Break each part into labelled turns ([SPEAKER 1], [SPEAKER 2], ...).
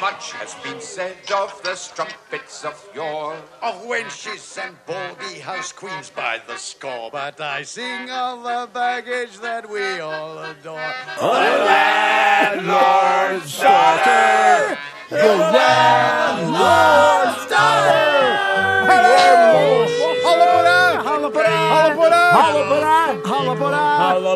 [SPEAKER 1] Much has been said of the strumpets of yore, of wenches and baldy house queens by the score. But I sing of the baggage that we all adore.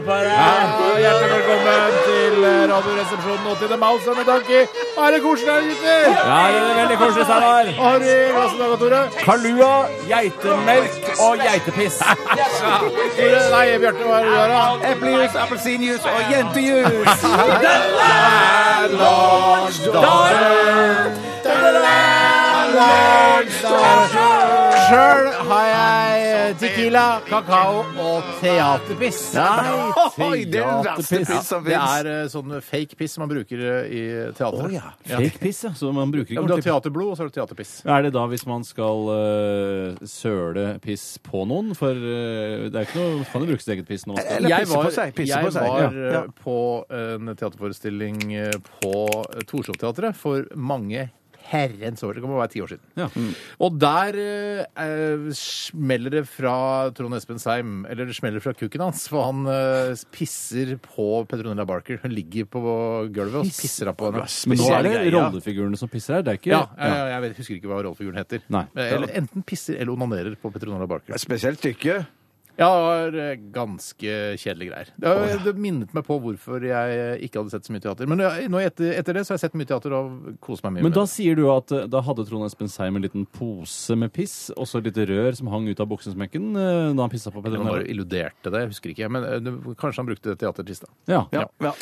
[SPEAKER 2] Hjertelig velkommen til Radioresepsjonen 80. Mouse og med Donkey. Er det koselig her, gutter? Ja, det er veldig koselig, Steinar. Har du glass i dag, Tore? Kalua, geitemelk og geitepiss. Tore, nei, Bjarte, hva er det du har, da? Eplejus, appelsinjus og jentejus. The landlord's daughter. The landlord's daughter. Sjøl har jeg tequila, kakao og teaterpiss. Nei,
[SPEAKER 3] det er den verste
[SPEAKER 2] teaterpiss.
[SPEAKER 3] piss som
[SPEAKER 2] Det
[SPEAKER 3] finnes.
[SPEAKER 2] er eh, sånn fake piss som man bruker eh, i teatret.
[SPEAKER 3] Å, ja.
[SPEAKER 2] Ja.
[SPEAKER 4] Fake piss, ja. Så man bruker
[SPEAKER 2] Ja,
[SPEAKER 4] ikke
[SPEAKER 2] men Du har
[SPEAKER 4] ordentlig
[SPEAKER 2] teaterblod, og så har du teaterpiss.
[SPEAKER 4] Er det da hvis man skal øh, søle piss på noen? For øh, det er ikke noe Man kan jo bruke sitt eget piss nå.
[SPEAKER 3] Eller pisse på seg, pisse
[SPEAKER 2] jeg
[SPEAKER 3] på seg,
[SPEAKER 2] var
[SPEAKER 3] ja, ja.
[SPEAKER 2] eh, på en teaterforestilling eh, på Torshov-teatret for mange herrens år. Det kan være ti år siden.
[SPEAKER 4] Ja.
[SPEAKER 2] Og der eh, eh, smeller det fra Trond Espen Seim, eller det smeller fra kukken hans, for han eh, pisser på Petronella Barker. Hun ligger på gulvet og pisser opp på henne.
[SPEAKER 4] Men nå er det
[SPEAKER 3] Spesiell greie, ja.
[SPEAKER 4] rollefigurene som pisser her. Det er ikke
[SPEAKER 2] Ja, ja, ja, jeg vet, husker ikke hva rollefiguren heter.
[SPEAKER 4] Nei.
[SPEAKER 2] Eh, Eller enten pisser eller onanerer på Petronella Barker.
[SPEAKER 3] Spesielt tykke.
[SPEAKER 2] Ja, det var eh, ganske kjedelige greier. Det, har- det minnet meg på hvorfor jeg eh, ikke hadde sett så mye teater. Men eh, nå etter, etter det så har jeg sett mye teater og kost meg mye
[SPEAKER 4] Men
[SPEAKER 2] med
[SPEAKER 4] da
[SPEAKER 2] det.
[SPEAKER 4] sier du at øh, da hadde Trond Espen Seim en liten pose med piss, og så et lite rør som hang ut av buksesmekken øh, da han pissa på
[SPEAKER 2] Han bare
[SPEAKER 4] Petronella.
[SPEAKER 2] illuderte det, jeg husker ikke. Men eh, det- kanskje han brukte det teatertist, da.
[SPEAKER 4] Ja.
[SPEAKER 2] Ja.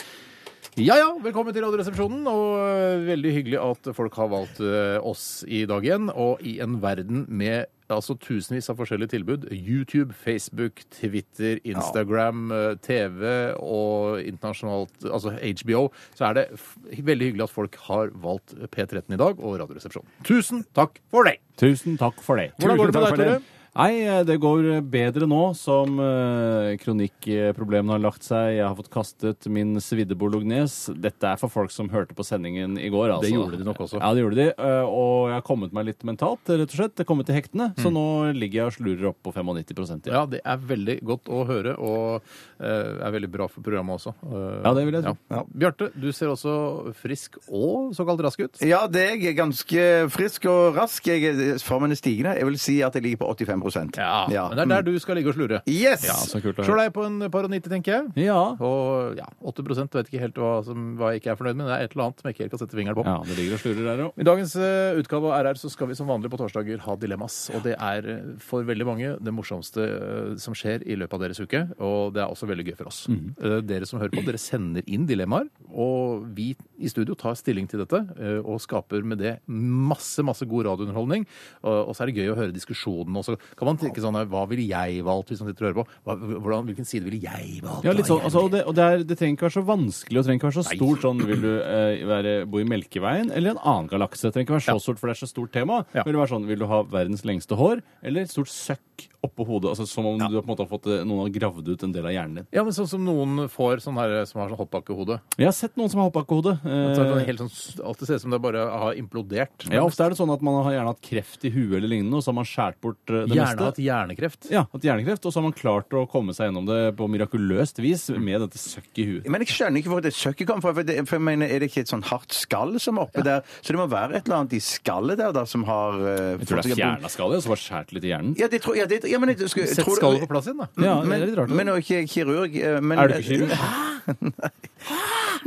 [SPEAKER 2] Ja ja, velkommen til Radioresepsjonen. Og eh, veldig hyggelig at folk har valgt eh, oss i dag igjen. Og i en verden med altså tusenvis av forskjellige tilbud. YouTube, Facebook, Twitter, Instagram, eh, TV og internasjonalt, altså HBO. Så er det f veldig hyggelig at folk har valgt P13 i dag og Radioresepsjonen. Tusen takk for det!
[SPEAKER 4] Tusen takk for det.
[SPEAKER 2] Hvordan går det med
[SPEAKER 4] Tusen takk
[SPEAKER 2] deg,
[SPEAKER 4] for Nei, eh, det går bedre nå som eh, kronikkproblemene har lagt seg. Jeg har fått kastet min svidde bolognese. Dette er for folk som hørte på sendingen i går. Altså.
[SPEAKER 2] Det gjorde de nok også.
[SPEAKER 4] Ja, det gjorde de. eh, Og jeg har kommet meg litt mentalt, rett og slett. Jeg har kommet til hektene.
[SPEAKER 2] Mm.
[SPEAKER 4] Så nå ligger jeg og slurer opp på 95 ja.
[SPEAKER 2] Ja, det er veldig godt å høre, og eh, er veldig bra for programmet også. Eh,
[SPEAKER 4] Ja, det vil jeg tro.
[SPEAKER 2] ja. Bjarte, du ser også frisk og såkalt rask ut.
[SPEAKER 3] Ja, det er jeg. Ganske frisk og rask. Jeg er, formen er stigende. Jeg vil si at jeg ligger på 85
[SPEAKER 2] Ja, Men det er der altså. du skal ligge og slure.
[SPEAKER 3] Yes!
[SPEAKER 4] Ja, så kult å
[SPEAKER 2] Slår
[SPEAKER 4] høre.
[SPEAKER 2] deg på en par og nitti, tenker jeg.
[SPEAKER 4] Ja.
[SPEAKER 2] Og ja, 8 vet ikke helt hva, som, hva jeg ikke er fornøyd med. men Det er et eller annet som jeg ikke helt kan sette fingeren på.
[SPEAKER 4] ja, det ligger og slurer der òg.
[SPEAKER 2] I dagens eh, utgave av RR så skal vi som vanlig på torsdager ha dilemmas. Og det er eh, for veldig mange det morsomste eh, som skjer i løpet av deres uke. Og det er også veldig gøy for oss.
[SPEAKER 4] Mhm.
[SPEAKER 2] Eh, dere som hører på, dere sender inn dilemmaer. Og vi i studio tar stilling til dette eh, og skaper med det masse, masse god radiounderholdning. Og, og så er det gøy å høre diskusjonen også. Kan man tenke sånn eh, Hva ville jeg valgt hvis man sitter og hører på? Hva, hvordan, hvilken side ville jeg valgt?
[SPEAKER 4] Ja, litt sånn,
[SPEAKER 2] Hva
[SPEAKER 4] altså, og
[SPEAKER 2] ville jeg
[SPEAKER 4] det, og det, er, det trenger ikke være så vanskelig og trenger ikke være så stort. Sånn, vil du eh, være, bo i Melkeveien eller en annen galakse? Det trenger ikke være så stort, for det er så stort tema.
[SPEAKER 2] Ja.
[SPEAKER 4] Vil, det være sånn, vil du ha verdens lengste hår eller et stort søkk oppå hodet? Altså, som om du på en måte har fått eh, noen har gravd ut en del av hjernen din.
[SPEAKER 2] Ja, men sånn som noen får sånn her, som har sånn hoppbakkehode.
[SPEAKER 4] Jeg har sett noen som har hoppbakkehode.
[SPEAKER 2] Så er det
[SPEAKER 4] Eh,
[SPEAKER 2] helt sånn, alt det ser ut som det bare har implodert.
[SPEAKER 4] ja, ofte er det sånn at man har gjerne hatt kreft i huet eller lignende, og så har man skåret bort eh,
[SPEAKER 2] Gjerne
[SPEAKER 4] det meste.
[SPEAKER 2] hatt hjernekreft.
[SPEAKER 4] Ja, hatt hjernekreft, og så har man klart å komme seg gjennom det på mirakuløst vis med dette søkket i huet.
[SPEAKER 3] Men jeg skjønner ikke hvor det søkket kom fra. For, det, for jeg mener, Er det ikke et sånn hardt skall som er oppe der? Så det må være et eller annet i skallet der da, som har uh,
[SPEAKER 4] Jeg tror det er fjerna skallet, og så bare skåret litt i hjernen.
[SPEAKER 3] Ja, det tror ja, det, ja, men jeg skulle,
[SPEAKER 2] Sett
[SPEAKER 3] tror du-
[SPEAKER 2] skallet på plass igjen, da.
[SPEAKER 4] Ja, det
[SPEAKER 3] men,
[SPEAKER 4] er litt rart.
[SPEAKER 3] men nå er ikke jeg kirurg. eh, Men,
[SPEAKER 4] Er du ikke kirurg?
[SPEAKER 3] Nei.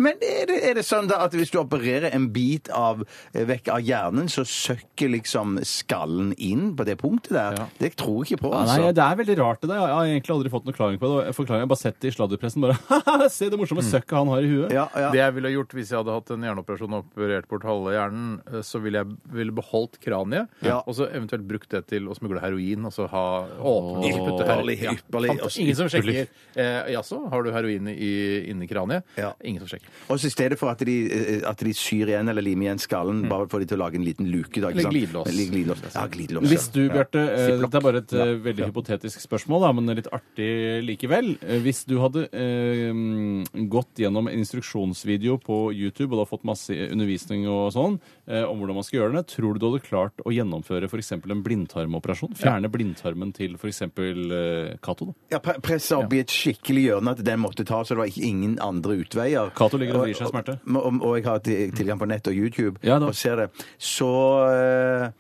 [SPEAKER 3] Men er det, er det sånn da at hvis du opererer en bit av, eh, vekk av hjernen, så søkker liksom skallen inn på det punktet der?
[SPEAKER 2] Ja.
[SPEAKER 3] Det tror jeg ikke på,
[SPEAKER 4] Ja,
[SPEAKER 3] altså.
[SPEAKER 4] Nei, det er veldig rart det der. Jeg har egentlig aldri fått noen klaring på det. og Jeg forklarer, jeg har bare sett det i sladderpressen. Bare, Se det morsomme søkket han har i huet.
[SPEAKER 3] Mm. ja, ja.
[SPEAKER 2] Det jeg ville gjort hvis jeg hadde hatt en hjerneoperasjon og operert bort halve hjernen, eh, så ville jeg ville beholdt kraniet,
[SPEAKER 3] Ja.
[SPEAKER 2] og så eventuelt brukt det til å smugle heroin, og så ha åpne
[SPEAKER 3] Åh,
[SPEAKER 2] putte her-
[SPEAKER 3] ypperlig,
[SPEAKER 2] Ja.
[SPEAKER 3] ypperlig,
[SPEAKER 2] Fant-
[SPEAKER 3] også
[SPEAKER 2] Ingen som
[SPEAKER 3] ypperlig.
[SPEAKER 2] sjekker. Eh, Jaså, har du heroin i, inni kraniet?
[SPEAKER 3] Ja.
[SPEAKER 2] Ingen som sjekker.
[SPEAKER 3] Og så i stedet for at de, eh, at de syr igjen eller limer igjen skallen, bare får de til å lage en liten luke. Da,
[SPEAKER 2] Eller
[SPEAKER 3] ikke sant?
[SPEAKER 2] glidelås.
[SPEAKER 3] Eller glidelås. Ja, glidelås.
[SPEAKER 4] Hvis du, Bjarte, eh,
[SPEAKER 3] Ziplock.
[SPEAKER 4] dette er bare et eh, veldig hypotetisk spørsmål, da, men litt artig likevel. Eh, Hvis du hadde eh, gått gjennom en instruksjonsvideo på YouTube og da fått masse undervisning og sånn eh, om hvordan man skal gjøre det, tror du du hadde klart å gjennomføre f.eks. en blindtarmoperasjon? Fjerne blindtarmen til f.eks. Eh, Cato? da?
[SPEAKER 3] Ja, pre- presse opp i et skikkelig hjørne at den måtte ta, så det var ikke ingen andre utveier.
[SPEAKER 4] Cato ligger og vrir seg i smerte.
[SPEAKER 3] Og, og, og jeg har til- tilgang på nett og YouTube
[SPEAKER 4] Ja, da.
[SPEAKER 3] og ser det. Så, eh,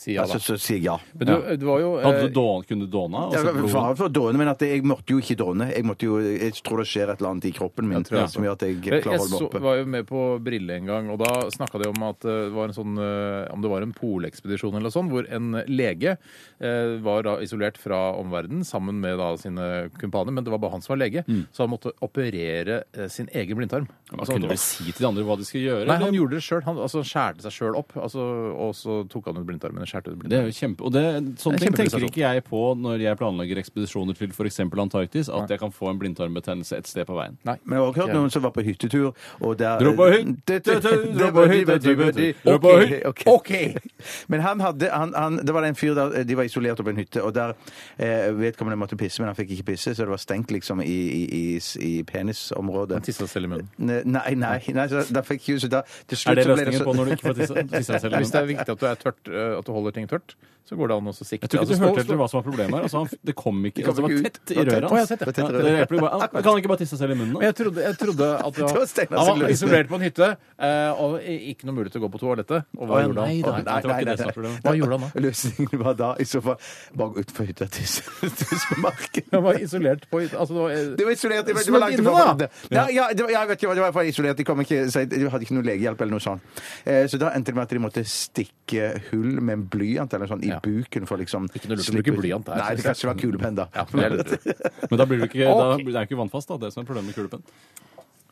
[SPEAKER 2] Sier jeg da.
[SPEAKER 3] altså, så sier jeg ja.
[SPEAKER 2] Men du, du var jo eh,
[SPEAKER 4] Hadde du dån, kunne du dåna?
[SPEAKER 3] Jeg
[SPEAKER 4] Altså,
[SPEAKER 3] var
[SPEAKER 4] blod-
[SPEAKER 3] faren for å dåne, men at jeg måtte jo ikke dåne. Jeg, måtte jo, jeg tror det skjer et eller annet i kroppen min
[SPEAKER 2] tror jeg også.
[SPEAKER 3] som gjør at jeg
[SPEAKER 2] Jeg,
[SPEAKER 3] klarer å holde meg
[SPEAKER 2] så,
[SPEAKER 3] oppe.
[SPEAKER 2] var jo med på Brille en gang, og da snakka de om at eh, det var en sånn eh, Om det var en polekspedisjon eller noe sånt, hvor en lege eh, var da isolert fra omverdenen sammen med da sine kumpaner, men det var bare han som var lege, så han måtte operere eh, sin egen blindtarm.
[SPEAKER 4] Man
[SPEAKER 2] Altså, han-
[SPEAKER 4] kunne vel si til Sånn de andre hva de skal gjøre?
[SPEAKER 2] Nei,
[SPEAKER 4] eller?
[SPEAKER 2] han gjorde det sjøl. Han altså, skjærte seg sjøl opp, altså, og så tok han ut blindtarmen. Skjærte ut
[SPEAKER 4] Det
[SPEAKER 2] blindtarmen.
[SPEAKER 4] er jo kjempe... Og det,
[SPEAKER 2] Det er
[SPEAKER 4] sånne ting tenker
[SPEAKER 2] kjempeprestasjon.
[SPEAKER 4] ikke jeg på når jeg planlegger ekspedisjoner til f.eks. Antarktis, at jeg kan få en blindtarmbetennelse et sted på veien.
[SPEAKER 2] Nei.
[SPEAKER 3] Men jeg har også hørt noen som var på hyttetur, og der
[SPEAKER 4] Dro på hyttetur, dro på hyttetur, dro på hyttetur.
[SPEAKER 3] Ok, ok. Men han hadde han, han, Det var en fyr der eh, De var isolert oppe i en hytte, og der eh, vedkommende måtte pisse, men han fikk ikke pisse, så det var stengt liksom i, i, i, i penisområdet.
[SPEAKER 2] Han tissa selv i munnen.
[SPEAKER 3] Ne- Nei, nei. nei så da fikk jo så da, til
[SPEAKER 4] Er
[SPEAKER 3] slutt
[SPEAKER 4] det
[SPEAKER 3] så ble
[SPEAKER 4] løsningen
[SPEAKER 3] så-
[SPEAKER 4] på når du ikke får tisse tisse deg selv?
[SPEAKER 2] Hvis det er viktig at du, er tørt, eh, at du holder ting tørt, så går det an å så sikte.
[SPEAKER 4] Jeg tror ikke
[SPEAKER 2] Altså,
[SPEAKER 4] du
[SPEAKER 2] stå-
[SPEAKER 4] hørte
[SPEAKER 2] stå-
[SPEAKER 4] etter hva som var problemet her. Altså, han, det kom ikke.
[SPEAKER 3] kom
[SPEAKER 4] altså, det
[SPEAKER 3] ikke
[SPEAKER 4] var
[SPEAKER 3] ut.
[SPEAKER 4] tett i røret
[SPEAKER 3] Å, ja,
[SPEAKER 4] hans.
[SPEAKER 3] tett, ja.
[SPEAKER 4] Ja, det hjelper jo bare- han- Kan han ikke bare tisse seg selv i munnen?
[SPEAKER 2] Men
[SPEAKER 4] da?
[SPEAKER 2] jeg trodde, jeg trodde at det var,
[SPEAKER 3] Det var Steinar sin
[SPEAKER 2] han var
[SPEAKER 3] løsning.
[SPEAKER 2] isolert på en hytte, eh, og ikke noe mulighet til å gå på toalettet. Og hva
[SPEAKER 4] Å, ja,
[SPEAKER 2] gjorde
[SPEAKER 4] nei,
[SPEAKER 2] han?
[SPEAKER 4] da.
[SPEAKER 3] Å, nei,
[SPEAKER 4] Det var ikke det
[SPEAKER 3] nei,
[SPEAKER 4] som
[SPEAKER 3] nei.
[SPEAKER 4] var problemet.
[SPEAKER 2] Hva gjorde han da?
[SPEAKER 3] Løsningen var da i så fall bare utenfor hytta tisse tissemarken.
[SPEAKER 2] Han var isolert på hytta. Altså, det var, eh,
[SPEAKER 3] Det var isolert. Det var, det
[SPEAKER 2] Smutt
[SPEAKER 3] var langt
[SPEAKER 2] inne,
[SPEAKER 3] ifra-
[SPEAKER 2] da!
[SPEAKER 3] Ja, ja, det var, jeg vet ikke, hva, det var iallfall isolert. De kom ikke, så jeg, de hadde ikke noe legehjelp eller noe sånt. Eh, så da endte det med at de måtte stikke hull med en blyant eller noe sånt i
[SPEAKER 2] Ja.
[SPEAKER 3] buken for liksom
[SPEAKER 2] Ikke noe lurt å
[SPEAKER 3] slippe
[SPEAKER 2] bruke
[SPEAKER 3] ut.
[SPEAKER 2] blyant der,
[SPEAKER 3] Nei,
[SPEAKER 2] synes
[SPEAKER 3] det
[SPEAKER 2] jeg.
[SPEAKER 3] kanskje var kulepenn, da.
[SPEAKER 2] ja, det er lurt.
[SPEAKER 4] Men da blir det ikke, da,
[SPEAKER 2] Ok.
[SPEAKER 4] det er ikke vannfast, da. Det som er problemet med kulepenn.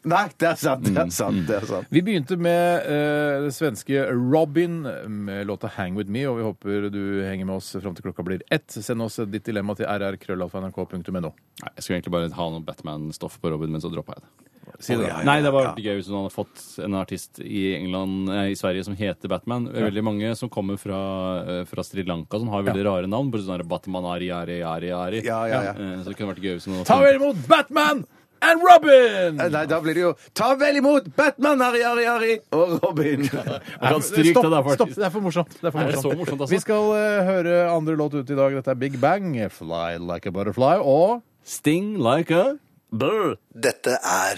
[SPEAKER 3] Nei, det er sant.
[SPEAKER 2] Mm,
[SPEAKER 3] Det er sant. Det er sant.
[SPEAKER 2] Vi begynte med eh, det svenske Robin med låta 'Hang With Me', og vi håper du henger med oss fram til klokka blir ett. Send oss ditt dilemma til rrkrøllalfa.nrk.no.
[SPEAKER 4] Nei, jeg skulle egentlig bare ha noe Batman-stoff på Robin, men så droppa jeg det.
[SPEAKER 2] Si det, da.
[SPEAKER 4] Nei, det var vært gøy hvis hun hadde fått en artist i England, eh, i Sverige som heter Batman. Det er Veldig mange som kommer fra, eh, fra Sri Lanka som har veldig rare navn. Bare sånn der Batman Ari, Ari, Ari, Ari.
[SPEAKER 3] Ja, ja, ja.
[SPEAKER 4] Eh, Så det kunne vært gøy hvis hun hadde
[SPEAKER 3] Mm.
[SPEAKER 2] Ta vel imot Batman and Robin!
[SPEAKER 3] Nei, da blir det jo Ta vel imot Batman, Ari, Ari, Ari og Robin!
[SPEAKER 4] Jeg kan stryke
[SPEAKER 2] stopp,
[SPEAKER 4] det der, faktisk.
[SPEAKER 2] stopp, det er for morsomt. Det er for
[SPEAKER 4] Er det
[SPEAKER 2] morsomt.
[SPEAKER 4] så morsomt, altså?
[SPEAKER 2] Vi skal eh, høre andre låt ut i dag. Dette er Big Bang, 'Fly Like a Butterfly' og
[SPEAKER 4] Sting like a bird.
[SPEAKER 5] Dette er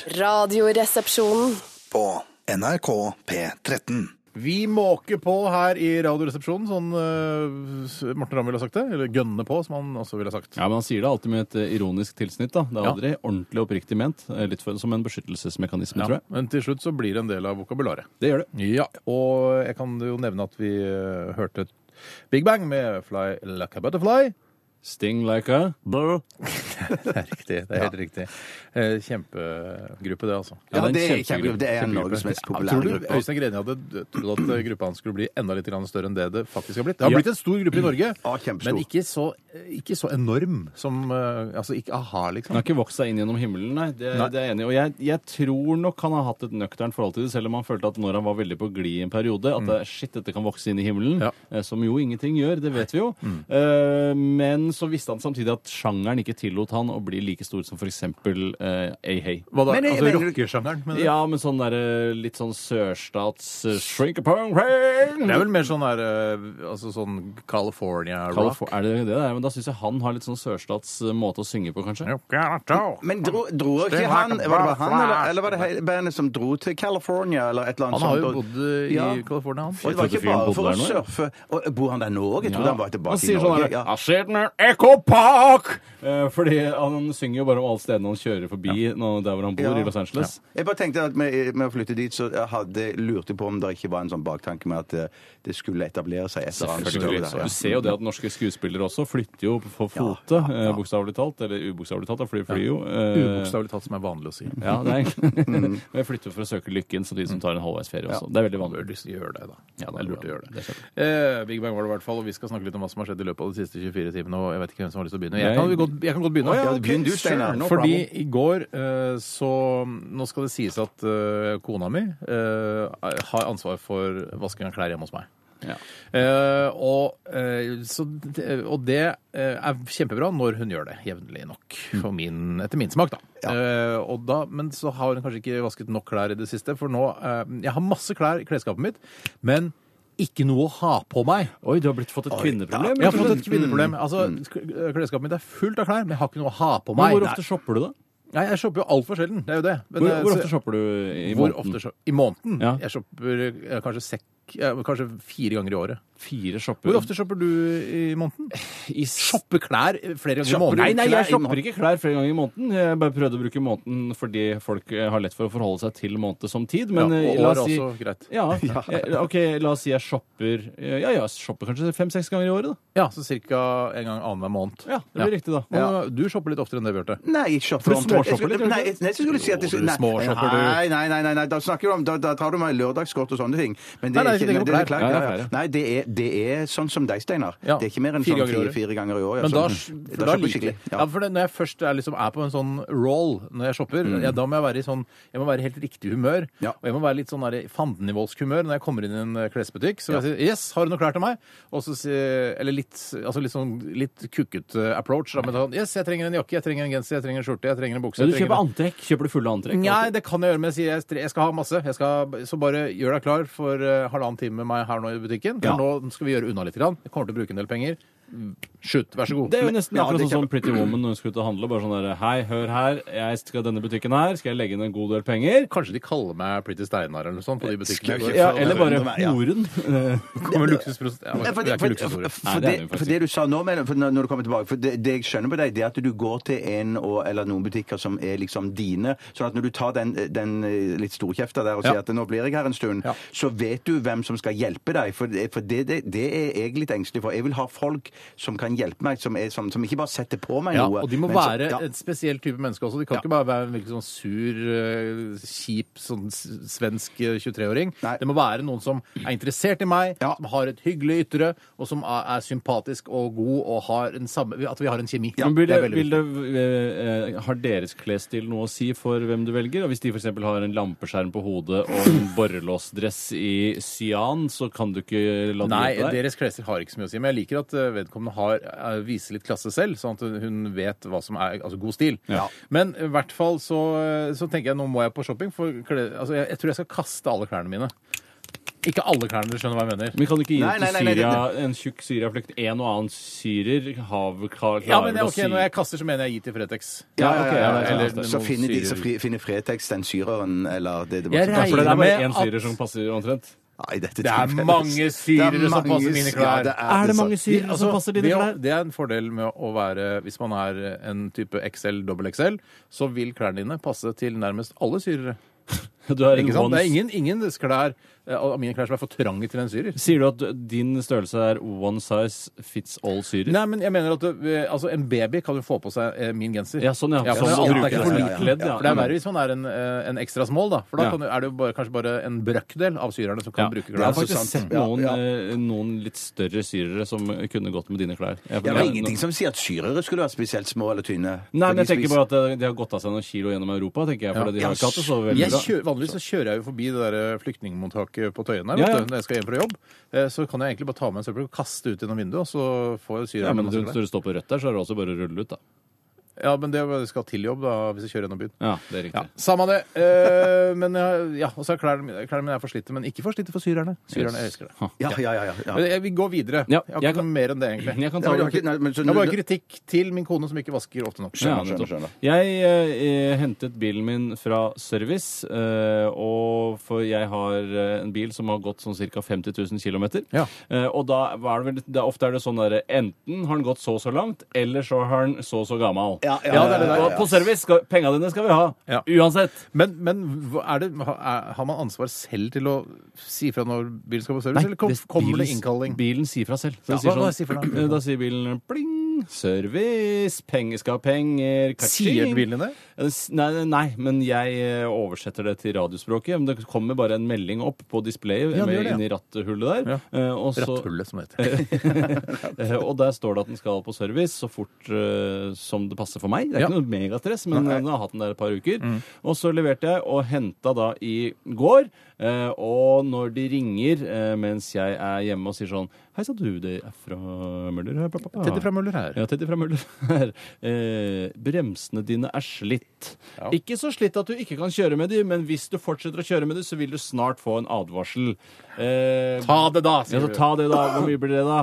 [SPEAKER 6] Radioresepsjonen.
[SPEAKER 5] på NRK P13.
[SPEAKER 2] Vi måker på her i Radioresepsjonen, sånn eh, Morten Ramm ville ha sagt det. Eller 'gønne på', som han også ville ha sagt.
[SPEAKER 4] Ja, men Han sier det alltid med et eh, ironisk tilsnitt. da. Det er
[SPEAKER 2] Ja.
[SPEAKER 4] aldri ordentlig oppriktig ment. Eh, Litt for, som en beskyttelsesmekanisme, tror
[SPEAKER 2] Ja,
[SPEAKER 4] jeg.
[SPEAKER 2] men til slutt så blir det en del av vokabularet.
[SPEAKER 4] Det gjør det.
[SPEAKER 2] Ja, og jeg kan jo nevne at vi eh, hørte Big Bang med 'Fly Like a Butterfly'.
[SPEAKER 4] Sting like a bird.
[SPEAKER 2] Riktig, det er helt riktig. Eh, Kjempegruppe, det, altså.
[SPEAKER 3] Ja, det er,
[SPEAKER 4] en kjempegruppe.
[SPEAKER 3] kjempegruppe. det er Norges mest
[SPEAKER 2] Tror
[SPEAKER 3] populære
[SPEAKER 2] du
[SPEAKER 3] gruppe.
[SPEAKER 2] Øystein Greni hadde trodd at eh, gruppa hans skulle bli enda litt grann større enn det det faktisk har blitt? Det har blitt en stor gruppe i Norge,
[SPEAKER 3] Ja, kjempestor.
[SPEAKER 2] men ikke så, eh, ikke så enorm som eh, Altså ikke a-ha,
[SPEAKER 4] Den
[SPEAKER 2] liksom.
[SPEAKER 4] har ikke vokst seg inn gjennom himmelen, nei. Det,
[SPEAKER 2] Nei.
[SPEAKER 4] det er jeg enig i. Og jeg, jeg tror nok han har hatt et nøkternt forhold til det, selv om han følte at når han var veldig på glid i en periode, at det, shit, dette kan vokse inn i himmelen.
[SPEAKER 2] Mm. Ja. Mm.
[SPEAKER 4] eh, Som jo ingenting gjør, det vet vi jo. Eh, men så visste han samtidig at sjangeren ikke tillot han å bli like stor som f.eks. Eh, Hey Hey.
[SPEAKER 2] Hva da?
[SPEAKER 3] Men jeg-
[SPEAKER 2] altså
[SPEAKER 3] mener du-
[SPEAKER 2] rockesjangeren? mener du?
[SPEAKER 4] Ja, men sånn der, eh, litt sånn sørstats eh, shrink-a-pong-pong.
[SPEAKER 2] Det er vel mer sånn der eh, altså sånn California rock.
[SPEAKER 4] Kalif- Er det det det er? Men da syns jeg han har litt sånn sørstats eh, måte å synge på, kanskje.
[SPEAKER 3] Men dro, dro ikke
[SPEAKER 2] Sting
[SPEAKER 3] han
[SPEAKER 2] like a
[SPEAKER 3] Var det bare han, eller,
[SPEAKER 2] butterfly.
[SPEAKER 3] eller var det hele bandet som dro til California, eller et eller annet
[SPEAKER 2] Han har jo
[SPEAKER 3] sånt? og-
[SPEAKER 2] bodd eh,
[SPEAKER 3] Ja.
[SPEAKER 2] i California, han.
[SPEAKER 3] Og det var
[SPEAKER 4] Jeg
[SPEAKER 3] ikke
[SPEAKER 4] trodde fyren
[SPEAKER 3] bare for å eh,
[SPEAKER 4] bodde der nå,
[SPEAKER 3] surfe. Og bor han der nå òg? Jeg trodde han var tilbake
[SPEAKER 4] sier
[SPEAKER 3] i
[SPEAKER 4] sånn
[SPEAKER 3] Norge.
[SPEAKER 4] her,
[SPEAKER 3] Ja.
[SPEAKER 4] «I said no, Echo Park! Eh, Fordi han synger jo bare om alle stedene han kjører forbi nå- der hvor han bor i Los Angeles.
[SPEAKER 3] Jeg bare tenkte at med, med å flytte dit, så jeg hadde, lurte jeg på om det ikke var en sånn baktanke med at eh, det skulle etablere seg et eller annet
[SPEAKER 4] Selvfølgelig.
[SPEAKER 3] sted der, ja.
[SPEAKER 4] Du ser jo det at norske skuespillere også flytter jo på fote,
[SPEAKER 3] Ja, ja, ja.
[SPEAKER 4] eh, bokstavelig talt. Eller ubokstavelig talt, da, for de flyr jo. eh,
[SPEAKER 2] Ubokstavelig talt, som er vanlig å si.
[SPEAKER 4] Ja, det er egentlig Men jeg flytter for å søke lykken, så de som tar en halvveis ferie også. Det er veldig vanlig.
[SPEAKER 2] Gjør det, da.
[SPEAKER 4] Ja, det er
[SPEAKER 2] det er lurt
[SPEAKER 4] bra.
[SPEAKER 2] å gjøre det.
[SPEAKER 4] Det er
[SPEAKER 2] eh, Big Bang var det i hvert fall, og vi skal snakke litt om hva som har skjedd i løpet av de siste 24 timene. og Jeg vet ikke hvem som har lyst til å begynne. Jeg kan,
[SPEAKER 4] Nei.
[SPEAKER 2] godt, jeg kan godt begynne.
[SPEAKER 4] Å, ja,
[SPEAKER 2] Ja,
[SPEAKER 4] ok,
[SPEAKER 2] begynn du,
[SPEAKER 4] sure,
[SPEAKER 2] Steinar.
[SPEAKER 4] no
[SPEAKER 2] Fordi
[SPEAKER 4] problem.
[SPEAKER 2] i går eh, så Nå skal det sies at eh, kona mi eh, har ansvar for vasking av klær hjemme hos meg.
[SPEAKER 4] Ja.
[SPEAKER 2] Eh, og, eh, så, det- og det eh, er kjempebra når hun gjør det jevnlig nok,
[SPEAKER 4] Mm.
[SPEAKER 2] for min, etter min smak, da. Eh, og da. Men så har hun kanskje ikke vasket nok klær i det siste, for nå eh, Jeg har masse klær i klesskapet mitt, men ikke noe å ha på meg.
[SPEAKER 4] Oi, du har blitt fått et kvinneproblem? Mm.
[SPEAKER 2] Jeg har
[SPEAKER 4] rett og
[SPEAKER 2] fått et
[SPEAKER 4] slett.
[SPEAKER 2] kvinneproblem. Altså, k- klesskapet mitt er fullt av klær, men jeg har ikke noe å ha på
[SPEAKER 4] Men
[SPEAKER 2] meg.
[SPEAKER 4] hvor ofte shopper du, da?
[SPEAKER 2] Nei, jeg shopper jo altfor sjelden. Det er jo det. Men,
[SPEAKER 4] Hvor,
[SPEAKER 2] eh,
[SPEAKER 4] hvor
[SPEAKER 2] så-
[SPEAKER 4] ofte shopper du i
[SPEAKER 2] hvor
[SPEAKER 4] måneden?
[SPEAKER 2] ofte shop- I måneden?
[SPEAKER 4] Ja.
[SPEAKER 2] Jeg shopper eh, kanskje, sekk, eh, kanskje fire ganger i året.
[SPEAKER 4] Fire shopper
[SPEAKER 2] Hvor ofte shopper du i måneden?
[SPEAKER 4] I s-
[SPEAKER 2] Shopper klær flere ganger i
[SPEAKER 4] Shopper-
[SPEAKER 2] måneden?
[SPEAKER 4] Nei, nei, jeg
[SPEAKER 3] klær i
[SPEAKER 4] shopper ikke klær flere ganger i måneden. Jeg bare prøvde å bruke måneden fordi folk eh, har lett for å forholde seg til måned som tid. Men
[SPEAKER 2] Ja, og
[SPEAKER 4] eh, la
[SPEAKER 2] år
[SPEAKER 4] oss si
[SPEAKER 2] også, greit.
[SPEAKER 4] Ja, eh, OK, la oss si jeg shopper eh, Ja, ja, jeg shopper kanskje fem-seks ganger i året, da.
[SPEAKER 2] Ja, så cirka en gang annenhver måned.
[SPEAKER 4] Ja, Det blir riktig, da.
[SPEAKER 2] Men, uh, Du shopper litt oftere enn det, Bjarte.
[SPEAKER 3] Nei, jeg
[SPEAKER 4] For
[SPEAKER 3] shopper
[SPEAKER 4] du
[SPEAKER 3] omtrent- jeg
[SPEAKER 4] småshopper litt, gjør
[SPEAKER 3] skulle-
[SPEAKER 4] du
[SPEAKER 3] Nei,
[SPEAKER 4] ikke?
[SPEAKER 3] jeg, nei, jeg skulle si at jeg,
[SPEAKER 2] Jo, du
[SPEAKER 3] nei,
[SPEAKER 2] småshopper, du.
[SPEAKER 3] nei, nei, nei, nei, nei, da snakker du om Da, da tar du meg lørdagskort og sånne ting. Men det
[SPEAKER 2] Nei, nei,
[SPEAKER 3] er
[SPEAKER 2] ikke
[SPEAKER 3] ikke men
[SPEAKER 2] tenker
[SPEAKER 3] det
[SPEAKER 2] på
[SPEAKER 3] er
[SPEAKER 2] klær.
[SPEAKER 3] klart,
[SPEAKER 4] Ja,
[SPEAKER 3] ja,
[SPEAKER 4] det
[SPEAKER 3] ja.
[SPEAKER 4] er flere.
[SPEAKER 3] Nei, det er, det er sånn som deg, Steinar.
[SPEAKER 2] Ja.
[SPEAKER 3] Det er ikke mer enn
[SPEAKER 2] Fire
[SPEAKER 3] sånn
[SPEAKER 2] ganger i
[SPEAKER 3] fire,
[SPEAKER 2] året.
[SPEAKER 3] fire ganger i året.
[SPEAKER 2] Men
[SPEAKER 3] altså.
[SPEAKER 2] da, for da
[SPEAKER 3] shopper jeg
[SPEAKER 2] liker
[SPEAKER 3] skikkelig.
[SPEAKER 2] jeg.
[SPEAKER 3] Ja.
[SPEAKER 2] Ja, for det- når jeg først er, liksom, er på en sånn roll når jeg shopper, ja, da må jeg være i sånn Jeg må være i helt riktig humør.
[SPEAKER 3] Mm. Ja.
[SPEAKER 2] Og jeg må være litt sånn der i fandenivoldsk humør når jeg kommer inn i en eh, klesbutikk. Så må jeg si 'Yes, har du noe klær til meg?' Og så sier Eller litt, altså litt sånn litt kukkete approach. Da, men sånn 'Yes, jeg trenger en jakke, jeg trenger en genser, jeg trenger en skjorte, jeg trenger en bukse'.
[SPEAKER 4] Ja,
[SPEAKER 2] jeg
[SPEAKER 4] du
[SPEAKER 2] trenger
[SPEAKER 4] kjøper
[SPEAKER 2] en-
[SPEAKER 4] antrekk. Kjøper du fulle antrekk?
[SPEAKER 2] Nei, det kan jeg gjøre, men jeg sier jeg stre- jeg skal ha masse. Jeg skal, så bare gjør deg klar for eh, halvannen time med meg her nå i butikken. For
[SPEAKER 4] Ja.
[SPEAKER 2] nå skal vi gjøre unna litt. Grann. Jeg kommer til å bruke en del penger. Shoot, vær så god.
[SPEAKER 4] Det er jo nesten
[SPEAKER 3] Ja,
[SPEAKER 4] akkurat
[SPEAKER 3] det
[SPEAKER 4] sånn som Pretty Woman når hun skulle ut og handle. Bare sånn der, Hei, hør her, jeg skal denne butikken her, skal jeg legge inn en god del penger?
[SPEAKER 2] Kanskje de kaller meg Pretty Steinar eller noe sånt på de butikkene.
[SPEAKER 3] Skal jeg
[SPEAKER 4] Ja,
[SPEAKER 3] for-
[SPEAKER 4] eller bare
[SPEAKER 3] for- for- ja.
[SPEAKER 4] horen.
[SPEAKER 2] Kommer luksusprost... Ja,
[SPEAKER 3] Nei, for,
[SPEAKER 2] det er
[SPEAKER 3] for,
[SPEAKER 2] ikke
[SPEAKER 3] for,
[SPEAKER 2] luksusordet.
[SPEAKER 4] Nei, det
[SPEAKER 3] for,
[SPEAKER 4] er det
[SPEAKER 3] det,
[SPEAKER 4] faktisk
[SPEAKER 3] for det du sa nå, Mellom, for når når du kommer tilbake for det, det jeg skjønner på deg, det er at du går til en og, eller noen butikker som er liksom dine. sånn at når du tar den, den eh, litt storkjefta der og sier
[SPEAKER 2] Ja.
[SPEAKER 3] at nå blir jeg her en stund,
[SPEAKER 2] Ja.
[SPEAKER 3] så vet du hvem som skal hjelpe deg. For, det- for det, det, det er jeg litt engstelig for. Jeg vil ha folk som kan hjelpe meg, som, er, som, som ikke bare setter på meg
[SPEAKER 2] Ja,
[SPEAKER 3] noe.
[SPEAKER 2] og de må
[SPEAKER 3] men som-
[SPEAKER 2] være
[SPEAKER 3] ja.
[SPEAKER 2] en spesiell type menneske også. De kan ikke bare være en virkelig sånn sur, eh, kjip, sånn s- svensk eh, 23-åring.
[SPEAKER 3] Nei.
[SPEAKER 2] Det må være noen som er interessert i meg,
[SPEAKER 3] Ja.
[SPEAKER 2] som har et hyggelig ytre, og som er, er sympatisk og god og har en samme At vi har en kjemi.
[SPEAKER 4] Men vil
[SPEAKER 2] Det
[SPEAKER 4] det,
[SPEAKER 2] er veldig
[SPEAKER 4] vil det, eh, har deres klesstil noe å si for hvem du velger? Og hvis de f.eks. har en lampeskjerm på hodet og en borrelåsdress i cyan, så kan du ikke la det
[SPEAKER 2] Nei,
[SPEAKER 4] hjelpe deg?
[SPEAKER 2] deres klesstil har ikke så mye å si. Men jeg liker at eh, vedkommende har, eh, viser litt klasse selv, sånn at hun vet hva som er altså, god stil.
[SPEAKER 4] Ja.
[SPEAKER 2] Men i hvert fall så, eh, så tenker jeg nå må jeg på shopping, for kle, altså, jeg, jeg tror jeg skal kaste alle klærne mine. Ikke alle klærne, du skjønner hva jeg mener.
[SPEAKER 4] Men kan du ikke gi
[SPEAKER 3] Nei,
[SPEAKER 4] det
[SPEAKER 3] nei,
[SPEAKER 4] til
[SPEAKER 3] nei, nei,
[SPEAKER 4] Syria, en tjukk Syria-flykt? En og annen syrer har, vel- klarer
[SPEAKER 2] Ja, men
[SPEAKER 4] vel
[SPEAKER 2] ja,
[SPEAKER 4] å
[SPEAKER 2] ok, Når jeg kaster, så mener jeg gi til Fretex.
[SPEAKER 3] Ja, ja, ja, ja,
[SPEAKER 4] ok, ja,
[SPEAKER 3] ja,
[SPEAKER 4] eller
[SPEAKER 3] Så
[SPEAKER 4] noen
[SPEAKER 3] finner de
[SPEAKER 4] syrer.
[SPEAKER 3] så fri, finner Fretex den syreren, eller det, det
[SPEAKER 2] Jeg
[SPEAKER 3] som-
[SPEAKER 4] Ja, for det er
[SPEAKER 2] med
[SPEAKER 4] bare én
[SPEAKER 2] at-
[SPEAKER 4] syrer som passer omtrent?
[SPEAKER 3] Nei, dette
[SPEAKER 2] Det er
[SPEAKER 3] tilfellet-
[SPEAKER 2] mange syrere
[SPEAKER 3] Det er
[SPEAKER 2] som passer
[SPEAKER 3] mange-
[SPEAKER 2] mine klær.
[SPEAKER 3] Ja, det er,
[SPEAKER 4] Er det
[SPEAKER 3] så-
[SPEAKER 2] De-
[SPEAKER 4] mange syrere
[SPEAKER 2] altså,
[SPEAKER 4] som passer dine
[SPEAKER 2] det, å-
[SPEAKER 4] klær?
[SPEAKER 2] det er en fordel med å være Hvis man er en type XL, dobbel XL, så vil klærne dine passe til nærmest alle syrere.
[SPEAKER 4] Du har en
[SPEAKER 2] Ikke sant? Det
[SPEAKER 4] ones-
[SPEAKER 2] er ingen, ingen klær, eh, av mine klær som er for trange til en syrer.
[SPEAKER 4] Sier du at din størrelse er one size fits all syrer?
[SPEAKER 2] Nei, men jeg mener at eh, altså, En baby kan jo få på seg eh, min genser.
[SPEAKER 4] Ja, sånn, ja.
[SPEAKER 2] for
[SPEAKER 4] Sånn,
[SPEAKER 2] det er
[SPEAKER 4] så
[SPEAKER 2] alt
[SPEAKER 4] bruker
[SPEAKER 2] er ikke
[SPEAKER 4] jeg
[SPEAKER 2] for
[SPEAKER 4] det.
[SPEAKER 2] lite
[SPEAKER 4] Ja, ja,
[SPEAKER 2] ledd.
[SPEAKER 4] ja.
[SPEAKER 2] For det er verre hvis man er en, eh, en ekstra small, da. For da
[SPEAKER 4] Ja.
[SPEAKER 2] kan, du- er det jo bare, kanskje bare en brøkdel av syrerne som kan
[SPEAKER 4] Ja.
[SPEAKER 2] bruke Sånn.
[SPEAKER 4] Jeg har
[SPEAKER 2] klærne.
[SPEAKER 3] så
[SPEAKER 4] faktisk
[SPEAKER 3] sant.
[SPEAKER 4] sett
[SPEAKER 3] Ja,
[SPEAKER 4] noen,
[SPEAKER 3] ja.
[SPEAKER 4] eh, noen litt større syrere som kunne gått med dine klær. Jeg-
[SPEAKER 3] Ja, det
[SPEAKER 4] jeg-
[SPEAKER 3] er ingenting som sier at syrere skulle være spesielt små eller tynne.
[SPEAKER 4] Nei, men jeg
[SPEAKER 3] For de
[SPEAKER 4] tenker bare at eh, de har gått av seg noen kilo gjennom Europa, tenker jeg. For
[SPEAKER 2] Ja.
[SPEAKER 4] de har ikke hatt det så veldig
[SPEAKER 2] Jeg
[SPEAKER 4] bra.
[SPEAKER 2] kjører, vanligvis så kjører jeg jo forbi det der eh, flyktningmottaket på Tøyen her,
[SPEAKER 4] Ja,
[SPEAKER 2] vet
[SPEAKER 4] ja.
[SPEAKER 2] du, når jeg skal hjem fra jobb. Eh, Så kan jeg egentlig bare ta med en søppel og kaste ut gjennom vinduet, og så får jeg
[SPEAKER 4] Ja,
[SPEAKER 2] syrerne
[SPEAKER 4] men
[SPEAKER 2] masse
[SPEAKER 4] Når
[SPEAKER 2] klær.
[SPEAKER 4] du står på rødt der, så er det også bare å rulle ut, da.
[SPEAKER 2] Ja, men det er bare- jeg skal til jobb da, hvis jeg kjører gjennom byen.
[SPEAKER 4] Ja, det er riktig.
[SPEAKER 2] Ja, Samme det. Eh, men jeg- ja, og så er klærne mine, klærne mine er for slitte, men ikke for slitte for syrerne. Syrerne
[SPEAKER 4] Yes.
[SPEAKER 2] elsker det.
[SPEAKER 3] Ja, ja, ja. ja, ja.
[SPEAKER 2] Men jeg vil gå videre.
[SPEAKER 4] Ja,
[SPEAKER 2] jeg har
[SPEAKER 4] jeg
[SPEAKER 2] ikke noe
[SPEAKER 4] kan-
[SPEAKER 2] mer enn det, egentlig.
[SPEAKER 4] Jeg kan
[SPEAKER 3] Ja,
[SPEAKER 4] ta
[SPEAKER 3] men du har ikke- nei, men så-
[SPEAKER 2] Det er bare kritikk til min kone som ikke vasker ofte nok.
[SPEAKER 4] Ja,
[SPEAKER 3] skjønner,
[SPEAKER 4] nettopp.
[SPEAKER 3] skjønner.
[SPEAKER 4] Jeg eh, hentet bilen min fra service, eh, og for jeg har eh, en bil som har gått sånn ca. 50 000 km.
[SPEAKER 2] Ja.
[SPEAKER 4] Eh, og da er det vel da ofte er det sånn derre enten har den gått så og så langt, eller så har den så og så gammel.
[SPEAKER 3] Ja, ja,
[SPEAKER 2] ja, ja, ja.
[SPEAKER 4] Og på service skal penga dine skal vi ha.
[SPEAKER 2] Ja.
[SPEAKER 4] Uansett.
[SPEAKER 2] Men, men hva er det, ha- er, har man ansvar selv til å si fra når bilen skal på service, eller kom, kommer det
[SPEAKER 4] bilen-
[SPEAKER 2] innkalling?
[SPEAKER 4] Bilen sier fra selv. Så
[SPEAKER 2] Ja,
[SPEAKER 4] det sier
[SPEAKER 2] hva- hva sier for noe?
[SPEAKER 4] eh, da sier bilen pling, service, penger skal ha penger, ka-ching.
[SPEAKER 2] Sier bilen det?
[SPEAKER 4] Eh, s- Nei, nei, nei, men jeg eh, oversetter det til radiospråket. Men det kommer bare en melding opp på displayet
[SPEAKER 2] Ja, det gjør
[SPEAKER 4] med,
[SPEAKER 2] det, ja.
[SPEAKER 4] inni ratthullet der. eh, Og, så,
[SPEAKER 2] Ratthullet, som det heter.
[SPEAKER 4] eh, og der står det at den skal på service så fort eh, som det passer for meg. Det er
[SPEAKER 2] Ja. Mm.
[SPEAKER 4] ikke noe megastress, men eh, den har hatt den der et par uker. Og så leverte jeg og henta da i går. eh, Og når de ringer eh, mens jeg er hjemme og sier sånn Hei sa du, det er fra Møller her, pappa.
[SPEAKER 2] Teddy fra Møller her.
[SPEAKER 4] Ja, Teddy fra Møller her. Eh, bremsene dine er slitt. Ikke så slitt at du ikke kan kjøre med dem, men hvis du fortsetter å kjøre med dem, så vil du snart få en advarsel. Eh,
[SPEAKER 2] Ta det, da!
[SPEAKER 4] ja,
[SPEAKER 2] Sier
[SPEAKER 4] så
[SPEAKER 2] du.
[SPEAKER 4] ta det, da. Hvor mye blir det, da?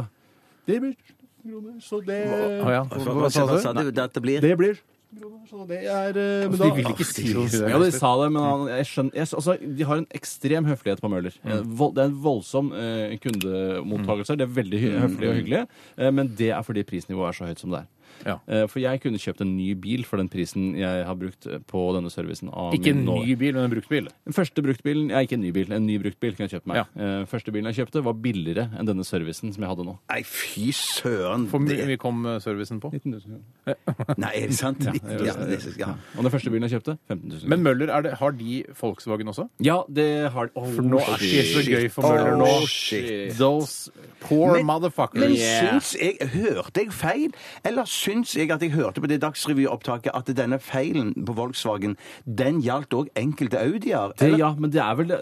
[SPEAKER 4] Det blir 1000 kroner, så det
[SPEAKER 2] Å, ja. Hva, hva sa du?
[SPEAKER 3] du? Det blir
[SPEAKER 4] Det blir 1000 kroner, så det er eh, men
[SPEAKER 2] Altså, De
[SPEAKER 4] da-
[SPEAKER 2] vil ikke si det.
[SPEAKER 4] ja, de sa det, men han, jeg skjønner jeg, altså, De har en ekstrem høflighet på Møller.
[SPEAKER 2] Mm.
[SPEAKER 4] Eh, vold- Det er en voldsom eh, kundemottagelse. Det er veldig hy høflig
[SPEAKER 2] Mm.
[SPEAKER 4] og hyggelig, eh, men det er fordi prisnivået er så høyt som det er.
[SPEAKER 2] Ja.
[SPEAKER 4] Eh, For jeg kunne kjøpt en ny bil for den prisen jeg har brukt eh, på denne servicen. Av
[SPEAKER 2] Ikke en
[SPEAKER 4] min nå-
[SPEAKER 2] ny bil, men en brukt bil.
[SPEAKER 4] Den Første bruktbilen, ja, ikke en ny bil, en ny bruktbil kunne jeg kjøpt meg.
[SPEAKER 2] Ja.
[SPEAKER 4] Eh, Første bilen jeg kjøpte, var billigere enn denne servicen som jeg hadde nå.
[SPEAKER 3] Nei, fy søren.
[SPEAKER 2] For mye
[SPEAKER 3] det-
[SPEAKER 2] mye kom eh, servicen på.
[SPEAKER 3] Nei, er det sant? Ja, det er- ja.
[SPEAKER 4] Og den første bilen jeg kjøpte, 15 000.
[SPEAKER 2] Men Møller, er det, har de Volkswagen også?
[SPEAKER 4] ja, det har
[SPEAKER 2] For nå er det ikke så gøy for Møller nå.
[SPEAKER 3] Oh, shit.
[SPEAKER 2] Those poor
[SPEAKER 3] Men- Men
[SPEAKER 2] motherfuckers.
[SPEAKER 3] syns jeg, hørte jeg feil, eller syns jeg at jeg hørte på det Dagsrevy-opptaket at denne feilen på Volkswagen, den gjaldt òg enkelte Audier?
[SPEAKER 4] Det,
[SPEAKER 3] eller?
[SPEAKER 4] ja, men det er vel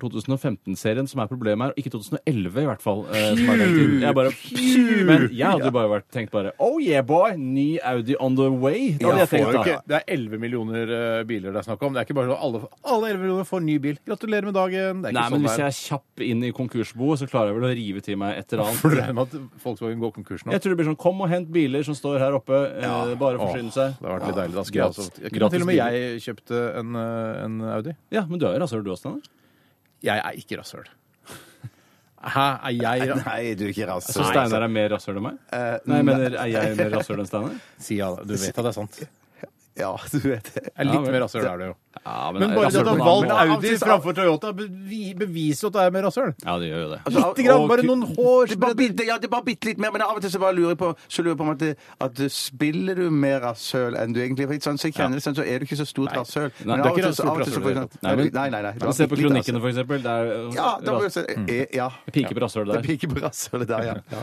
[SPEAKER 4] 2014-2015-serien som er problemet her, og ikke 2011 i hvert fall. eh, som er den tiden. jeg bare, men jeg hadde jo bare vært, tenkt bare Oh yeah, boy! Ny Audi on the way. Det var
[SPEAKER 2] Ja,
[SPEAKER 4] det jeg
[SPEAKER 2] får jo
[SPEAKER 4] tenkte, da.
[SPEAKER 2] ikke, det er 11 millioner eh, biler det er snakk om. Det er ikke bare sånn alle, alle 11 millioner får ny bil. Gratulerer med dagen. Det er ikke
[SPEAKER 4] Nei,
[SPEAKER 2] sånn
[SPEAKER 4] men hvis
[SPEAKER 2] det
[SPEAKER 4] jeg
[SPEAKER 2] er.
[SPEAKER 4] er kjapp inn i konkursboet, så klarer jeg vel å rive til meg et eller
[SPEAKER 2] For du
[SPEAKER 4] annet.
[SPEAKER 2] regner med at Volkswagen går konkurs nå?
[SPEAKER 4] Jeg tror det blir sånn Kom og hent biler som står her oppe. eh, bare forsyne seg.
[SPEAKER 2] Åh, det har vært litt deilig. Da skulle jeg
[SPEAKER 4] Gratis-
[SPEAKER 2] også jeg kunne Til og med
[SPEAKER 4] gratis
[SPEAKER 2] jeg kjøpte en, eh, en Audi.
[SPEAKER 4] Ja, men du er jo rasshøl, du også, Steinar.
[SPEAKER 2] Jeg er ikke rasshøl. Hæ, er jeg ra-
[SPEAKER 3] Nei, du er ikke rass.
[SPEAKER 4] Så Steinar er mer rasshøl enn meg? Nei, jeg mener, er jeg mer rasshøl enn Steinar?
[SPEAKER 2] Si ja, da. du vet at det er sant. Jeg
[SPEAKER 3] Ja, du vet det.
[SPEAKER 2] er
[SPEAKER 4] Ja,
[SPEAKER 2] litt
[SPEAKER 4] vel.
[SPEAKER 2] mer rasshøl er du jo.
[SPEAKER 4] Ja,
[SPEAKER 2] Men bare det at du har
[SPEAKER 4] rasshøl på
[SPEAKER 2] valgt
[SPEAKER 4] en annen måte.
[SPEAKER 2] Audi framfor Toyota, bevi- beviser jo at du er mer rasshøl.
[SPEAKER 4] Ja, det gjør jo det.
[SPEAKER 3] Altså,
[SPEAKER 2] Lite grann,
[SPEAKER 3] og-
[SPEAKER 2] bare
[SPEAKER 3] og-
[SPEAKER 2] noen hår.
[SPEAKER 3] Det er bare bitte, ja, det er bare bitte litt mer, men av og til så bare lurer jeg på, så lurer jeg på om at, det, at det spiller du mer rasshøl enn du egentlig er. For sånn, så jeg kjenner det sånn, så er du ikke så stort rasshøl. Men
[SPEAKER 4] det er
[SPEAKER 3] av og
[SPEAKER 2] ikke
[SPEAKER 3] til så- av
[SPEAKER 2] stort rasshøl
[SPEAKER 3] og til så får jeg
[SPEAKER 2] i det hele
[SPEAKER 3] sånn-
[SPEAKER 2] tatt.
[SPEAKER 3] Nei, nei, nei. nei, det var
[SPEAKER 4] Se på
[SPEAKER 3] bitte litt
[SPEAKER 4] kronikkene, for eksempel. Det er
[SPEAKER 3] rasshøl. Ja, da må
[SPEAKER 4] ras-
[SPEAKER 3] jeg si
[SPEAKER 2] Mm.
[SPEAKER 3] eh, Ja.
[SPEAKER 4] Pike på rasshølet
[SPEAKER 3] Det
[SPEAKER 4] der.
[SPEAKER 3] er pike på rasshølet der, ja. ja.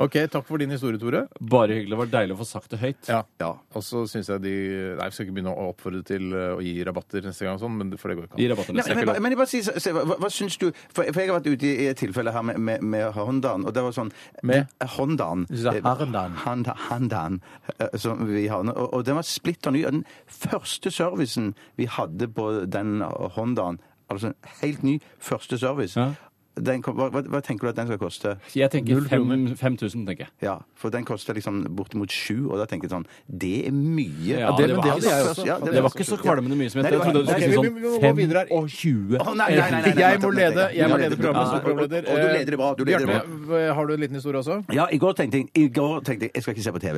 [SPEAKER 2] OK, takk for din historie, Tore.
[SPEAKER 4] Bare hyggelig. Det var deilig å få sagt det høyt.
[SPEAKER 2] Ja.
[SPEAKER 3] Ja.
[SPEAKER 2] Og så syns jeg de Nei, vi skal ikke begynne å oppfordre til eh, å gi rabatter neste gang, og sånn, men det- for det går ikke
[SPEAKER 4] Gi
[SPEAKER 2] an.
[SPEAKER 4] rabatten.
[SPEAKER 3] Nei,
[SPEAKER 4] neste
[SPEAKER 3] men,
[SPEAKER 4] gang.
[SPEAKER 3] bare- men jeg bare sier, så- så- hva, hva syns du for, for jeg har vært ute i et tilfelle her med, med, med Hondaen, og det var sånn
[SPEAKER 2] Med?
[SPEAKER 3] Eh, Hondaen.
[SPEAKER 2] Du sa
[SPEAKER 3] Eh,
[SPEAKER 2] Hondaen.
[SPEAKER 3] Honda- Hondaen, eh, som vi har nå. Og, og den var splitter ny. Og Den første servicen vi hadde på den Hondaen, altså en helt ny første service
[SPEAKER 4] Ja.
[SPEAKER 3] den kom, hva, hva hva tenker du at den skal koste?
[SPEAKER 4] Jeg tenker
[SPEAKER 2] Null
[SPEAKER 4] fem-
[SPEAKER 2] kroner.
[SPEAKER 4] 5000, tenker jeg.
[SPEAKER 3] Ja, For den koster liksom bortimot sju, og da tenker jeg sånn Det er mye.
[SPEAKER 4] Ja, det var- det hadde jeg
[SPEAKER 3] først-
[SPEAKER 2] også.
[SPEAKER 3] ja,
[SPEAKER 4] Det var ikke så kvalmende mye som jeg
[SPEAKER 3] Nei, det var-
[SPEAKER 4] trodde. du
[SPEAKER 3] nei,
[SPEAKER 4] skulle si
[SPEAKER 2] vi-
[SPEAKER 4] sånn
[SPEAKER 2] vi- vi må gå
[SPEAKER 4] fem
[SPEAKER 2] videre her.
[SPEAKER 4] og 20.
[SPEAKER 3] Å, nei, nei, nei, nei, nei,
[SPEAKER 2] Jeg må
[SPEAKER 3] nettopp,
[SPEAKER 2] lede-
[SPEAKER 3] nettopp.
[SPEAKER 2] jeg må
[SPEAKER 3] Ja,
[SPEAKER 2] lede
[SPEAKER 3] nettopp.
[SPEAKER 2] programmet,
[SPEAKER 3] Ja,
[SPEAKER 2] så programleder. Eh,
[SPEAKER 3] Og du leder det bra. Du leder det bra.
[SPEAKER 2] Bjarte, har du en liten historie også?
[SPEAKER 3] Ja, i går tenkte jeg, i går tenkte jeg jeg skal ikke se på TV.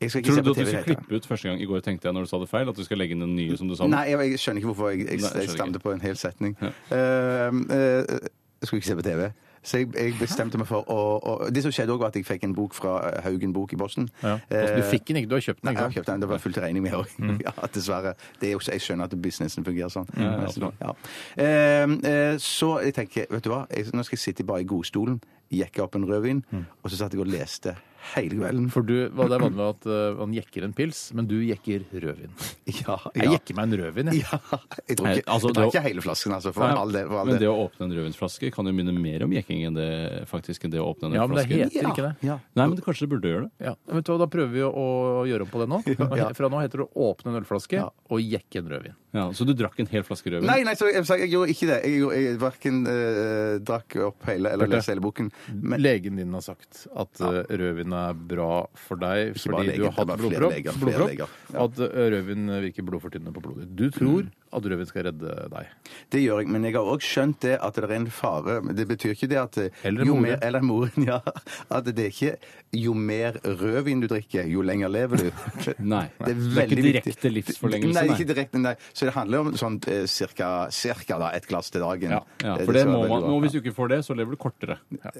[SPEAKER 3] Jeg skal ikke
[SPEAKER 4] Tror
[SPEAKER 3] se
[SPEAKER 4] du at du
[SPEAKER 3] på TV
[SPEAKER 4] skulle
[SPEAKER 3] helt.
[SPEAKER 4] klippe ut første gang i går, tenkte jeg, når du sa det feil? At du skal legge inn den nye som du sa? nå?
[SPEAKER 3] Nei, jeg, jeg skjønner ikke hvorfor jeg, jeg,
[SPEAKER 4] Nei, jeg
[SPEAKER 3] jeg
[SPEAKER 4] skjønner
[SPEAKER 3] stamte
[SPEAKER 4] ikke.
[SPEAKER 3] på en hel setning. Ehm, eh, jeg skulle ikke se på TV. Så jeg, jeg bestemte meg for å, å Det som skjedde òg, var at jeg fikk en bok fra eh, Haugen Bok i Boston. Eh,
[SPEAKER 2] Altså, Du fikk den ikke, du har kjøpt den.
[SPEAKER 3] Nei, jeg
[SPEAKER 2] ikke
[SPEAKER 3] har
[SPEAKER 2] sant?
[SPEAKER 3] kjøpt den. Det var fullt regning med òg. Ja, dessverre. Det er jo, jeg skjønner at businessen fungerer sånn. Men så- ja. Ehm, eh, så jeg tenker, vet du hva, jeg, nå skal jeg sitte bare i godstolen, jekke opp en rødvin, og så satt jeg og leste hele kvelden.
[SPEAKER 2] For du, hva- det er vanlig at eh, man jekker en pils, men du jekker rødvin.
[SPEAKER 3] Ja,
[SPEAKER 2] Jeg jekker meg en rødvin, jeg.
[SPEAKER 3] Ja, jeg tror ikke,
[SPEAKER 4] Nei, altså,
[SPEAKER 3] jeg tar
[SPEAKER 4] det å-
[SPEAKER 3] ikke hele flasken, altså. For
[SPEAKER 4] Nei,
[SPEAKER 3] all del. For all
[SPEAKER 4] men
[SPEAKER 3] del.
[SPEAKER 4] det å åpne en rødvinsflaske kan jo minne mer om jekking enn det faktisk enn det å åpne en
[SPEAKER 2] Ja, men det
[SPEAKER 4] flaske.
[SPEAKER 2] heter ikke det.
[SPEAKER 3] Ja.
[SPEAKER 4] Nei, men kanskje det burde gjøre det.
[SPEAKER 2] Ja, vet du hva, Da prøver vi å, å gjøre om på det nå.
[SPEAKER 3] ja.
[SPEAKER 2] Fra nå heter det å åpne en ølflaske og jekke en rødvin.
[SPEAKER 4] Ja, så du drakk en hel flaske rødvin?
[SPEAKER 3] Nei, nei, så jeg, sa- jeg gjorde ikke det. Jeg, gjorde- jeg verken eh, drakk opp hele eller
[SPEAKER 2] Bjarte.
[SPEAKER 3] leste hele boken. Men
[SPEAKER 2] Legen din har sagt at eh, rødvin er bra for deg
[SPEAKER 3] bare
[SPEAKER 2] fordi
[SPEAKER 3] legen,
[SPEAKER 2] du har hatt
[SPEAKER 3] det er bare flere
[SPEAKER 2] blodpropp,
[SPEAKER 3] leger, flere
[SPEAKER 2] blodpropp
[SPEAKER 3] leger. Mm.
[SPEAKER 2] at eh, rødvin virker blodfortynnende på blodet. Du tror at rødvin skal redde deg.
[SPEAKER 3] det gjør jeg. Men jeg har òg skjønt det at det er en fare. Men Det betyr ikke det at eh,
[SPEAKER 2] Eller
[SPEAKER 3] jo
[SPEAKER 2] moren.
[SPEAKER 3] mer, Eller moren, ja. At det er ikke jo mer rødvin du drikker, jo lenger lever du.
[SPEAKER 4] Nei. Det er
[SPEAKER 3] Det er
[SPEAKER 4] ikke
[SPEAKER 3] veldig
[SPEAKER 4] direkte
[SPEAKER 3] viktig.
[SPEAKER 4] livsforlengelse,
[SPEAKER 3] Nei,
[SPEAKER 4] nei.
[SPEAKER 3] ikke direkte, nei. Så det handler om sånn eh, cirka, cirka da, et glass til dagen.
[SPEAKER 2] Ja,
[SPEAKER 4] Ja,
[SPEAKER 3] Eh,
[SPEAKER 4] for det
[SPEAKER 3] skal
[SPEAKER 4] må
[SPEAKER 3] være
[SPEAKER 4] man,
[SPEAKER 3] veldig bra.
[SPEAKER 4] og Hvis du ikke får det, så lever du kortere.
[SPEAKER 2] Så,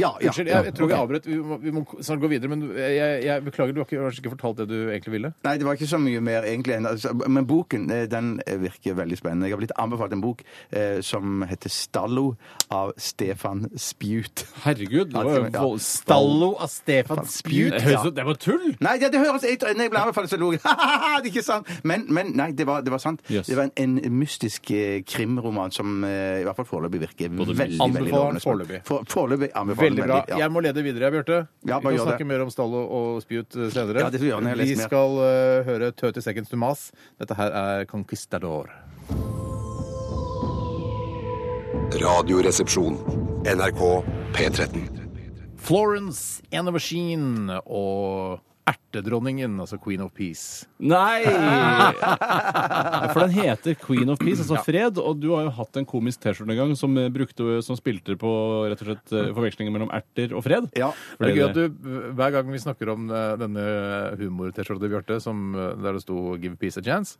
[SPEAKER 3] Ja, ja,
[SPEAKER 2] unnskyld,
[SPEAKER 3] ja,
[SPEAKER 2] jeg, jeg tror vi
[SPEAKER 3] ok.
[SPEAKER 2] avbrøt. Vi må, vi må snart gå videre, men jeg, jeg beklager, du har ikke, kanskje ikke fortalt det du egentlig ville?
[SPEAKER 3] Nei, det var ikke så mye mer egentlig. enn- Altså, men boken eh, den virker veldig spennende. Jeg har blitt anbefalt en bok eh, som heter 'Stallo' av Stefan Spjut.
[SPEAKER 4] Herregud, det var jo
[SPEAKER 3] Ja, ja.
[SPEAKER 4] vold- Stallo av Stefan
[SPEAKER 3] Spjut,
[SPEAKER 4] Det
[SPEAKER 3] ja.
[SPEAKER 4] høres ut- Det var tull!
[SPEAKER 3] Nei, det, det høres jeg, Når jeg ble anbefalt, så lo jeg. Ha-ha-ha, det er ikke sant! Men, men nei, det var, det var sant.
[SPEAKER 4] Yes.
[SPEAKER 3] Det var en, en mystisk eh, krimroman som eh, i hvert fall foreløpig virker veldig veldig
[SPEAKER 2] Anbefaler den
[SPEAKER 3] lovende.
[SPEAKER 2] foreløpig.
[SPEAKER 3] For, foreløpig anbefaler den
[SPEAKER 2] Veldig bra.
[SPEAKER 3] veldig, ja.
[SPEAKER 2] Jeg må lede videre, jeg, Bjarte.
[SPEAKER 3] Ja,
[SPEAKER 2] vi
[SPEAKER 3] bare gjør
[SPEAKER 2] kan
[SPEAKER 3] det.
[SPEAKER 2] snakke mer om stall og, og spjut eh, senere.
[SPEAKER 3] Ja, det skal vi gjøre når jeg har
[SPEAKER 2] vi
[SPEAKER 3] lest mer.
[SPEAKER 2] skal eh, høre 30 Seconds to Mas. Dette her er Conquistador.
[SPEAKER 7] Radioresepsjon. NRK P13.
[SPEAKER 2] Florence and the Machine og Ertedronningen, altså Queen of Peace.
[SPEAKER 4] Nei! For den heter Queen of Peace, altså fred, og du har jo hatt en komisk T-skjorte en gang som, eh, brukte, som spilte på rett og slett eh, forvekslingen mellom erter og fred.
[SPEAKER 3] Ja.
[SPEAKER 2] Det
[SPEAKER 4] Ble
[SPEAKER 2] er gøy at du, Hver gang vi snakker om eh, denne humor-T-skjorta til Bjarte, som, eh, der det sto 'Give peace a chance',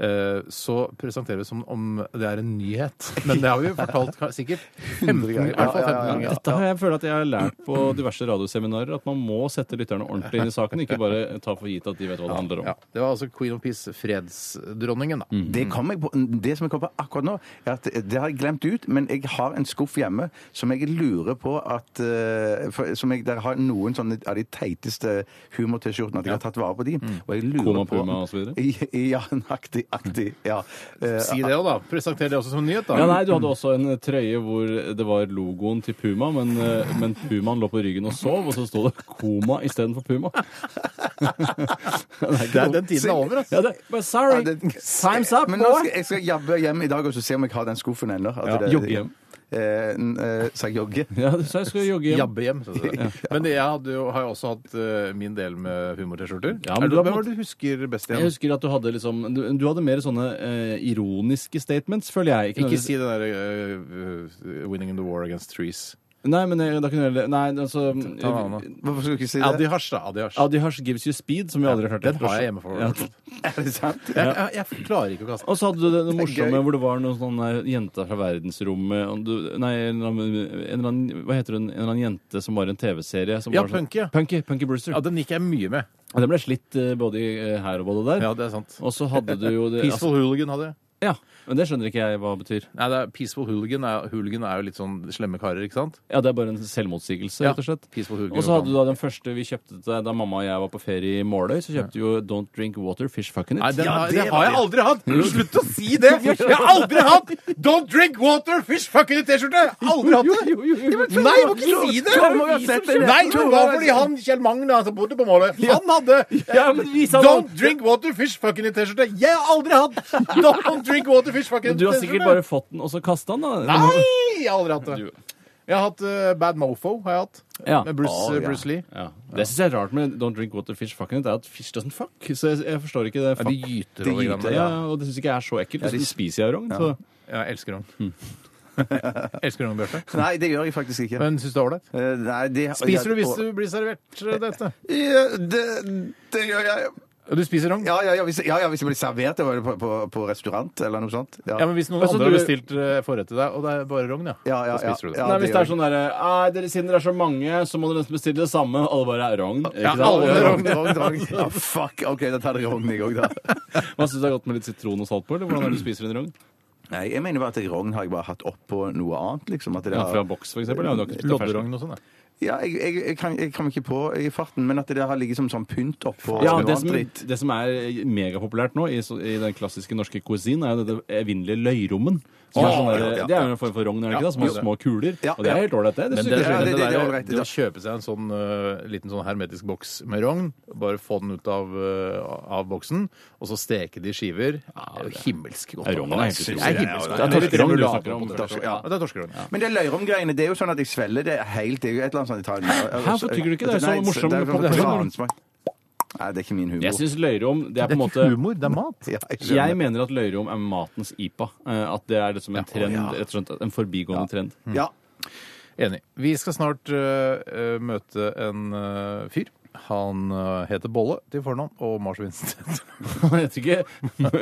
[SPEAKER 2] eh, så presenterer vi det som om det er en nyhet. Men det har vi jo fortalt ka- sikkert 15 ganger. I hvert fall 15 ganger.
[SPEAKER 4] Dette har jeg følt at jeg har lært på diverse radioseminarer, at man må sette lytterne ordentlig inn i saken, ikke bare ta for gitt at de vet hva det handler om.
[SPEAKER 2] Ja, det var altså Queen of Peace, fredsdronningen, da.
[SPEAKER 3] Det, kom jeg på, det som jeg kom på akkurat nå, er at det har jeg glemt ut, men jeg har en skuff hjemme som jeg lurer på at eh, for, som jeg, Der har noen sånne av de teiteste humor-T-skjortene, at jeg har tatt vare på
[SPEAKER 2] Mm.
[SPEAKER 3] de. Og jeg lurer
[SPEAKER 4] Koma
[SPEAKER 3] på
[SPEAKER 4] Puma og så videre?
[SPEAKER 3] Ja, aktig, aktig. Ja. Eh,
[SPEAKER 2] Si det òg, da. Presenter det også som en nyhet, da.
[SPEAKER 4] Ja, nei, Du
[SPEAKER 2] mm.
[SPEAKER 4] hadde også en trøye hvor det var logoen til Puma, men, eh, men Pumaen lå på ryggen og sov, og så sto det Koma istedenfor Puma. det
[SPEAKER 2] Det er- den tiden er over, ass.
[SPEAKER 4] Ja, det, but sorry,
[SPEAKER 3] ja, det-
[SPEAKER 4] time's up,
[SPEAKER 3] Men nå skal,
[SPEAKER 4] boy!
[SPEAKER 3] jeg skal jabbe hjem i dag og så se om jeg har den skuffen ennå. At
[SPEAKER 4] Ja,
[SPEAKER 3] det-
[SPEAKER 4] jogge hjem.
[SPEAKER 3] Eh, n- eh, sa jeg jogge?
[SPEAKER 4] Ja, så jeg skulle jogge hjem.
[SPEAKER 2] Jabbe hjem. så det er. Men jeg hadde jo, har jo også hatt eh, min del med humor-T-skjorter.
[SPEAKER 4] Ja, men
[SPEAKER 2] Er
[SPEAKER 4] du
[SPEAKER 2] det-
[SPEAKER 4] har
[SPEAKER 2] Hvem
[SPEAKER 4] på en
[SPEAKER 2] var det du husker best
[SPEAKER 4] Jeg
[SPEAKER 2] igjen?
[SPEAKER 4] husker at du hadde liksom Du, du hadde mer sånne eh, ironiske statements, føler jeg.
[SPEAKER 2] Ikke
[SPEAKER 4] nødvendigvis-
[SPEAKER 2] si det der eh, eh, 'Winning in the War Against Trees'.
[SPEAKER 4] Nei, men jeg, da kunne jeg heller- Nei, altså
[SPEAKER 2] Ta en annen.
[SPEAKER 3] Hvorfor skulle du ikke si det?
[SPEAKER 2] Adi Hash, da. Adi Hash.
[SPEAKER 4] Adi Hash Gives You Speed, som vi aldri har hørt.
[SPEAKER 2] Den har jeg hjemme for
[SPEAKER 4] Ja.
[SPEAKER 2] meg.
[SPEAKER 3] Er det sant?
[SPEAKER 2] Jeg, jeg, jeg klarer ikke å kaste den.
[SPEAKER 4] Og så hadde du det, det morsomme
[SPEAKER 3] gøy.
[SPEAKER 4] hvor det var noen sånne jenter fra verdensrommet og du, Nei, en eller, annen, en eller annen Hva heter hun? En eller annen jente som var i en TV-serie som
[SPEAKER 2] Ja,
[SPEAKER 4] var sånn-
[SPEAKER 2] Punky, ja.
[SPEAKER 4] Punky, Punky Brewster.
[SPEAKER 2] Ja, den gikk jeg mye med.
[SPEAKER 4] Og den ble slitt eh, både i- her og både der.
[SPEAKER 2] Ja, det er sant.
[SPEAKER 4] Og så hadde du jo det
[SPEAKER 2] Peaceful Hooligan hadde jeg.
[SPEAKER 4] altså- Ja, men det skjønner ikke jeg hva betyr.
[SPEAKER 2] Nei, det er Peaceful Hooligan er, hooligan er jo litt sånn slemme karer, ikke sant?
[SPEAKER 4] Ja, det er bare en selvmotsigelse,
[SPEAKER 2] Ja.
[SPEAKER 4] rett og slett.
[SPEAKER 2] Peaceful Hooligan.
[SPEAKER 4] Og så hadde du da den første vi kjøpte til deg da mamma og jeg var på ferie i Måløy, så kjøpte vi jo Don't Drink Water, Fish Fucking It.
[SPEAKER 2] Nei, den,
[SPEAKER 3] Ja,
[SPEAKER 2] har-
[SPEAKER 3] det
[SPEAKER 2] det, har jeg
[SPEAKER 3] var
[SPEAKER 2] aldri hatt! Slutt å si det! Jeg har aldri hatt Don't drink water, fish fucking T-skjorte! Jeg har Aldri hatt det!
[SPEAKER 4] Jo, jo, jo, jo.
[SPEAKER 2] Nei, må ikke si det!
[SPEAKER 3] Tom må jo ha sett det.
[SPEAKER 2] Nei, det var fordi han Kjell Magne, han som bodde på Måløy, han hadde
[SPEAKER 4] Ja, men vis han-
[SPEAKER 2] Don't drink water, fish fucking T-skjorte. Jeg har aldri hatt Don't drink water, fish fucking
[SPEAKER 4] Du har sikkert bare fått den, og så kasta den, da.
[SPEAKER 2] Nei, jeg har aldri hatt det. Jeg har hatt eh, Bad Mofo, har jeg hatt.
[SPEAKER 4] Ja.
[SPEAKER 2] Med Bruce, eh,
[SPEAKER 3] Å, ja.
[SPEAKER 2] Bruce Lee.
[SPEAKER 4] Ja. Det syns jeg er rart med Don't Drink Water Fish Fucking It, er at fish doesn't fuck. Så jeg, jeg forstår ikke det. Fuck.
[SPEAKER 2] gyter
[SPEAKER 3] over greiene.
[SPEAKER 4] ja, ja, og det syns ikke jeg er så ekkelt. Mm. Og så spiser jeg rogn. Så.
[SPEAKER 2] Ja, jeg elsker han. elsker han, Bjarte.
[SPEAKER 3] Nei, det gjør jeg faktisk ikke.
[SPEAKER 2] Men syns du det er ålreit?
[SPEAKER 3] Eh, nei, det,
[SPEAKER 2] Spiser du hvis du blir servert eh, dette?
[SPEAKER 3] ja, det, det gjør jeg.
[SPEAKER 2] Du spiser rogn?
[SPEAKER 3] Ja ja, ja, hvis, ja, ja, hvis det blir servert det var det på, på, på restaurant eller noe sånt. Ja,
[SPEAKER 2] Ja, men hvis noen
[SPEAKER 4] Altså,
[SPEAKER 2] andre har
[SPEAKER 4] du-
[SPEAKER 2] bestilt eh, forrett til deg, og det er bare rogn, ja,
[SPEAKER 3] Ja, ja,
[SPEAKER 2] så spiser du det.
[SPEAKER 3] ja,
[SPEAKER 4] Nei,
[SPEAKER 3] det
[SPEAKER 4] hvis det er
[SPEAKER 3] gjør
[SPEAKER 4] sånn derre «Ei, dere, Siden dere er så mange, så må dere nesten bestille det samme. Alle bare er rogn. ikke
[SPEAKER 2] Ja,
[SPEAKER 4] sant?
[SPEAKER 2] alle er
[SPEAKER 3] Rogn, rogn, rogn. Ja, fuck. OK, da tar det rogn jeg òg, da.
[SPEAKER 4] Man syns det er godt med litt sitron og salt på, eller hvordan er det du spiser en rogn?
[SPEAKER 3] Nei, jeg mener bare at rogn har jeg bare hatt oppå noe annet, liksom. At det
[SPEAKER 4] Ja,
[SPEAKER 3] har-
[SPEAKER 4] fra boks, for eksempel. Ja, du har ikke spist det fersk.
[SPEAKER 2] Lodderogn og sånn, ja.
[SPEAKER 3] Ja, jeg, jeg, jeg, kan, jeg kommer ikke på i farten, men at det har ligget som sånn pynt oppå
[SPEAKER 4] Ja,
[SPEAKER 3] noe
[SPEAKER 4] det som,
[SPEAKER 3] annet dritt.
[SPEAKER 4] det som er megapopulært nå i, så- i den klassiske norske cuisine, er jo det evinnelige løyrommen. Som er
[SPEAKER 3] Åh,
[SPEAKER 4] sånn
[SPEAKER 3] ja,
[SPEAKER 4] der,
[SPEAKER 3] ja.
[SPEAKER 4] det er jo en form for rogn, er det ikke det? Som har
[SPEAKER 2] jo.
[SPEAKER 4] små kuler.
[SPEAKER 3] Ja,
[SPEAKER 4] Og det er
[SPEAKER 3] ja.
[SPEAKER 4] helt ålreit, det. det.
[SPEAKER 2] Men
[SPEAKER 4] synes
[SPEAKER 2] det,
[SPEAKER 4] jeg.
[SPEAKER 3] Ja, det-
[SPEAKER 2] det,
[SPEAKER 3] det er
[SPEAKER 2] der,
[SPEAKER 3] ålreit,
[SPEAKER 2] det
[SPEAKER 3] ja.
[SPEAKER 2] å kjøpe seg en sånn øh, liten sånn hermetisk boks med rogn, bare få den ut av, øh, av boksen, og så steke det i skiver ja, det er Himmelsk godt.
[SPEAKER 4] Ja, rogn er helt
[SPEAKER 2] Det
[SPEAKER 4] utrolig.
[SPEAKER 2] er himmelsk
[SPEAKER 4] Ja,
[SPEAKER 2] godt.
[SPEAKER 4] ja, ja.
[SPEAKER 2] Det er torskerogn
[SPEAKER 4] Torskerogn du
[SPEAKER 2] du
[SPEAKER 4] snakker om.
[SPEAKER 2] Torsk, ja, det er torskerogn.
[SPEAKER 3] Men det løyromgreiene, det er jo sånn at jeg svelger det helt Det er jo et eller annet sånt Altså, Italien.
[SPEAKER 4] Hvorfor tygger du ikke? Det er så morsomt
[SPEAKER 3] Det er
[SPEAKER 4] med
[SPEAKER 3] sånn
[SPEAKER 4] popcorn.
[SPEAKER 3] plansmak. Nei, det er ikke min humor.
[SPEAKER 4] Jeg syns løyrom det
[SPEAKER 2] Det
[SPEAKER 4] er på en
[SPEAKER 2] er
[SPEAKER 4] måte
[SPEAKER 2] ikke humor, det er mat.
[SPEAKER 3] Ja, jeg skjønner.
[SPEAKER 4] Jeg mener at løyrom er matens IPA. eh, At det er liksom en trend, rett og slett en forbigående trend.
[SPEAKER 3] Ja.
[SPEAKER 2] Enig. Vi skal snart øh, øh, møte en øh, fyr. Han øh, heter Bolle til fornavn og marsvinsen til etternavn.
[SPEAKER 4] Jeg vet ikke.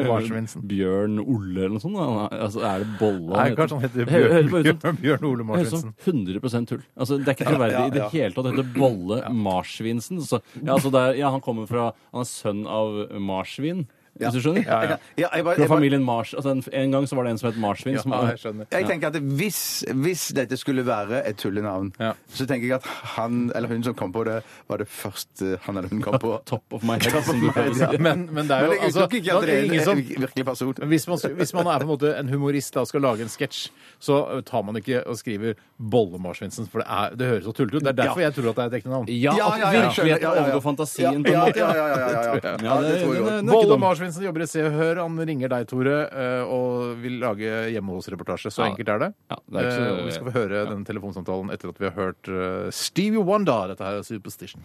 [SPEAKER 2] Marsvinsen.
[SPEAKER 4] Bjørn Olle eller noe sånt? da? Altså, er det Bolle?
[SPEAKER 2] Nei, kanskje han heter
[SPEAKER 4] Det hø- høres bare ut som-
[SPEAKER 2] Bjørn, Bjørn Ole
[SPEAKER 4] Det høres ut
[SPEAKER 2] Marsvinsen.
[SPEAKER 4] som 100 tull. Altså, det er ikke troverdig i det hele tatt. Det heter Bolle Marsvinsen. Så, ja, altså, det er, ja, han kommer fra Han er sønn av marsvin, hvis du skjønner?
[SPEAKER 3] Ja, ja. ja jeg, bare,
[SPEAKER 4] Fra
[SPEAKER 3] jeg, bare,
[SPEAKER 4] familien Mars. Altså, en, en gang så var det en som het marsvin. som,
[SPEAKER 2] Ja, jeg skjønner.
[SPEAKER 3] jeg tenker at hvis, hvis dette skulle være et tullenavn,
[SPEAKER 2] Ja.
[SPEAKER 3] så tenker jeg at han eller hun som kom på det, var det første han eller hun kom på.
[SPEAKER 4] Top of my head, som du pleier å si.
[SPEAKER 3] Ja.
[SPEAKER 2] Men, men det er
[SPEAKER 3] Men
[SPEAKER 2] jo
[SPEAKER 3] jeg
[SPEAKER 2] altså,
[SPEAKER 3] utelukker ikke at
[SPEAKER 2] det
[SPEAKER 3] det
[SPEAKER 2] er ingen
[SPEAKER 3] er
[SPEAKER 2] som altså,
[SPEAKER 3] en virkelig person.
[SPEAKER 2] Men Hvis man, hvis man er på en måte en humorist da, og skal lage en sketsj, så tar man ikke og skriver Bollemarsvinsen, for det, er, det høres så tullete ut. Det er derfor jeg tror at det er et ekte navn.
[SPEAKER 4] Ja,
[SPEAKER 3] Ja,
[SPEAKER 4] at
[SPEAKER 3] ja, ja, jeg skjønner.
[SPEAKER 4] virkeligheten
[SPEAKER 3] Ja, ja, ja.
[SPEAKER 4] overgår fantasien på en
[SPEAKER 3] Ja,
[SPEAKER 4] måte.
[SPEAKER 3] ja, ja, ja, ja, ja. Ja, det tror jeg
[SPEAKER 4] det-
[SPEAKER 3] også.
[SPEAKER 4] det-
[SPEAKER 2] Bolle
[SPEAKER 4] dumt.
[SPEAKER 2] Marsvinsen jobber i Se og Hør. Han ringer deg, Tore, eh, og vil lage hjemme hos-reportasje. Så
[SPEAKER 4] Ja.
[SPEAKER 2] enkelt er det.
[SPEAKER 4] Ja, det er ikke så-
[SPEAKER 2] Eh, og vi skal få høre den telefonsamtalen etter at vi har hørt eh, Stevie Wonder. Dette her er Superstition.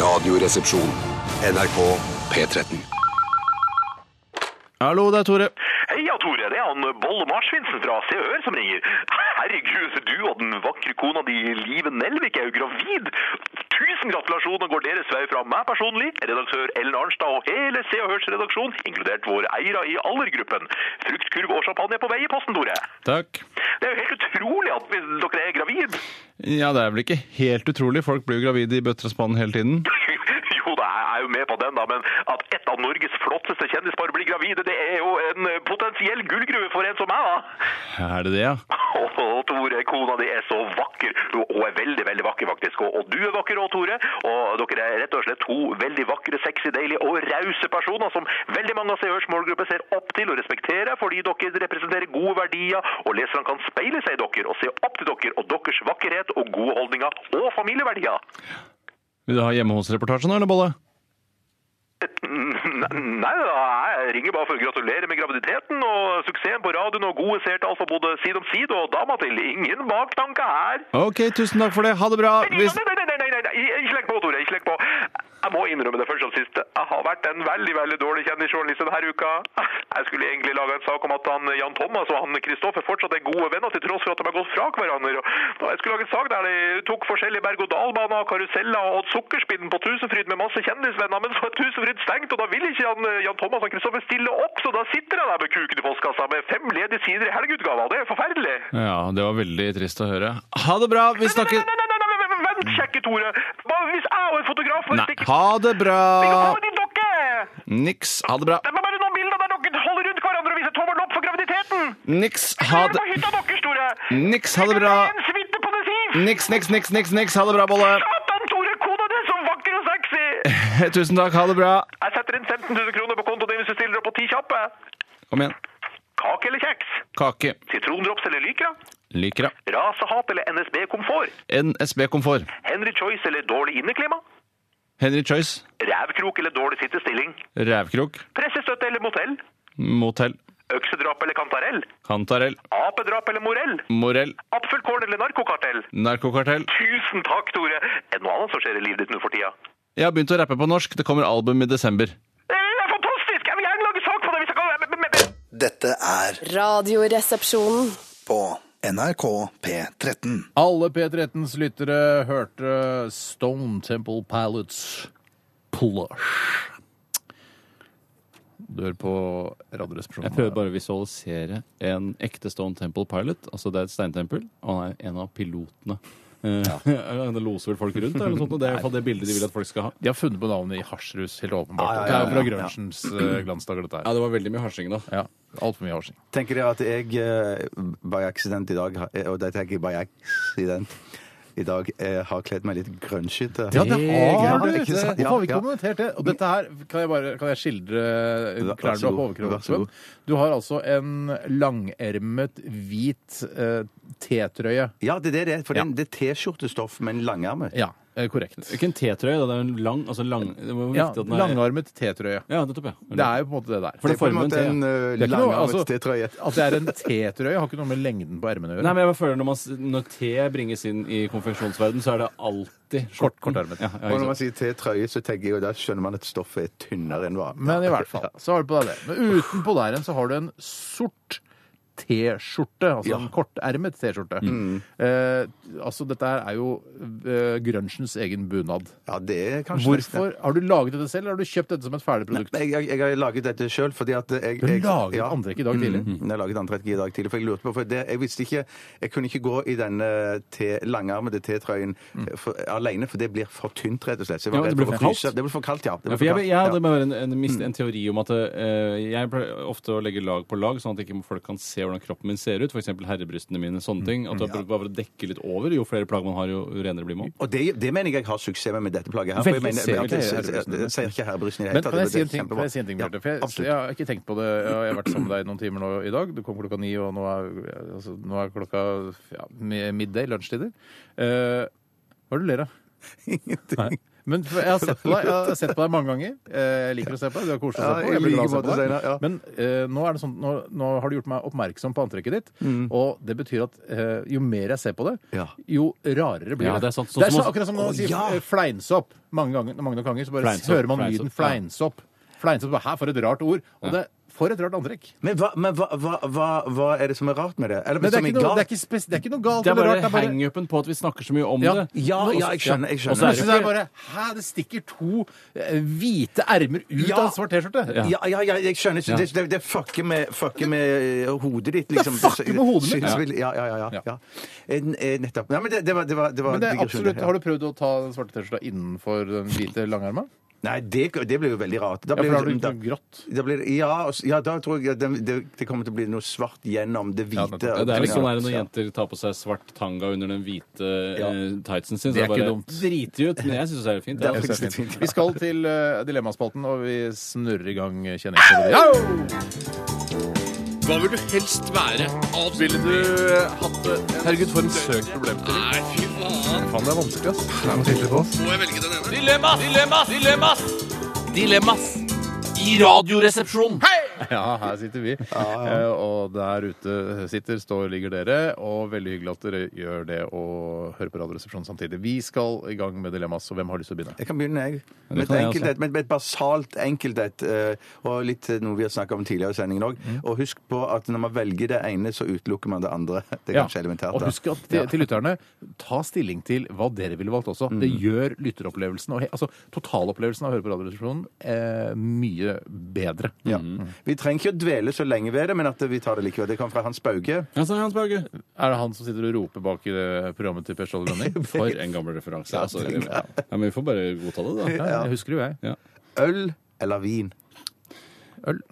[SPEAKER 7] Radioresepsjon. NRK P13.
[SPEAKER 2] Hallo, det er Tore.
[SPEAKER 8] Heia, Tore. Det er han Bolle Marsvinsen fra Se og Hør som ringer. Herregud, du og den vakre kona di Live Nelvik er jo gravid! Tusen gratulasjoner går deres vei fra meg personlig, redaktør Ellen Arnstad og hele Se og Hørs redaksjon, inkludert våre eiere i Allergruppen. Fruktkurv og champagne er på vei i posten, Tore.
[SPEAKER 2] Takk.
[SPEAKER 8] Det er jo helt utrolig at vi- dere er gravid.
[SPEAKER 2] Ja, det er vel ikke helt utrolig. Folk blir jo gravide i bøtter og spann hele tiden.
[SPEAKER 8] Jo da, jeg er jo med på den, da, men at et av Norges flotteste kjendispar blir gravide, det er jo en eh, potensiell gullgruve for en som meg, da.
[SPEAKER 2] Er det det, ja?
[SPEAKER 8] Å, Tore, kona di er så vakker. Hun er veldig, veldig vakker, faktisk. Og, og du er vakker òg, Tore. Og dere er rett og slett to veldig vakre, sexy, deilige og rause personer som veldig mange av seers målgruppe ser opp til og respekterer, fordi dere representerer gode verdier, og leserne kan speile seg i dere og se opp til dere og deres vakkerhet og gode holdninger og familieverdier.
[SPEAKER 4] Vil du ha hjemme hos-reportasje nå, eller, Bolle?
[SPEAKER 8] Nei, nei da, jeg ringer bare for å gratulere med graviditeten og suksessen på radioen og gode seertall for både side om side og dama til. Ingen baktanke her.
[SPEAKER 4] OK, tusen takk for det. Ha det bra.
[SPEAKER 8] Nei, nei, nei, nei, nei, nei, nei, ikke legg på, Tore, ikke legg på. Jeg må innrømme det først og sist. Jeg har vært en veldig, veldig dårlig kjendisjournalist denne uka. Jeg skulle egentlig lage en sak om at han Jan Thomas og han Kristoffer fortsatt er gode venner, til tross for at de har gått fra hverandre. Og jeg skulle lage en sak der de tok forskjellige berg-og-dal-baner, karuseller og sukkerspinnen på Tusenfryd med masse kjendisvenner, men så er Tusenfryd stengt, og da vil ikke han, eh, Jan Thomas og Kristoffer stille opp, så da sitter jeg der med kuken i postkassa med fem ledige sider i helgeutgava. Det er forferdelig.
[SPEAKER 4] Ja, det var veldig trist å høre. Ha det bra. Vi snakkes
[SPEAKER 8] Nei, nei, nei, nei, nei, nei, vent, kjekke Tore. Hva hvis jeg og en fotograf bare
[SPEAKER 4] Nei,
[SPEAKER 8] stikker
[SPEAKER 4] ha det bra.
[SPEAKER 8] Vi kan få med de dere!
[SPEAKER 4] Niks. Ha det bra.
[SPEAKER 8] Det er bare noen bilder der dere holder rundt hverandre og viser tommel opp for graviditeten!
[SPEAKER 4] Niks. Ha
[SPEAKER 8] Gjør
[SPEAKER 4] det
[SPEAKER 8] det på hytta deres, Tore!
[SPEAKER 4] Niks. Ha det bra.
[SPEAKER 8] Det er En suite på det siv!
[SPEAKER 4] Niks, niks, niks, niks. niks. Ha det bra, Bolle.
[SPEAKER 8] Satan, Tore, kona di er så vakker og sexy!
[SPEAKER 4] Tusen takk. Ha det bra.
[SPEAKER 8] Jeg setter inn 15 000 kroner på kontoen din hvis du stiller opp på ti kjappe.
[SPEAKER 4] Kom igjen.
[SPEAKER 8] Kake eller kjeks?
[SPEAKER 4] Kake.
[SPEAKER 8] Sitrondrops eller lykra?
[SPEAKER 4] Liker det.
[SPEAKER 8] Rasehat eller NSB komfort?
[SPEAKER 4] NSB Komfort.
[SPEAKER 8] Henry Choice eller dårlig inneklima?
[SPEAKER 4] Henry Choice.
[SPEAKER 8] Rævkrok eller dårlig sittestilling?
[SPEAKER 4] Rævkrok.
[SPEAKER 8] Pressestøtte eller motell?
[SPEAKER 4] Motell.
[SPEAKER 8] Øksedrap eller kantarell?
[SPEAKER 4] Kantarell.
[SPEAKER 8] Apedrap eller morell?
[SPEAKER 4] Morell.
[SPEAKER 8] Apfelkorn eller narkokartell?
[SPEAKER 4] Narkokartell.
[SPEAKER 8] Tusen takk, Tore! Er det noe annet som skjer i livet ditt nå for tida?
[SPEAKER 4] Jeg har begynt å rappe på norsk. Det kommer album i desember.
[SPEAKER 8] Det er fantastisk! Jeg vil gjerne lage sak på det! hvis jeg kan... Men- men- men-
[SPEAKER 5] Dette er
[SPEAKER 6] Radioresepsjonen.
[SPEAKER 5] på NRK P13.
[SPEAKER 2] Alle P13s lyttere hørte Stone Temple Pilots Plush. Du hører på
[SPEAKER 4] Jeg prøver
[SPEAKER 2] Radioresepsjonen.
[SPEAKER 4] bare å visualisere en ekte Stone Temple Pilot. Altså det er et steintempel, og han er en av pilotene Eh, Det loser vel folk rundt, eller noe sånt, og det er i hvert fall det bildet de vil at folk skal ha.
[SPEAKER 2] De har funnet på navnet i hasjrus, helt åpenbart.
[SPEAKER 3] Ja, ja, ja,
[SPEAKER 2] Det er jo fra
[SPEAKER 3] ja.
[SPEAKER 2] Grønsjens eh, glansdager, dette
[SPEAKER 4] Ja,
[SPEAKER 2] her.
[SPEAKER 4] det var veldig mye hasjing da.
[SPEAKER 2] Ja, Altfor mye hasjing.
[SPEAKER 3] Tenker dere at jeg eh, by accident i dag har- eh, Og det tenker jeg by accident i dag eh, har kledd meg litt grønnskyte?
[SPEAKER 2] Ja, det har
[SPEAKER 3] Ja,
[SPEAKER 2] du!
[SPEAKER 3] det er ikke
[SPEAKER 2] Hvorfor
[SPEAKER 3] sant?
[SPEAKER 2] har vi ikke
[SPEAKER 3] Ja, ja.
[SPEAKER 2] kommentert det? Og dette her kan jeg, bare, kan jeg skildre eh,
[SPEAKER 3] Vær- vær
[SPEAKER 2] klærne du
[SPEAKER 3] så
[SPEAKER 2] har på
[SPEAKER 3] god. Vær så
[SPEAKER 2] overkroppen.
[SPEAKER 3] god.
[SPEAKER 2] Du har altså en langermet, hvit eh, T-trøye.
[SPEAKER 3] Ja, det er det det er. For det er en- det er T-skjortestoff med en langerme.
[SPEAKER 2] Ja, eh, korrekt.
[SPEAKER 4] Ikke en T-trøye, da, det er en lang, altså lang, det var viktig
[SPEAKER 2] Ja,
[SPEAKER 4] at den er...
[SPEAKER 2] langarmet T-trøye.
[SPEAKER 4] Ja, nettopp, ja.
[SPEAKER 2] Det er jo på en måte det der.
[SPEAKER 4] For det
[SPEAKER 3] Det er på en
[SPEAKER 4] former en
[SPEAKER 3] måte
[SPEAKER 4] T.
[SPEAKER 3] en eh,
[SPEAKER 2] Det er ikke noe- altså,
[SPEAKER 3] langarmet T-trøye.
[SPEAKER 2] At det er en T-trøye, har ikke noe med lengden på ermene å
[SPEAKER 4] Nei,
[SPEAKER 2] gjøre.
[SPEAKER 4] men jeg bare føler når, man, s- når te bringes inn i konfeksjonsverden, så er det alltid
[SPEAKER 2] Kort-
[SPEAKER 4] skjorten.
[SPEAKER 2] kortermet.
[SPEAKER 4] Ja, ja,
[SPEAKER 3] Og når
[SPEAKER 4] ikke
[SPEAKER 3] man
[SPEAKER 4] sant.
[SPEAKER 3] sier T-trøye, så tenker jeg jo da skjønner man at stoffet er tynnere enn hva
[SPEAKER 2] Men i hvert fall, så har du på deg det. Men utenpå der igjen så har du en sort T-skjorte, altså en kortermet T-skjorte.
[SPEAKER 3] Mm.
[SPEAKER 2] Eh, altså, dette her er jo eh, grunchens egen bunad.
[SPEAKER 3] Ja, det er kanskje
[SPEAKER 2] Hvorfor? Har du laget dette selv, eller har du kjøpt dette som et ferdig produkt?
[SPEAKER 3] Jeg, jeg, jeg har laget dette sjøl fordi at jeg,
[SPEAKER 2] Du
[SPEAKER 3] jeg
[SPEAKER 2] laget antrekk i dag tidlig?
[SPEAKER 3] Mm, jeg har laget antrekk i dag tidlig, for jeg lurte på for det, Jeg visste ikke Jeg kunne ikke gå i denne te- langarmede T-trøyen
[SPEAKER 2] Mm.
[SPEAKER 3] eh, for- alene, for det blir for tynt, rett og slett. Så jeg var
[SPEAKER 4] Ja, det
[SPEAKER 3] redd
[SPEAKER 4] blir
[SPEAKER 3] for å
[SPEAKER 4] for kaldt.
[SPEAKER 3] fryse. Det blir for kaldt, ja. Det blir
[SPEAKER 4] Ja,
[SPEAKER 3] for
[SPEAKER 4] for jeg,
[SPEAKER 3] kaldt,
[SPEAKER 4] jeg hadde
[SPEAKER 3] ja.
[SPEAKER 4] bare en, en, mist, en teori om at eh, jeg pleier ofte å legge lag på lag, sånn at ikke folk kan se hvordan kroppen min ser ut. F.eks. herrebrystene mine. sånne ting. At det er bare for å dekke litt over. Jo flere plagg man har, jo renere blir man.
[SPEAKER 3] Og det, det mener jeg jeg har suksess med med dette plagget her.
[SPEAKER 2] Veldig,
[SPEAKER 3] jeg mener,
[SPEAKER 2] ser ikke
[SPEAKER 3] jeg- jeg-
[SPEAKER 2] herrebrysten.
[SPEAKER 3] jeg- jeg ser ikke herrebrysten i det
[SPEAKER 2] Men
[SPEAKER 3] hele
[SPEAKER 2] kan jeg si en
[SPEAKER 3] det er
[SPEAKER 2] ting, kan jeg si en ting Bjarte? For
[SPEAKER 3] Ja,
[SPEAKER 2] jeg, jeg
[SPEAKER 3] absolutt.
[SPEAKER 2] har ikke tenkt på det. Jeg har vært sammen med deg noen timer nå i dag. Du kom klokka ni, og nå er, altså, nå er klokka ja, mi- middag, lunsjtider. Eh, hva er det du ler av? Ingenting. Men for, jeg, har sett på deg, jeg har sett på deg mange ganger. Eh, Jeg liker å se på deg. Du er koselig å
[SPEAKER 3] Ja,
[SPEAKER 2] se på.
[SPEAKER 3] i
[SPEAKER 2] Jeg blir glad av å
[SPEAKER 3] like
[SPEAKER 2] se på
[SPEAKER 3] måte,
[SPEAKER 2] deg.
[SPEAKER 3] Steinar, ja.
[SPEAKER 2] Men eh, nå, er det sånn, nå, nå har du gjort meg oppmerksom på antrekket ditt. Og det betyr at eh, jo mer jeg ser på det,
[SPEAKER 3] Mm. Ja.
[SPEAKER 2] jo rarere blir det.
[SPEAKER 4] Ja, det er sant. Sånn
[SPEAKER 2] det er
[SPEAKER 4] som
[SPEAKER 2] så,
[SPEAKER 4] å-
[SPEAKER 2] akkurat som når man
[SPEAKER 3] Å,
[SPEAKER 2] sier
[SPEAKER 3] ja.
[SPEAKER 2] eh, fleinsopp mange ganger, mange ganger så bare
[SPEAKER 4] Fleinsopp,
[SPEAKER 2] hører man
[SPEAKER 4] fleinsopp,
[SPEAKER 2] lyden
[SPEAKER 4] ja.
[SPEAKER 2] fleinsopp. Fleinsopp, Hæ, for et rart ord. Og det for et rart antrekk.
[SPEAKER 3] Men, hva, men hva, hva, hva, hva er det som er rart med det? Eller,
[SPEAKER 2] Men det,
[SPEAKER 3] som
[SPEAKER 2] er ikke noe,
[SPEAKER 3] galt?
[SPEAKER 2] det, er ikke spes, det er ikke noe galt
[SPEAKER 4] Det er
[SPEAKER 2] eller
[SPEAKER 4] bare
[SPEAKER 2] rart. Det er bare
[SPEAKER 4] hangupen på at vi snakker så mye om
[SPEAKER 2] Ja.
[SPEAKER 4] det.
[SPEAKER 3] Ja, ja, jeg skjønner. Jeg
[SPEAKER 4] Og så
[SPEAKER 3] skjønner.
[SPEAKER 4] er
[SPEAKER 2] Plutselig så er det bare Hæ, det stikker to eh, hvite ermer ut
[SPEAKER 3] Ja.
[SPEAKER 2] av en svart T-skjorte.
[SPEAKER 3] Ja, ja, ja, jeg skjønner. Så det, det, det fucker med, fucker med hodet ditt, liksom.
[SPEAKER 2] Det fucker med hodet mitt.
[SPEAKER 3] Skilsmil- Ja, ja, ja. ja, ja. En- en- Nettopp. Nei, men det, det var, det var, det var
[SPEAKER 2] Men det er
[SPEAKER 3] digresjon,
[SPEAKER 2] absolutt,
[SPEAKER 3] ja.
[SPEAKER 2] Har du prøvd å ta den svarte T-skjorta innenfor den hvite langarma?
[SPEAKER 3] Nei, det, det ble jo veldig rart. Da
[SPEAKER 2] Ja,
[SPEAKER 3] ble
[SPEAKER 2] for da har
[SPEAKER 3] det-
[SPEAKER 2] du
[SPEAKER 3] da-
[SPEAKER 2] ikke noe grått.
[SPEAKER 3] Da blir, det- ja, og s- ja, da tror jeg at det, det, det kommer til å bli noe svart gjennom det
[SPEAKER 2] Ja,
[SPEAKER 3] hvite.
[SPEAKER 2] nettopp.
[SPEAKER 4] Ja, det er litt sånn der når
[SPEAKER 3] Ja.
[SPEAKER 4] jenter tar på seg svart tanga under den hvite
[SPEAKER 3] Ja.
[SPEAKER 4] eh, tightsen sin.
[SPEAKER 2] Det er
[SPEAKER 4] Så det bare
[SPEAKER 2] ikke dumt.
[SPEAKER 4] driter ut. Men jeg syns det er fint.
[SPEAKER 3] Det
[SPEAKER 4] Ja.
[SPEAKER 3] er faktisk fint.
[SPEAKER 2] Vi skal til eh, Dilemmaspalten, og vi snurrer i gang eh, kjenningsstedet. Ja!
[SPEAKER 7] Hva vil du helst være? Ville du hatt det?
[SPEAKER 2] Herregud, for eh, en søk problemstilling.
[SPEAKER 7] Nei, fy faen.
[SPEAKER 2] Faen, det er vanskelig, ass.
[SPEAKER 7] Må jeg velge den ene?
[SPEAKER 9] Dilemmas! Dilemmas! Dilemmas! Dilemmas i Radioresepsjonen.
[SPEAKER 2] Ja, her sitter vi. Eh, Og der ute sitter, står, ligger dere. Og veldig hyggelig at dere gjør det og hører på Radioresepsjonen samtidig. Vi skal i gang med Dilemmas, og hvem har lyst til å begynne?
[SPEAKER 3] Jeg kan begynne, jeg. Med et,
[SPEAKER 4] kan jeg
[SPEAKER 3] enkelt,
[SPEAKER 4] også.
[SPEAKER 3] et, med et basalt enkelt et, eh, og litt eh, noe vi har snakka om tidligere i sendingen òg. Og husk på at når man velger det ene, så utelukker man det andre. Det er kanskje elementært.
[SPEAKER 2] Og
[SPEAKER 3] da.
[SPEAKER 2] husk at til, til lytterne, ta stilling til hva dere ville valgt også. Det
[SPEAKER 3] Mm.
[SPEAKER 2] gjør lytteropplevelsen, og he, altså totalopplevelsen av å høre på Radioresepsjonen, eh, mye bedre.
[SPEAKER 3] Ja. Vi trenger ikke å dvele så lenge ved det, men at vi tar det likevel. Det kom fra Hans Bauge.
[SPEAKER 4] Ja, så er Hans Bauge.
[SPEAKER 2] Er det han som sitter og roper bak i det programmet til Per Ståle Lønning?
[SPEAKER 4] For en gammel referanse. Altså, ja, men vi får bare godta det, da.
[SPEAKER 2] Ja, jeg husker det jo, jeg.
[SPEAKER 3] Øl eller vin?
[SPEAKER 2] Øl.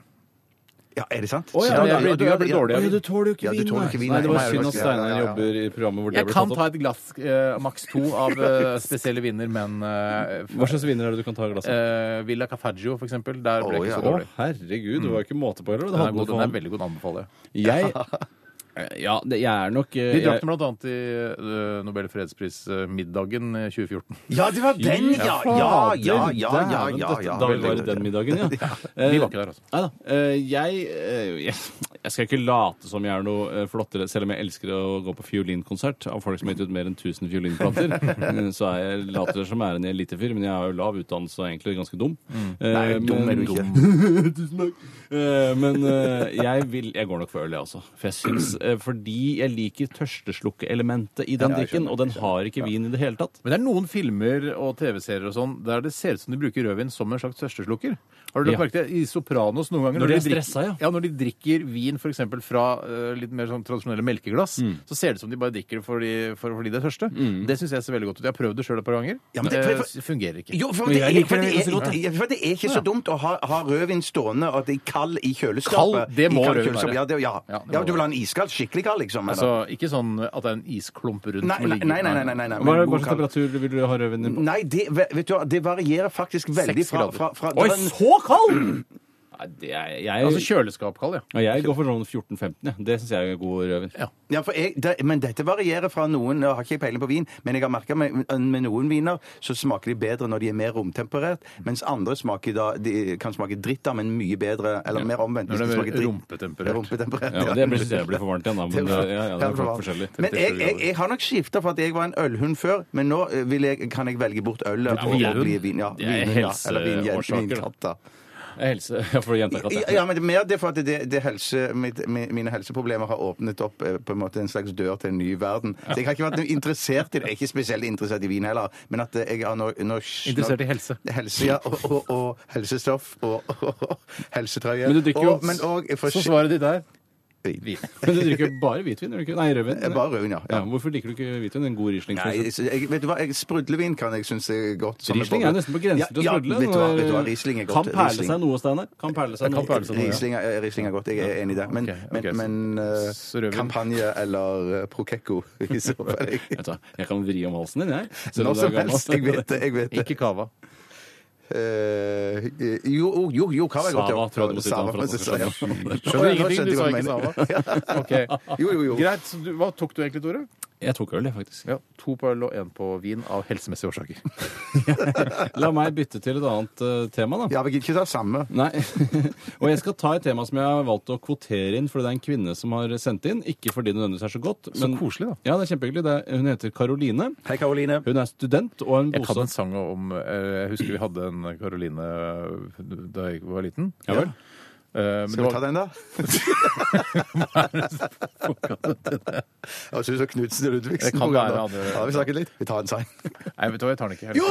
[SPEAKER 3] Ja, er det sant?
[SPEAKER 2] ja, men jeg blir- jeg blir dårlig av
[SPEAKER 3] Ja,
[SPEAKER 2] vin.
[SPEAKER 3] du tåler jo ikke vin,
[SPEAKER 4] Nei, det var
[SPEAKER 3] Nei,
[SPEAKER 4] synd at Steinar
[SPEAKER 3] ja, ja, ja.
[SPEAKER 4] jobber i programmet hvor det
[SPEAKER 2] Jeg
[SPEAKER 4] ble
[SPEAKER 2] kan
[SPEAKER 4] tatt
[SPEAKER 2] ta
[SPEAKER 4] opp.
[SPEAKER 2] et glass eh, maks to av eh, spesielle viner, men eh,
[SPEAKER 4] Hva slags viner er det du kan ta i glasset?
[SPEAKER 2] eh, Villa Cafaggio, for eksempel, der ble
[SPEAKER 3] Å,
[SPEAKER 2] jeg ikke så
[SPEAKER 3] ja.
[SPEAKER 4] Å,
[SPEAKER 2] dårlig.
[SPEAKER 4] herregud, det var jo ikke måte på heller. Det
[SPEAKER 2] Den er,
[SPEAKER 4] handler
[SPEAKER 2] god, den
[SPEAKER 4] om-
[SPEAKER 2] er veldig god, den anbefaler jeg.
[SPEAKER 4] Jeg Eh, Ja, det, jeg er nok eh,
[SPEAKER 2] Vi drakk
[SPEAKER 4] jeg-
[SPEAKER 2] den bl.a. i eh, Nobel fredspris-middagen eh, i 2014.
[SPEAKER 3] Ja, det var den, ja! Ja, ja, ja, ja.
[SPEAKER 4] Dæven,
[SPEAKER 3] ja,
[SPEAKER 4] dette-
[SPEAKER 3] ja.
[SPEAKER 4] Da vi var i den middagen, ja.
[SPEAKER 2] Vi var ikke der, altså.
[SPEAKER 4] Nei da. Eh, Jeg, eh, jeg jeg skal ikke late som jeg er noe eh, flottere, selv om jeg elsker å gå på fiolinkonsert av folk som har gitt ut mer enn 1000 fiolinplater. eh, Så er jeg later som jeg er en elitefyr, men jeg har jo lav utdannelse og er egentlig ganske dum.
[SPEAKER 3] Mm. Nei,
[SPEAKER 4] Eh,
[SPEAKER 3] dum er
[SPEAKER 4] men-
[SPEAKER 3] du ikke.
[SPEAKER 4] Tusen takk. Eh, Men eh, jeg vil Jeg går nok for øl, jeg også. For jeg syns, eh, fordi jeg liker tørsteslukke-elementet i den
[SPEAKER 3] Ja, jeg
[SPEAKER 4] drikken,
[SPEAKER 3] skjønner,
[SPEAKER 4] og den har ikke vin i det hele tatt.
[SPEAKER 2] Men det er noen filmer og TV-serier og sånn der det ser ut som de bruker rødvin som en slags tørsteslukker. Har du lagt
[SPEAKER 4] Ja.
[SPEAKER 2] merke til det? I Sopranos noen ganger
[SPEAKER 4] Når de er
[SPEAKER 2] drikker-
[SPEAKER 4] stressa, ja.
[SPEAKER 2] Når de drikker vin vin, f.eks. fra eh, litt mer sånn tradisjonelle melkeglass,
[SPEAKER 4] Mm.
[SPEAKER 2] så ser det ut som de bare drikker det fordi, for, fordi det er tørste. Det syns jeg ser veldig godt ut. Jeg har prøvd det sjøl et par ganger.
[SPEAKER 3] Ja, men det- for-
[SPEAKER 2] Eh,
[SPEAKER 3] for-
[SPEAKER 2] fungerer ikke.
[SPEAKER 3] Jo, for
[SPEAKER 2] Men
[SPEAKER 3] det,
[SPEAKER 2] jeg
[SPEAKER 3] er,
[SPEAKER 2] liker
[SPEAKER 3] for, det
[SPEAKER 2] det ganske godt,
[SPEAKER 3] er, ja, for det er ikke så dumt å ha, ha rødvin stående og at det er kald i kjøleskapet.
[SPEAKER 2] Kald? Det må
[SPEAKER 3] I kald
[SPEAKER 2] rødvin
[SPEAKER 3] kjøleskap,
[SPEAKER 2] være.
[SPEAKER 3] Ja, det, ja.
[SPEAKER 2] Ja,
[SPEAKER 3] ja,
[SPEAKER 2] det må
[SPEAKER 3] du vil ha en iskald, skikkelig kald, liksom? eller?
[SPEAKER 2] Altså, ikke sånn at det er en isklump rundt
[SPEAKER 3] Nei,
[SPEAKER 2] som
[SPEAKER 3] nei,
[SPEAKER 2] ligger-
[SPEAKER 3] nei, nei, nei, nei, nei,
[SPEAKER 4] Hva er det-
[SPEAKER 3] men
[SPEAKER 4] hva
[SPEAKER 3] god
[SPEAKER 4] slags
[SPEAKER 3] kald.
[SPEAKER 4] temperatur vil du ha rødvinen på?
[SPEAKER 3] Nei, det, vet du, hva, det varierer faktisk veldig
[SPEAKER 2] Seks
[SPEAKER 3] fra,
[SPEAKER 2] grader. Mm.
[SPEAKER 3] fra, fra
[SPEAKER 4] Oi,
[SPEAKER 3] det var en-
[SPEAKER 4] så kald! Nei, det er, jeg,
[SPEAKER 2] Altså kjøleskapkald, ja.
[SPEAKER 4] Ja, jeg går for sånn 14-15. Ja. Det syns jeg er god rødvin.
[SPEAKER 2] Ja.
[SPEAKER 3] Ja, for jeg, det, men dette varierer fra noen Jeg har ikke peiling på vin, men jeg har merka med, med noen viner så smaker de bedre når de er mer romtemperert, mens andre smaker da, de kan smake dritt av, men mye bedre, eller mer omvendt.
[SPEAKER 2] Når
[SPEAKER 3] hvis
[SPEAKER 2] det
[SPEAKER 3] de
[SPEAKER 2] er
[SPEAKER 3] smaker dritt.
[SPEAKER 2] rumpetemperert.
[SPEAKER 3] Rumpetemperert,
[SPEAKER 4] Ja, men det blir, det blir for varmt igjen, da. Men,
[SPEAKER 3] Det
[SPEAKER 4] ja, ja,
[SPEAKER 3] var-
[SPEAKER 4] det
[SPEAKER 3] ja,
[SPEAKER 4] er
[SPEAKER 3] det var-
[SPEAKER 4] klart forskjellig.
[SPEAKER 3] Men jeg, jeg, jeg har nok skifta for at jeg var en ølhund før, men nå eh, vil jeg, kan jeg velge bort ølet og, og
[SPEAKER 2] vinhund.
[SPEAKER 3] bli vin. Ja,
[SPEAKER 2] Det er
[SPEAKER 3] vinhund, ja, eller
[SPEAKER 2] helseårsaker,
[SPEAKER 3] vinjen-
[SPEAKER 2] da.
[SPEAKER 3] vinkatt, da.
[SPEAKER 4] Helse, ja, for å gjenta katta.
[SPEAKER 3] Ja, men det er mer det for at det, det helse, mitt, mi- mine helseproblemer har åpnet opp eh, på en måte en slags dør til en ny verden. Så jeg har ikke vært noe interessert i det. Jeg er ikke spesielt interessert i vin heller, men at eh, jeg har nå nå-
[SPEAKER 2] Interessert i helse.
[SPEAKER 3] Helse, ja. Og, og, og helsestoff og, og, og helsetrøye.
[SPEAKER 4] Men du drikker jo-
[SPEAKER 3] Og- men og for-
[SPEAKER 2] Så svaret ditt er
[SPEAKER 3] Vin.
[SPEAKER 4] Men du drikker bare hvitvin? gjør du ikke? Nei, rødvin.
[SPEAKER 3] Eh, Bare rødvin, ja.
[SPEAKER 4] Ja,
[SPEAKER 3] ja.
[SPEAKER 4] hvorfor liker du ikke hvitvin? En god Riesling?
[SPEAKER 3] Nei,
[SPEAKER 4] for eksempel.
[SPEAKER 3] jeg, vet du hva? Jeg, sprudlevin kan jeg synes er godt. som
[SPEAKER 4] Riesling
[SPEAKER 3] både-
[SPEAKER 4] er nesten på grensen til å
[SPEAKER 3] ja,
[SPEAKER 4] sprudle.
[SPEAKER 3] Ja, vet du hva,
[SPEAKER 4] når-
[SPEAKER 3] vet du hva? Riesling er
[SPEAKER 4] Kan
[SPEAKER 3] godt.
[SPEAKER 4] perle
[SPEAKER 3] Riesling.
[SPEAKER 4] seg noe, Steinar. Kan perle seg
[SPEAKER 2] Kan perle seg noe, ja.
[SPEAKER 3] Riesling er, Riesling er godt, jeg er enig i det. Men,
[SPEAKER 2] Ok, ok,
[SPEAKER 3] men, men eh,
[SPEAKER 2] så rødvin.
[SPEAKER 3] kampanje eller eh, Prokekko i så fall. jeg-
[SPEAKER 4] Vet du hva, Jeg kan vri om halsen din, jeg. Selv om
[SPEAKER 3] Når
[SPEAKER 4] du er
[SPEAKER 3] som
[SPEAKER 4] gammel.
[SPEAKER 3] helst. Jeg vet det. jeg vet det.
[SPEAKER 2] ikke cava.
[SPEAKER 3] Eh, jo, jo, jo, hva var godt?
[SPEAKER 4] Sava, tror jeg du må si
[SPEAKER 3] Sava,
[SPEAKER 4] for at du
[SPEAKER 3] sa jeg.
[SPEAKER 4] skjønner.
[SPEAKER 2] Skjønner
[SPEAKER 3] Nå
[SPEAKER 2] ingenting,
[SPEAKER 3] skjønte
[SPEAKER 2] du
[SPEAKER 3] jeg
[SPEAKER 2] sa
[SPEAKER 3] hva
[SPEAKER 2] ikke
[SPEAKER 3] mener.
[SPEAKER 2] Sava. Ok.
[SPEAKER 3] Jo, jo, jo.
[SPEAKER 2] Greit. så Du, hva tok du egentlig, Tore?
[SPEAKER 4] Jeg tok øl, jeg, faktisk.
[SPEAKER 2] Ja, To på øl og én på vin av helsemessige årsaker.
[SPEAKER 4] La meg bytte til et annet eh, tema, da.
[SPEAKER 3] Ja, vi gidder ikke ta samme.
[SPEAKER 4] Nei. og jeg skal ta et tema som jeg har valgt å kvotere inn, fordi det er en kvinne som har sendt inn. Ikke fordi det nødvendigvis er så godt.
[SPEAKER 2] Så koselig, da.
[SPEAKER 4] Ja, det er kjempehyggelig. Det er, hun heter Karoline.
[SPEAKER 3] Hei, Karoline.
[SPEAKER 4] Hun er student og en
[SPEAKER 2] Jeg kan en
[SPEAKER 4] bosatt
[SPEAKER 2] sang om eh, Jeg husker vi hadde en Karoline eh, da jeg var liten.
[SPEAKER 4] Ja vel.
[SPEAKER 2] Eh, men det
[SPEAKER 3] Skal vi
[SPEAKER 2] var-
[SPEAKER 3] ta den, da? Jeg synes det er Knutsen og Ludvigsen.
[SPEAKER 2] Det kan
[SPEAKER 3] på
[SPEAKER 2] være
[SPEAKER 3] gang,
[SPEAKER 2] andre-
[SPEAKER 3] da. Har vi snakket litt? Vi tar en sang.
[SPEAKER 2] Nei, vet du hva, jeg tar den ikke.
[SPEAKER 3] Jo!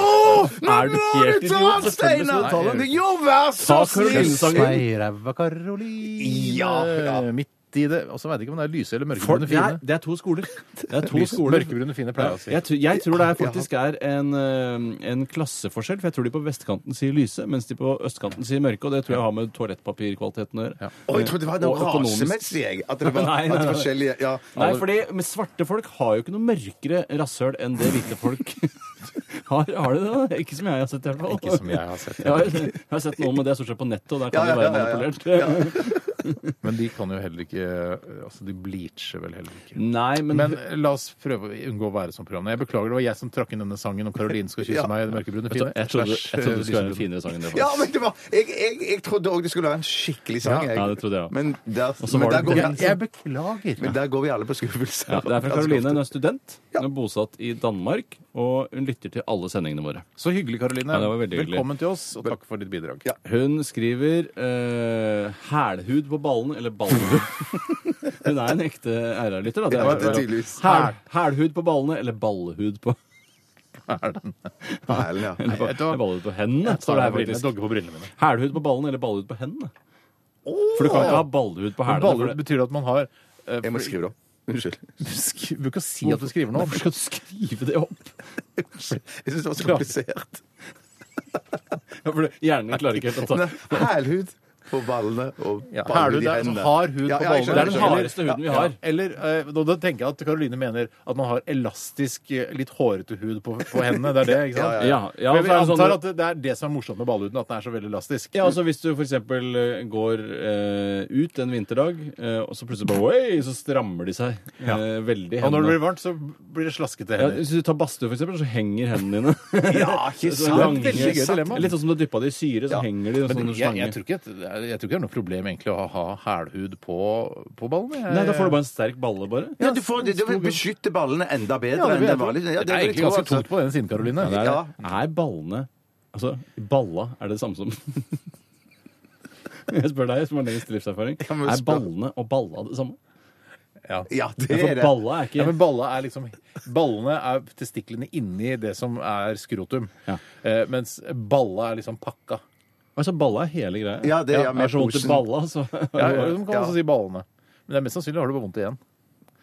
[SPEAKER 3] Nå
[SPEAKER 2] Er du
[SPEAKER 3] må
[SPEAKER 2] helt
[SPEAKER 3] du
[SPEAKER 2] idiot? Selvfølgelig skal du
[SPEAKER 3] ta den, Steinar!
[SPEAKER 2] ta den.
[SPEAKER 3] Jo, vær så snill!
[SPEAKER 2] Kyss meg, ræva Karoline.
[SPEAKER 3] Ja, ja.
[SPEAKER 2] Eh, Midt i det. Og så veit jeg ikke om det er lyse eller mørkebrune
[SPEAKER 4] det er,
[SPEAKER 2] fine.
[SPEAKER 4] det er to skoler. Det er to
[SPEAKER 2] Lys-
[SPEAKER 4] skoler.
[SPEAKER 2] Mørkebrune fine pleier jeg å si.
[SPEAKER 4] Jeg, tr- jeg tror det er faktisk er en, eh, en klasseforskjell, for jeg tror de på vestkanten sier lyse, mens de på østkanten sier mørke, og det tror jeg har med toalettpapirkvaliteten å gjøre.
[SPEAKER 3] Å, jeg trodde det var
[SPEAKER 4] Og
[SPEAKER 3] noe
[SPEAKER 4] økonomisk.
[SPEAKER 3] rasemessig, jeg. At det var
[SPEAKER 4] Nei, nei,
[SPEAKER 3] at det
[SPEAKER 4] nei.
[SPEAKER 3] var forskjellige ja.
[SPEAKER 4] Nei, fordi men svarte folk har jo ikke noe mørkere rasshøl enn det hvite folk har. Har de det? da? Ikke som jeg har sett, i hvert fall.
[SPEAKER 2] Ikke som jeg har sett,
[SPEAKER 4] Jeg har, jeg har sett noen, men det er stort sett på nettet, og der kan
[SPEAKER 3] Ja,
[SPEAKER 4] det
[SPEAKER 3] ja,
[SPEAKER 4] være
[SPEAKER 3] ja, ja, ja.
[SPEAKER 4] manipulert.
[SPEAKER 2] Men de kan jo heller ikke Altså, de bleacher vel heller ikke.
[SPEAKER 4] Nei, men,
[SPEAKER 2] Men eh, la oss prøve å unngå å være som programmet. Jeg beklager, det var jeg som trakk inn denne sangen om Karoline skal kysse
[SPEAKER 3] Ja.
[SPEAKER 2] meg i det mørkebrune fine.
[SPEAKER 4] Jeg trodde, jeg trodde
[SPEAKER 2] Slash, eh,
[SPEAKER 4] det skulle være en
[SPEAKER 2] lysebrune.
[SPEAKER 4] finere sang enn det.
[SPEAKER 3] Ja,
[SPEAKER 4] faktisk.
[SPEAKER 3] men det var Jeg, jeg, jeg trodde òg det skulle være en skikkelig sang.
[SPEAKER 4] Ja,
[SPEAKER 3] jeg.
[SPEAKER 4] ja, det trodde jeg også.
[SPEAKER 3] Men der,
[SPEAKER 4] Og så var
[SPEAKER 3] men der
[SPEAKER 4] det-
[SPEAKER 3] går vi,
[SPEAKER 2] Jeg, jeg beklager.
[SPEAKER 3] men der går vi alle på skuffelse. Altså,
[SPEAKER 4] Ja, det er fra Karoline. Hun er student. Hun er bosatt i Danmark, og hun lytter til alle sendingene våre.
[SPEAKER 2] Så hyggelig, Karoline.
[SPEAKER 4] Ja, det var veldig hyggelig.
[SPEAKER 2] Velkommen til oss, og takk for ditt bidrag.
[SPEAKER 3] Ja.
[SPEAKER 4] Hun skriver eh, 'hælhud på ballen' eller 'ballhud'. Hun er en ekte RR-lytter, da. Det
[SPEAKER 3] Ja,
[SPEAKER 4] er,
[SPEAKER 3] det er tydeligvis.
[SPEAKER 4] Hæl- Hælhud på ballene eller ballehud på
[SPEAKER 3] Perlen, ja.
[SPEAKER 4] eller
[SPEAKER 2] vet du hva?
[SPEAKER 4] eller Ballehud på hendene, står det her
[SPEAKER 2] Jeg
[SPEAKER 4] faktisk.
[SPEAKER 2] dogger på brillene mine.
[SPEAKER 4] Hælhud på ballen eller ballehud på hendene? For du kan ikke ha ballehud på hælene. for
[SPEAKER 2] Ballhud
[SPEAKER 4] det-
[SPEAKER 2] betyr at man har eh,
[SPEAKER 3] Jeg må skrive det opp. Unnskyld.
[SPEAKER 2] Sk- Du kan ikke si at du skriver noe.
[SPEAKER 4] Hvorfor skal du skrive det opp?
[SPEAKER 3] Jeg syns det var så komplisert.
[SPEAKER 4] Ja, for det- Hjernen din klarer ikke helt å ta
[SPEAKER 3] Nei, Hælhud på ballene og
[SPEAKER 2] Ja,
[SPEAKER 3] ballhud
[SPEAKER 2] hælhud
[SPEAKER 3] i
[SPEAKER 2] er altså
[SPEAKER 3] hendene.
[SPEAKER 2] hard hud
[SPEAKER 3] Ja,
[SPEAKER 2] på
[SPEAKER 3] ja, jeg
[SPEAKER 2] ballene.
[SPEAKER 3] skjønner,
[SPEAKER 4] Det er den
[SPEAKER 3] jeg skjønner.
[SPEAKER 4] hardeste huden vi har.
[SPEAKER 2] Eller, eh, da, da tenker jeg at Karoline mener at man har elastisk, eh, litt hårete hud på, på hendene. Det er det, ikke sant?
[SPEAKER 4] Ja, ja,
[SPEAKER 2] Men
[SPEAKER 4] og
[SPEAKER 2] vi
[SPEAKER 4] så er det sånn-
[SPEAKER 2] antar at det- det er det som er morsomt med ballhuden, at den er så veldig elastisk.
[SPEAKER 4] Ja, altså Hvis du f.eks. går eh, ut en vinterdag, eh, og så plutselig bare Oi! Så strammer de seg eh,
[SPEAKER 2] Ja.
[SPEAKER 4] veldig.
[SPEAKER 2] Og når det
[SPEAKER 4] hendene.
[SPEAKER 2] blir varmt, så blir det slaskete
[SPEAKER 4] ja,
[SPEAKER 2] hender.
[SPEAKER 4] hvis du tar badstue, for eksempel, så henger hendene dine.
[SPEAKER 3] Ja, ikke
[SPEAKER 4] Så
[SPEAKER 3] sant?
[SPEAKER 4] lange-
[SPEAKER 2] Veldig gøy dilemma.
[SPEAKER 4] Litt sånn som du har dyppa det i syre, så henger de.
[SPEAKER 2] Men
[SPEAKER 4] Og sånn
[SPEAKER 2] jeg, jeg,
[SPEAKER 4] slange.
[SPEAKER 2] tror ikke, at- jeg tror ikke det er noe problem egentlig å ha hælhud på, på ballene. Jeg-
[SPEAKER 4] Nei, da får du bare en sterk balle, bare.
[SPEAKER 3] Ja, du, får, du vil beskytte ballene enda bedre
[SPEAKER 2] Ja, det
[SPEAKER 3] enn
[SPEAKER 2] vil
[SPEAKER 3] det
[SPEAKER 2] jeg tro.
[SPEAKER 3] vanlige. Ja,
[SPEAKER 2] Det er
[SPEAKER 3] vil jeg
[SPEAKER 2] egentlig
[SPEAKER 3] tro,
[SPEAKER 2] ganske
[SPEAKER 3] altså.
[SPEAKER 2] tungt på den siden, Karoline.
[SPEAKER 4] liksom Det er,
[SPEAKER 3] Ja.
[SPEAKER 4] er ballene Altså, balla er det det samme som Jeg spør deg, som har lengst livserfaring.
[SPEAKER 3] Ja, men
[SPEAKER 4] Er
[SPEAKER 3] spør-
[SPEAKER 4] ballene og balla det samme?
[SPEAKER 3] Ja, det
[SPEAKER 4] For
[SPEAKER 3] er det.
[SPEAKER 4] balla er ikke
[SPEAKER 2] Ja, men balla er liksom, Ballene er testiklene inni det som er skrotum.
[SPEAKER 4] Ja.
[SPEAKER 2] Eh, mens balla er liksom pakka.
[SPEAKER 4] Altså, balla er hele greia.
[SPEAKER 3] Ja, det er
[SPEAKER 4] jeg
[SPEAKER 3] med
[SPEAKER 4] har så vondt i
[SPEAKER 3] posen.
[SPEAKER 4] balla, så
[SPEAKER 2] Ja, man kan også si ballene. Men det er mest sannsynlig har du bare vondt igjen.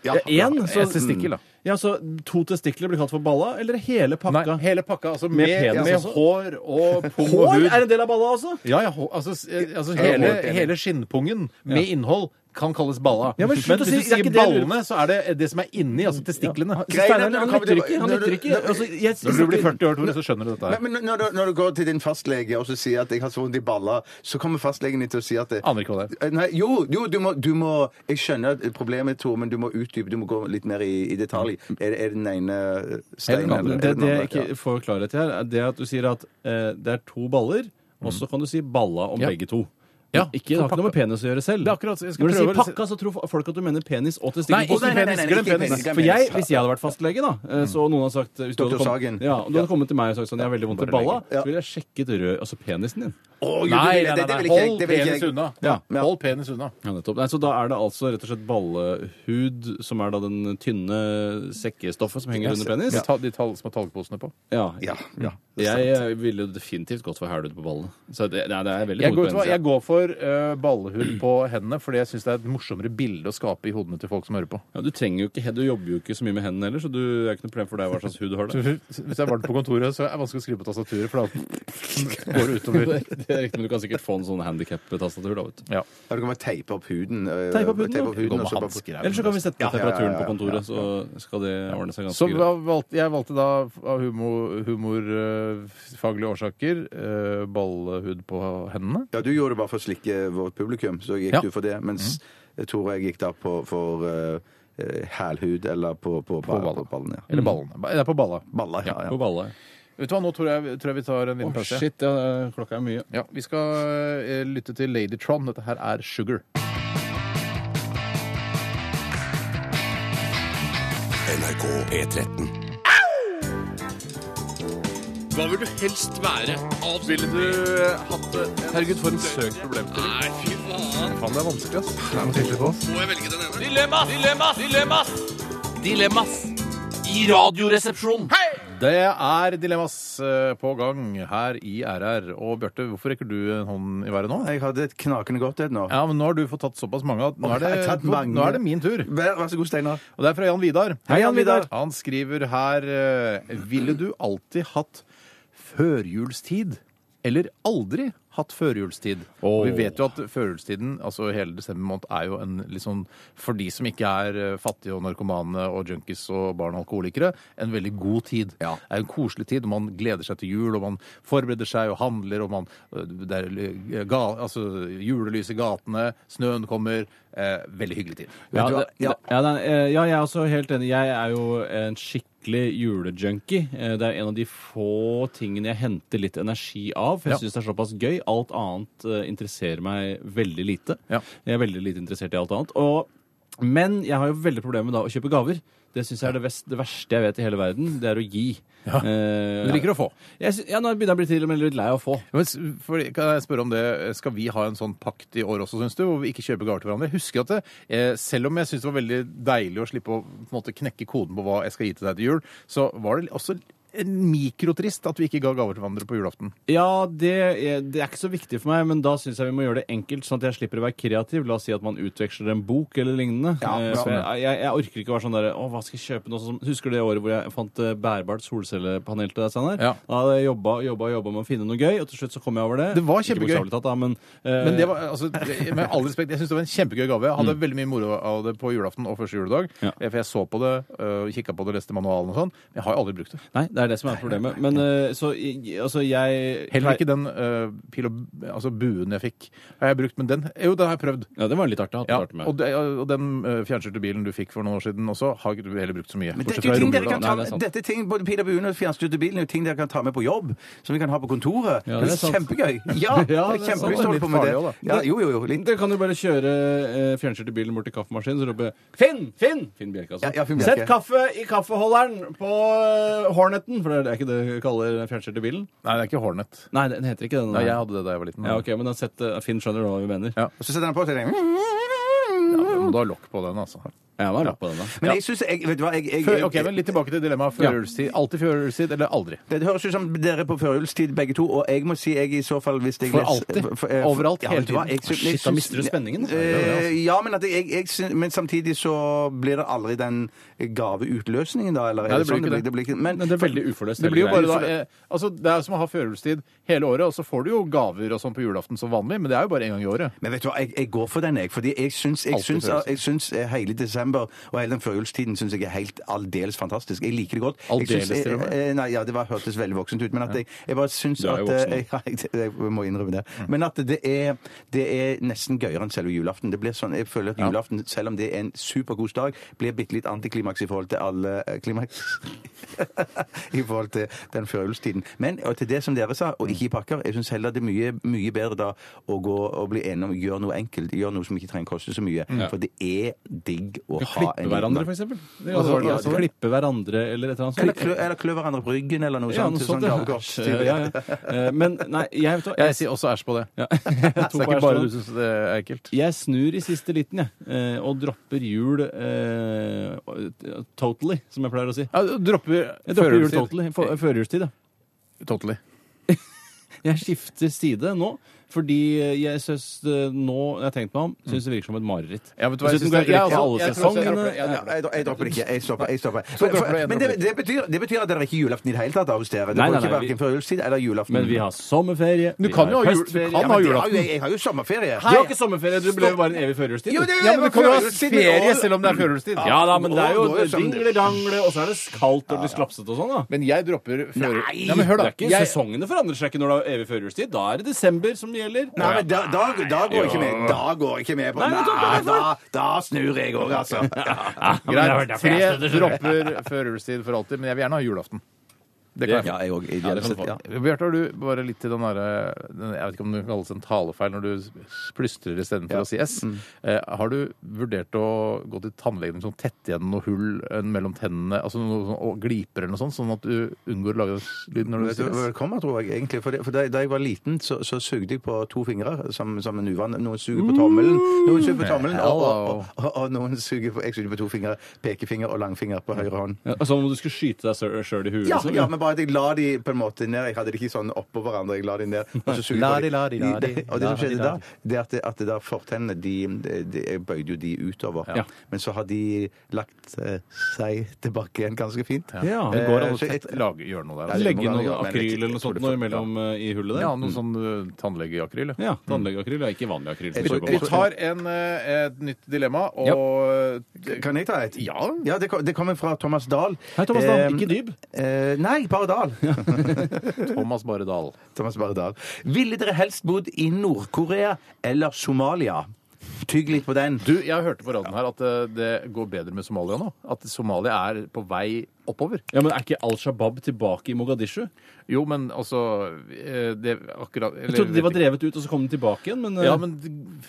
[SPEAKER 4] Ja, én?
[SPEAKER 2] så, testikkel, da.
[SPEAKER 4] Ja, så to testikler blir kalt for balla, eller hele pakka?
[SPEAKER 2] Nei, hele pakka. Altså
[SPEAKER 4] Med
[SPEAKER 2] med,
[SPEAKER 4] penis
[SPEAKER 2] med
[SPEAKER 4] også?
[SPEAKER 2] hår og pung og
[SPEAKER 4] Hår
[SPEAKER 2] hud.
[SPEAKER 4] er en del av balla også?
[SPEAKER 2] Ja, ja, hå- altså, s- eh, altså
[SPEAKER 4] Ja,
[SPEAKER 2] hele,
[SPEAKER 4] hår, enig.
[SPEAKER 2] hele skinnpungen med innhold kan kalles balla.
[SPEAKER 4] Ja, men
[SPEAKER 2] hvis
[SPEAKER 4] slutt å
[SPEAKER 2] du
[SPEAKER 4] si- det er
[SPEAKER 2] sier
[SPEAKER 4] ikke det jeg lurer på.
[SPEAKER 2] ballene, så er det det som er inni, altså testiklene.
[SPEAKER 3] Greier
[SPEAKER 4] Steinar, han
[SPEAKER 3] det, men
[SPEAKER 4] lytter
[SPEAKER 3] det-
[SPEAKER 4] ikke. Han
[SPEAKER 3] det-
[SPEAKER 4] lytter ikke.
[SPEAKER 3] det-
[SPEAKER 4] Altså, jeg,
[SPEAKER 2] Når du blir 40 år, Tore, så skjønner du dette
[SPEAKER 3] Men,
[SPEAKER 2] her.
[SPEAKER 3] men når, du, når du går til din fastlege og så sier at 'jeg har så vondt i baller', så kommer fastlegen din til å si at det,
[SPEAKER 2] Aner ikke hva det
[SPEAKER 3] Eh, Nei, jo, jo du, må, du må Jeg skjønner at problemet, Tor, men du må utdype. Du må gå litt mer i, i detalj. Er, det- er det den ene steinen
[SPEAKER 4] Eller
[SPEAKER 3] eller er
[SPEAKER 4] Det, det
[SPEAKER 3] den
[SPEAKER 4] jeg
[SPEAKER 3] andre? Ja.
[SPEAKER 4] ikke får klarhet i her, er det at du sier at eh, det er to baller, og så kan du si balla om
[SPEAKER 2] Mm. Ja.
[SPEAKER 4] begge to.
[SPEAKER 2] Ja,
[SPEAKER 4] Ikke, det har
[SPEAKER 2] for
[SPEAKER 4] ikke noe med
[SPEAKER 2] pakka.
[SPEAKER 4] penis å gjøre selv.
[SPEAKER 2] Det er akkurat så- jeg skal
[SPEAKER 4] Når
[SPEAKER 2] prøve
[SPEAKER 4] du sier
[SPEAKER 2] å liksom-
[SPEAKER 4] pakka, så tror folk at du mener penis og
[SPEAKER 2] Nei,
[SPEAKER 4] testikler.
[SPEAKER 2] ikke
[SPEAKER 4] Glem
[SPEAKER 3] nei, nei,
[SPEAKER 2] penis,
[SPEAKER 3] nei,
[SPEAKER 2] glem
[SPEAKER 3] ikke
[SPEAKER 2] penis. Mm.
[SPEAKER 3] penis.
[SPEAKER 4] For jeg, hvis jeg hadde vært fastlege, da, eh, så noen hadde sagt hvis du hadde,
[SPEAKER 3] Dr. Sagen.
[SPEAKER 4] kommet, ja, om du hadde kommet til meg og sagt sånn, jeg har veldig vondt i
[SPEAKER 2] Bare
[SPEAKER 4] balla,
[SPEAKER 2] lege.
[SPEAKER 3] Ja.
[SPEAKER 4] så ville jeg sjekket rød, altså penisen din.
[SPEAKER 3] Å, jo, det
[SPEAKER 2] Nei,
[SPEAKER 3] vil jeg-
[SPEAKER 2] nei,
[SPEAKER 3] det- det
[SPEAKER 2] nei, nei.
[SPEAKER 3] vil jeg ikke,
[SPEAKER 2] Hold
[SPEAKER 3] det vil
[SPEAKER 2] penis
[SPEAKER 3] jeg.
[SPEAKER 2] unna.
[SPEAKER 3] Ja, ja.
[SPEAKER 2] Hold penis unna.
[SPEAKER 4] Ja, nettopp. Nei, så da er det altså rett og slett ballehud, som er da den tynne sekkestoffet som henger under penis?
[SPEAKER 2] De, ta, de tall, som har talgposene på.
[SPEAKER 4] Ja.
[SPEAKER 3] Ja, ja.
[SPEAKER 4] Jeg eh, ville jo definitivt gått for hælhud på ballene. Så det, nei, det er veldig
[SPEAKER 2] Jeg
[SPEAKER 4] god
[SPEAKER 2] går, vet du hva,
[SPEAKER 4] penis, ja.
[SPEAKER 2] jeg går for uh, ballehud på hendene, fordi jeg syns det er et morsommere bilde å skape i hodene til folk som hører på.
[SPEAKER 4] Ja, du trenger jo ikke, he- du jobber jo ikke så mye med hendene heller, så du det er ikke noe problem for deg hva slags hud du har.
[SPEAKER 2] Så
[SPEAKER 4] Da.
[SPEAKER 2] Hvis hvis det er varmt på kontoret, så er det vanskelig å skrive på tastaturet, for da går det utover.
[SPEAKER 4] Det er riktig, men du kan sikkert få en sånn handikap-tastatur, da, vet du.
[SPEAKER 2] Ja.
[SPEAKER 3] Ja, Du kan bare teipe opp huden. eh,
[SPEAKER 4] Teipe opp huden, da.
[SPEAKER 2] Det går med
[SPEAKER 3] og så bare-
[SPEAKER 2] hansker, er vel
[SPEAKER 4] Eller så kan vi sette på
[SPEAKER 3] Ja, ja, ja,
[SPEAKER 4] temperaturen på
[SPEAKER 3] ja,
[SPEAKER 4] kontoret, så skal det ordne seg
[SPEAKER 2] Så
[SPEAKER 4] ganske greit.
[SPEAKER 2] da valgte, jeg valgte da av humorfaglige humor, eh, faglige årsaker eh, ballhud på hendene.
[SPEAKER 3] Ja, du gjorde det bare for å slikke vårt publikum, så gikk
[SPEAKER 2] Ja.
[SPEAKER 3] du for det. Mens Tor og jeg gikk da på, for eh, eh, hælhud eller på, på,
[SPEAKER 2] På
[SPEAKER 3] ba-
[SPEAKER 2] ballen.
[SPEAKER 3] på ballen. Ja.
[SPEAKER 4] Mm.
[SPEAKER 2] Eller ballene. Ba- Det er på balla.
[SPEAKER 3] Baller, ja. ja.
[SPEAKER 4] På balla.
[SPEAKER 2] Vet du hva, nå tror jeg, tror jeg vi tar en
[SPEAKER 4] Å,
[SPEAKER 2] liten pause.
[SPEAKER 4] shit, ja, klokka er mye.
[SPEAKER 2] Ja, vi skal eh, lytte til Ladytron. Dette her er Sugar.
[SPEAKER 10] NRK P13.
[SPEAKER 7] Hva vil du helst være? Ville du eh, hatt det?
[SPEAKER 9] Herregud, for en søk problemstilling.
[SPEAKER 7] Nei, fy faen.
[SPEAKER 2] Faen, det er vanskelig, ass.
[SPEAKER 7] Må jeg velge den ene?
[SPEAKER 9] Dilemmas! Dilemmas! Dilemmas! Dilemmas i Radioresepsjonen.
[SPEAKER 2] Det er Dilemmas eh, på gang her i RR. Og Bjarte, hvorfor rekker du en hånd i været nå?
[SPEAKER 3] Jeg hadde et knakende godt et nå.
[SPEAKER 2] Ja, men nå har du fått tatt såpass mange at nå
[SPEAKER 3] Å,
[SPEAKER 2] er det,
[SPEAKER 3] jeg har tatt mange.
[SPEAKER 2] nå er det min tur.
[SPEAKER 3] Vær, vær så god, Steinar.
[SPEAKER 2] Og det er fra Jan Vidar.
[SPEAKER 3] Hei, Jan Vidar.
[SPEAKER 2] Han skriver her eh, Ville du alltid hatt førjulstid eller aldri hatt førjulstid? Og Vi vet jo at førjulstiden, altså hele desember måned, er jo en litt sånn For de som ikke er eh, fattige og narkomane og junkies og barn og alkoholikere, en veldig god tid. Det er en koselig tid, og man gleder seg til jul, og man forbereder seg og handler, og man eh, det er, eh, ga, altså, julelys i gatene, snøen kommer. Eh, veldig hyggelig tid.
[SPEAKER 4] Ja,
[SPEAKER 3] du hva?
[SPEAKER 4] det,
[SPEAKER 3] Ja.
[SPEAKER 4] det- ja, nei, eh, ja, jeg er også helt enig. Jeg er jo en skikkelig julejunkie. Eh, Det er en av de få tingene jeg henter litt energi av. For jeg
[SPEAKER 2] Ja.
[SPEAKER 4] syns det er såpass gøy. Alt annet eh, interesserer meg veldig lite.
[SPEAKER 2] Ja.
[SPEAKER 4] Jeg er veldig lite interessert i alt annet. Og, men jeg har jo veldig problemer med da å kjøpe gaver. Det syns jeg er det, vest, det verste jeg vet i hele verden. Det er å gi.
[SPEAKER 2] Ja.
[SPEAKER 4] Eh,
[SPEAKER 2] Du liker å få.
[SPEAKER 4] Jeg, sy- ja, nå begynner jeg å bli til og med litt lei av å få.
[SPEAKER 2] Men, s- for, kan jeg spørre om det, Skal vi ha en sånn pakt i år også, syns du? Hvor vi ikke kjøper gaver til hverandre? Jeg husker at det, eh, Selv om jeg syns det var veldig deilig å slippe å på en måte, knekke koden på hva jeg skal gi til deg til jul, så var det også en mikrotrist at vi ikke ga gaver til hverandre på julaften.
[SPEAKER 4] Ja, det er, det er ikke så viktig for meg, men da syns jeg vi må gjøre det enkelt, sånn at jeg slipper å være kreativ. La oss si at man utveksler en bok eller lignende.
[SPEAKER 3] Ja,
[SPEAKER 4] Eh,
[SPEAKER 3] bra.
[SPEAKER 4] for jeg, jeg, jeg orker ikke å være sånn derre Å, hva skal jeg kjøpe nå? Sånn, som- husker du det året hvor jeg fant eh, bærbart solcellepanel til deg, Steinar?
[SPEAKER 2] Ja.
[SPEAKER 4] Da hadde jeg jobba og jobba og jobba med å finne noe gøy, og til slutt så kom jeg over det.
[SPEAKER 2] Det var
[SPEAKER 4] Ikke
[SPEAKER 2] kjempegøy.
[SPEAKER 4] bokstavelig Talt, da, men, eh, Mm.
[SPEAKER 2] Men det var, altså, det- med all respekt, jeg syns det var en kjempegøy gave. Jeg hadde veldig mye moro av det på julaften og første juledag.
[SPEAKER 4] Ja.
[SPEAKER 2] eh, For jeg så på det, øh, kikka på det, leste manualen og sånn. Men jeg har jo aldri brukt det.
[SPEAKER 4] Nei, det er det som er problemet. Men eh, så i- altså, jeg
[SPEAKER 2] Heller ikke den øh, pil og altså buen jeg fikk, har jeg brukt. Men den Jo, den har jeg prøvd.
[SPEAKER 4] Ja, det var litt artig. å ha
[SPEAKER 2] Ja,
[SPEAKER 4] hatt det artig med.
[SPEAKER 2] og, det, og den eh, fjernstyrte bilen du fikk for noen år siden også, har ikke du heller brukt så mye.
[SPEAKER 3] Men
[SPEAKER 2] bortsett fra
[SPEAKER 3] dette er jo ting
[SPEAKER 2] i
[SPEAKER 3] dere
[SPEAKER 2] romjula.
[SPEAKER 3] kan ta
[SPEAKER 4] Nei, det er
[SPEAKER 3] med,
[SPEAKER 4] sant.
[SPEAKER 3] dette er ting, både pil og buen og fjernstyrte bilen er jo ting dere kan ta med på jobb, som vi kan ha på kontoret.
[SPEAKER 4] Ja, det er
[SPEAKER 3] det er
[SPEAKER 4] sant.
[SPEAKER 3] kjempegøy! Ja,
[SPEAKER 4] det er
[SPEAKER 3] jeg er
[SPEAKER 4] sant.
[SPEAKER 3] kjempelyst til å holde på med
[SPEAKER 2] Litt
[SPEAKER 3] det.
[SPEAKER 2] farlig også,
[SPEAKER 3] Ja, jo, jo, jo. Litt.
[SPEAKER 4] Dere kan jo bare kjøre eh, fjernstyrt i bilen bort til kaffemaskinen så roper jeg, Finn! Finn! Finn Bjerke, altså.
[SPEAKER 3] Ja, ja, Finn Bjerke.
[SPEAKER 4] Sett kaffe i kaffeholderen på eh, Horneten, for det er- det er ikke det vi kaller fjernstyrt i bilen.
[SPEAKER 2] Nei, det er ikke Hornet.
[SPEAKER 4] Nei, den heter ikke den.
[SPEAKER 2] Nei, jeg hadde det da jeg var liten.
[SPEAKER 4] ja, ok, men da sett, eh, Finn skjønner hva vi mener.
[SPEAKER 2] Ja.
[SPEAKER 3] Og så setter han på til den.
[SPEAKER 2] Ja, men du må ha lokk på den, altså.
[SPEAKER 4] Ja, da er jeg på den, da.
[SPEAKER 3] Men jeg syns jeg, Vet du hva, jeg, jeg,
[SPEAKER 2] Før, ok, men Litt tilbake til dilemmaet
[SPEAKER 4] Ja.
[SPEAKER 2] førjulstid. Alltid førjulstid eller aldri?
[SPEAKER 3] Det høres ut som dere er på førjulstid begge to, og jeg må si jeg i så fall hvis jeg
[SPEAKER 2] For
[SPEAKER 3] leser-
[SPEAKER 2] alltid?
[SPEAKER 3] eh,
[SPEAKER 2] Overalt, hele
[SPEAKER 3] vet du hva,
[SPEAKER 2] tiden?
[SPEAKER 3] jeg syns-
[SPEAKER 4] Shit,
[SPEAKER 3] jeg
[SPEAKER 4] da
[SPEAKER 3] syns-
[SPEAKER 4] mister du spenningen.
[SPEAKER 3] Eh, ja, men, at jeg, jeg, jeg, syns- men samtidig så blir det aldri den gaveutløsningen, da? Eller, er
[SPEAKER 2] Nei, det blir
[SPEAKER 3] sånn
[SPEAKER 2] ikke det.
[SPEAKER 3] blir ikke- men,
[SPEAKER 4] Men det er veldig uforløst.
[SPEAKER 2] Det blir jo
[SPEAKER 4] hele
[SPEAKER 2] bare da,
[SPEAKER 4] greia.
[SPEAKER 2] eh, altså det er som å ha førjulstid hele året, og så får du jo gaver og sånn på julaften som vanlig, men det er jo bare en gang i året.
[SPEAKER 3] men vet du hva, jeg, jeg går for den, jeg. Fordi jeg syns, jeg
[SPEAKER 2] Alltid
[SPEAKER 3] syns,
[SPEAKER 2] følelsen.
[SPEAKER 3] jeg syns eh, hele desember og hele den førjulstiden syns jeg er helt aldeles fantastisk. Jeg liker det godt. Jeg syns-
[SPEAKER 2] Aldeles til og med?
[SPEAKER 3] eh, eh, Nei, ja, det var, hørtes veldig voksent ut. Men at jeg, jeg bare syns
[SPEAKER 4] Du er
[SPEAKER 3] at
[SPEAKER 4] jo
[SPEAKER 3] eh,
[SPEAKER 4] voksen.
[SPEAKER 3] ja, jeg, jeg må innrømme det.
[SPEAKER 2] Mm.
[SPEAKER 3] Men at det er, det er nesten gøyere enn selve julaften. Det blir sånn, Jeg føler at julaften, selv om det er en superkos dag, blir bitte litt antiklimaks i forhold til alle eh, klimaks I forhold til den førjulstiden. Men og til det som dere sa, og ikke i pakker, jeg syns heller det er mye, mye bedre da å gå og bli enig om gjør noe enkelt, gjør noe som ikke trenger koste så mye. For det er digg å
[SPEAKER 4] Kan
[SPEAKER 3] ha
[SPEAKER 4] Klippe hverandre, for eksempel. Det er altså,
[SPEAKER 2] var det du sa?
[SPEAKER 4] klippe hverandre eller et eller annet
[SPEAKER 3] Eller
[SPEAKER 4] sånt.
[SPEAKER 3] klø, eller klø hverandre på ryggen, eller noe
[SPEAKER 4] Ja,
[SPEAKER 3] sånt.
[SPEAKER 4] noe sånt.
[SPEAKER 3] sånn
[SPEAKER 4] ja.
[SPEAKER 3] gavekort.
[SPEAKER 4] Ja, ja. Eh, Men nei, jeg vet hva
[SPEAKER 2] Jeg sier også æsj på det.
[SPEAKER 4] Ja.
[SPEAKER 2] Så det er ikke bare du syns det er ekkelt.
[SPEAKER 4] Jeg snur i siste liten, jeg. eh, Og dropper jul eh, totally, som jeg pleier å si.
[SPEAKER 2] Ja, du dropper
[SPEAKER 4] Jeg dropper jul
[SPEAKER 2] førjulstid.
[SPEAKER 4] totally. for- Førjulstid, ja.
[SPEAKER 2] Totally.
[SPEAKER 4] Jeg skifter side nå. Fordi jeg syns eh, nå jeg har tenkt meg om, syns det virker som et mareritt.
[SPEAKER 2] Ja, vet du hva, jeg
[SPEAKER 4] Dessuten
[SPEAKER 2] synes det-
[SPEAKER 4] går jeg
[SPEAKER 2] jeg
[SPEAKER 4] glipp av
[SPEAKER 2] også-
[SPEAKER 4] alle
[SPEAKER 2] jeg tror også jeg
[SPEAKER 4] sesongene.
[SPEAKER 2] dropper det. Jeg
[SPEAKER 4] Ja.
[SPEAKER 3] Nei, jeg dro- jeg dropper det ikke. Jeg stopper. Jeg stopper.
[SPEAKER 2] dropper
[SPEAKER 3] For-
[SPEAKER 2] du en,
[SPEAKER 3] Men det, det, betyr, det betyr at dere ikke julaften i det hele tatt da, hos dere? Det
[SPEAKER 4] Nei, nei,
[SPEAKER 3] går ikke
[SPEAKER 4] nei,
[SPEAKER 3] hverken
[SPEAKER 4] vi-
[SPEAKER 3] førjulstid eller julaften?
[SPEAKER 4] Men vi har sommerferie.
[SPEAKER 2] Du
[SPEAKER 4] vi
[SPEAKER 2] kan jo
[SPEAKER 4] har
[SPEAKER 2] ha jul- du
[SPEAKER 4] høstferie.
[SPEAKER 2] kan
[SPEAKER 4] Ja,
[SPEAKER 3] men
[SPEAKER 2] ha
[SPEAKER 3] det
[SPEAKER 2] julaften.
[SPEAKER 3] har jo jeg, jeg har jo sommerferie.
[SPEAKER 4] Du har ikke sommerferie, du ble jo bare en evig førjulstid.
[SPEAKER 3] Jo,
[SPEAKER 4] du.
[SPEAKER 3] det er
[SPEAKER 2] Ja, men du kan jo ha
[SPEAKER 3] førjulstid i
[SPEAKER 2] ferie Mm.
[SPEAKER 3] år.
[SPEAKER 2] selv om det er førjulstid.
[SPEAKER 4] Ja da, men det er jo
[SPEAKER 3] Nå er det sånn-
[SPEAKER 4] dingle-dangle, og så er det kaldt og det blir slapsete og sånn, da.
[SPEAKER 2] Men jeg dropper før...
[SPEAKER 3] Nei!
[SPEAKER 2] men hør da.
[SPEAKER 4] Det er ikke
[SPEAKER 2] Jeg-
[SPEAKER 4] Sesongene forandrer seg ikke når det er evig førjulstid. Da er det desember som gjelder.
[SPEAKER 3] Nei, men da, da, da går jeg ikke med. Da går jeg ikke med på
[SPEAKER 4] Nei, men
[SPEAKER 3] Nei, da, da snur jeg òg, altså. Ja.
[SPEAKER 2] Greit, tre dropper førjulstid for alltid, men jeg vil gjerne ha julaften. Det kan jeg få.
[SPEAKER 3] Ja, jeg òg.
[SPEAKER 2] Ja, det kan du få.
[SPEAKER 3] Ja.
[SPEAKER 2] Bjarte, har du bare litt til den derre den- Jeg vet ikke om det kalles en talefeil når du plystrer istedenfor å si S. Eh, har du vurdert å gå til tannlegen og sånn tette igjen noe hull eh, mellom tennene, altså noe sånn, og gliper eller noe sånt, sånn at du unngår å lage den lyden når du
[SPEAKER 3] Vet du
[SPEAKER 2] sier
[SPEAKER 3] hva
[SPEAKER 2] S?
[SPEAKER 3] det kommer, tror jeg, egentlig. For, det, for da, da jeg var liten, så, så sugde jeg på to fingre, som, som en uvan. Noen suger på tommelen, noen suger på tommelen, og, og, og, og noen suger på, jeg suger på to fingre, pekefinger og langfinger på høyre hånd.
[SPEAKER 4] Ja, Som om du skulle skyte deg sjøl i huet.
[SPEAKER 3] Ja,
[SPEAKER 2] Altså,
[SPEAKER 4] liksom.
[SPEAKER 3] ja, men bare at jeg la de på en måte ned. Jeg hadde de ikke sånn oppå hverandre. Jeg la de ned. Og så sugde
[SPEAKER 2] La
[SPEAKER 3] jeg på
[SPEAKER 2] de, la de, la de.
[SPEAKER 3] Det- Og det
[SPEAKER 2] La
[SPEAKER 3] som skjedde
[SPEAKER 2] de, la
[SPEAKER 3] da, det er at, det- at det der fortennene, de, de, de, jeg bøyde jo de utover.
[SPEAKER 4] Ja.
[SPEAKER 3] Men så har de lagt eh, seg tilbake igjen ganske fint.
[SPEAKER 4] Ja, det går an å
[SPEAKER 3] Eh, så jeg-
[SPEAKER 2] Tett lage, gjør noe der.
[SPEAKER 3] Ja,
[SPEAKER 2] Altså.
[SPEAKER 3] det-
[SPEAKER 4] Legge noe akryl eller noe
[SPEAKER 3] Jeg tror
[SPEAKER 4] sånt
[SPEAKER 3] det
[SPEAKER 4] noe
[SPEAKER 3] får-
[SPEAKER 4] imellom eh, i hullet der.
[SPEAKER 2] Ja, noe sånn eh, tannlegeakryl. ja.
[SPEAKER 4] Ja, Tannlegeakryl er ikke vanlig akryl. som
[SPEAKER 3] Jeg
[SPEAKER 4] du
[SPEAKER 3] tror-
[SPEAKER 4] kjøper
[SPEAKER 2] Vi
[SPEAKER 4] på.
[SPEAKER 2] tar en, eh, et nytt dilemma, og
[SPEAKER 3] Kan jeg ta et?
[SPEAKER 2] Ja.
[SPEAKER 3] ja det, kom, det kommer fra Thomas Dahl.
[SPEAKER 4] Hei, Thomas Dahl.
[SPEAKER 3] Eh,
[SPEAKER 4] Ikke dyb.
[SPEAKER 3] eh, nei, bare Dahl.
[SPEAKER 2] Thomas Baredal.
[SPEAKER 3] Thomas bare Dahl. Ville dere helst bodd i Nord-Korea eller Somalia? Tygg litt på den.
[SPEAKER 2] Du, jeg hørte på radioen her at eh, det går bedre med Somalia nå. At Somalia er på vei oppover.
[SPEAKER 4] Ja, Men er ikke Al Shabaab tilbake i Mogadishu?
[SPEAKER 2] Jo, men altså eh, Det akkurat
[SPEAKER 4] Jeg trodde de var drevet ut, og så kom de tilbake igjen, men eh,
[SPEAKER 2] Ja, men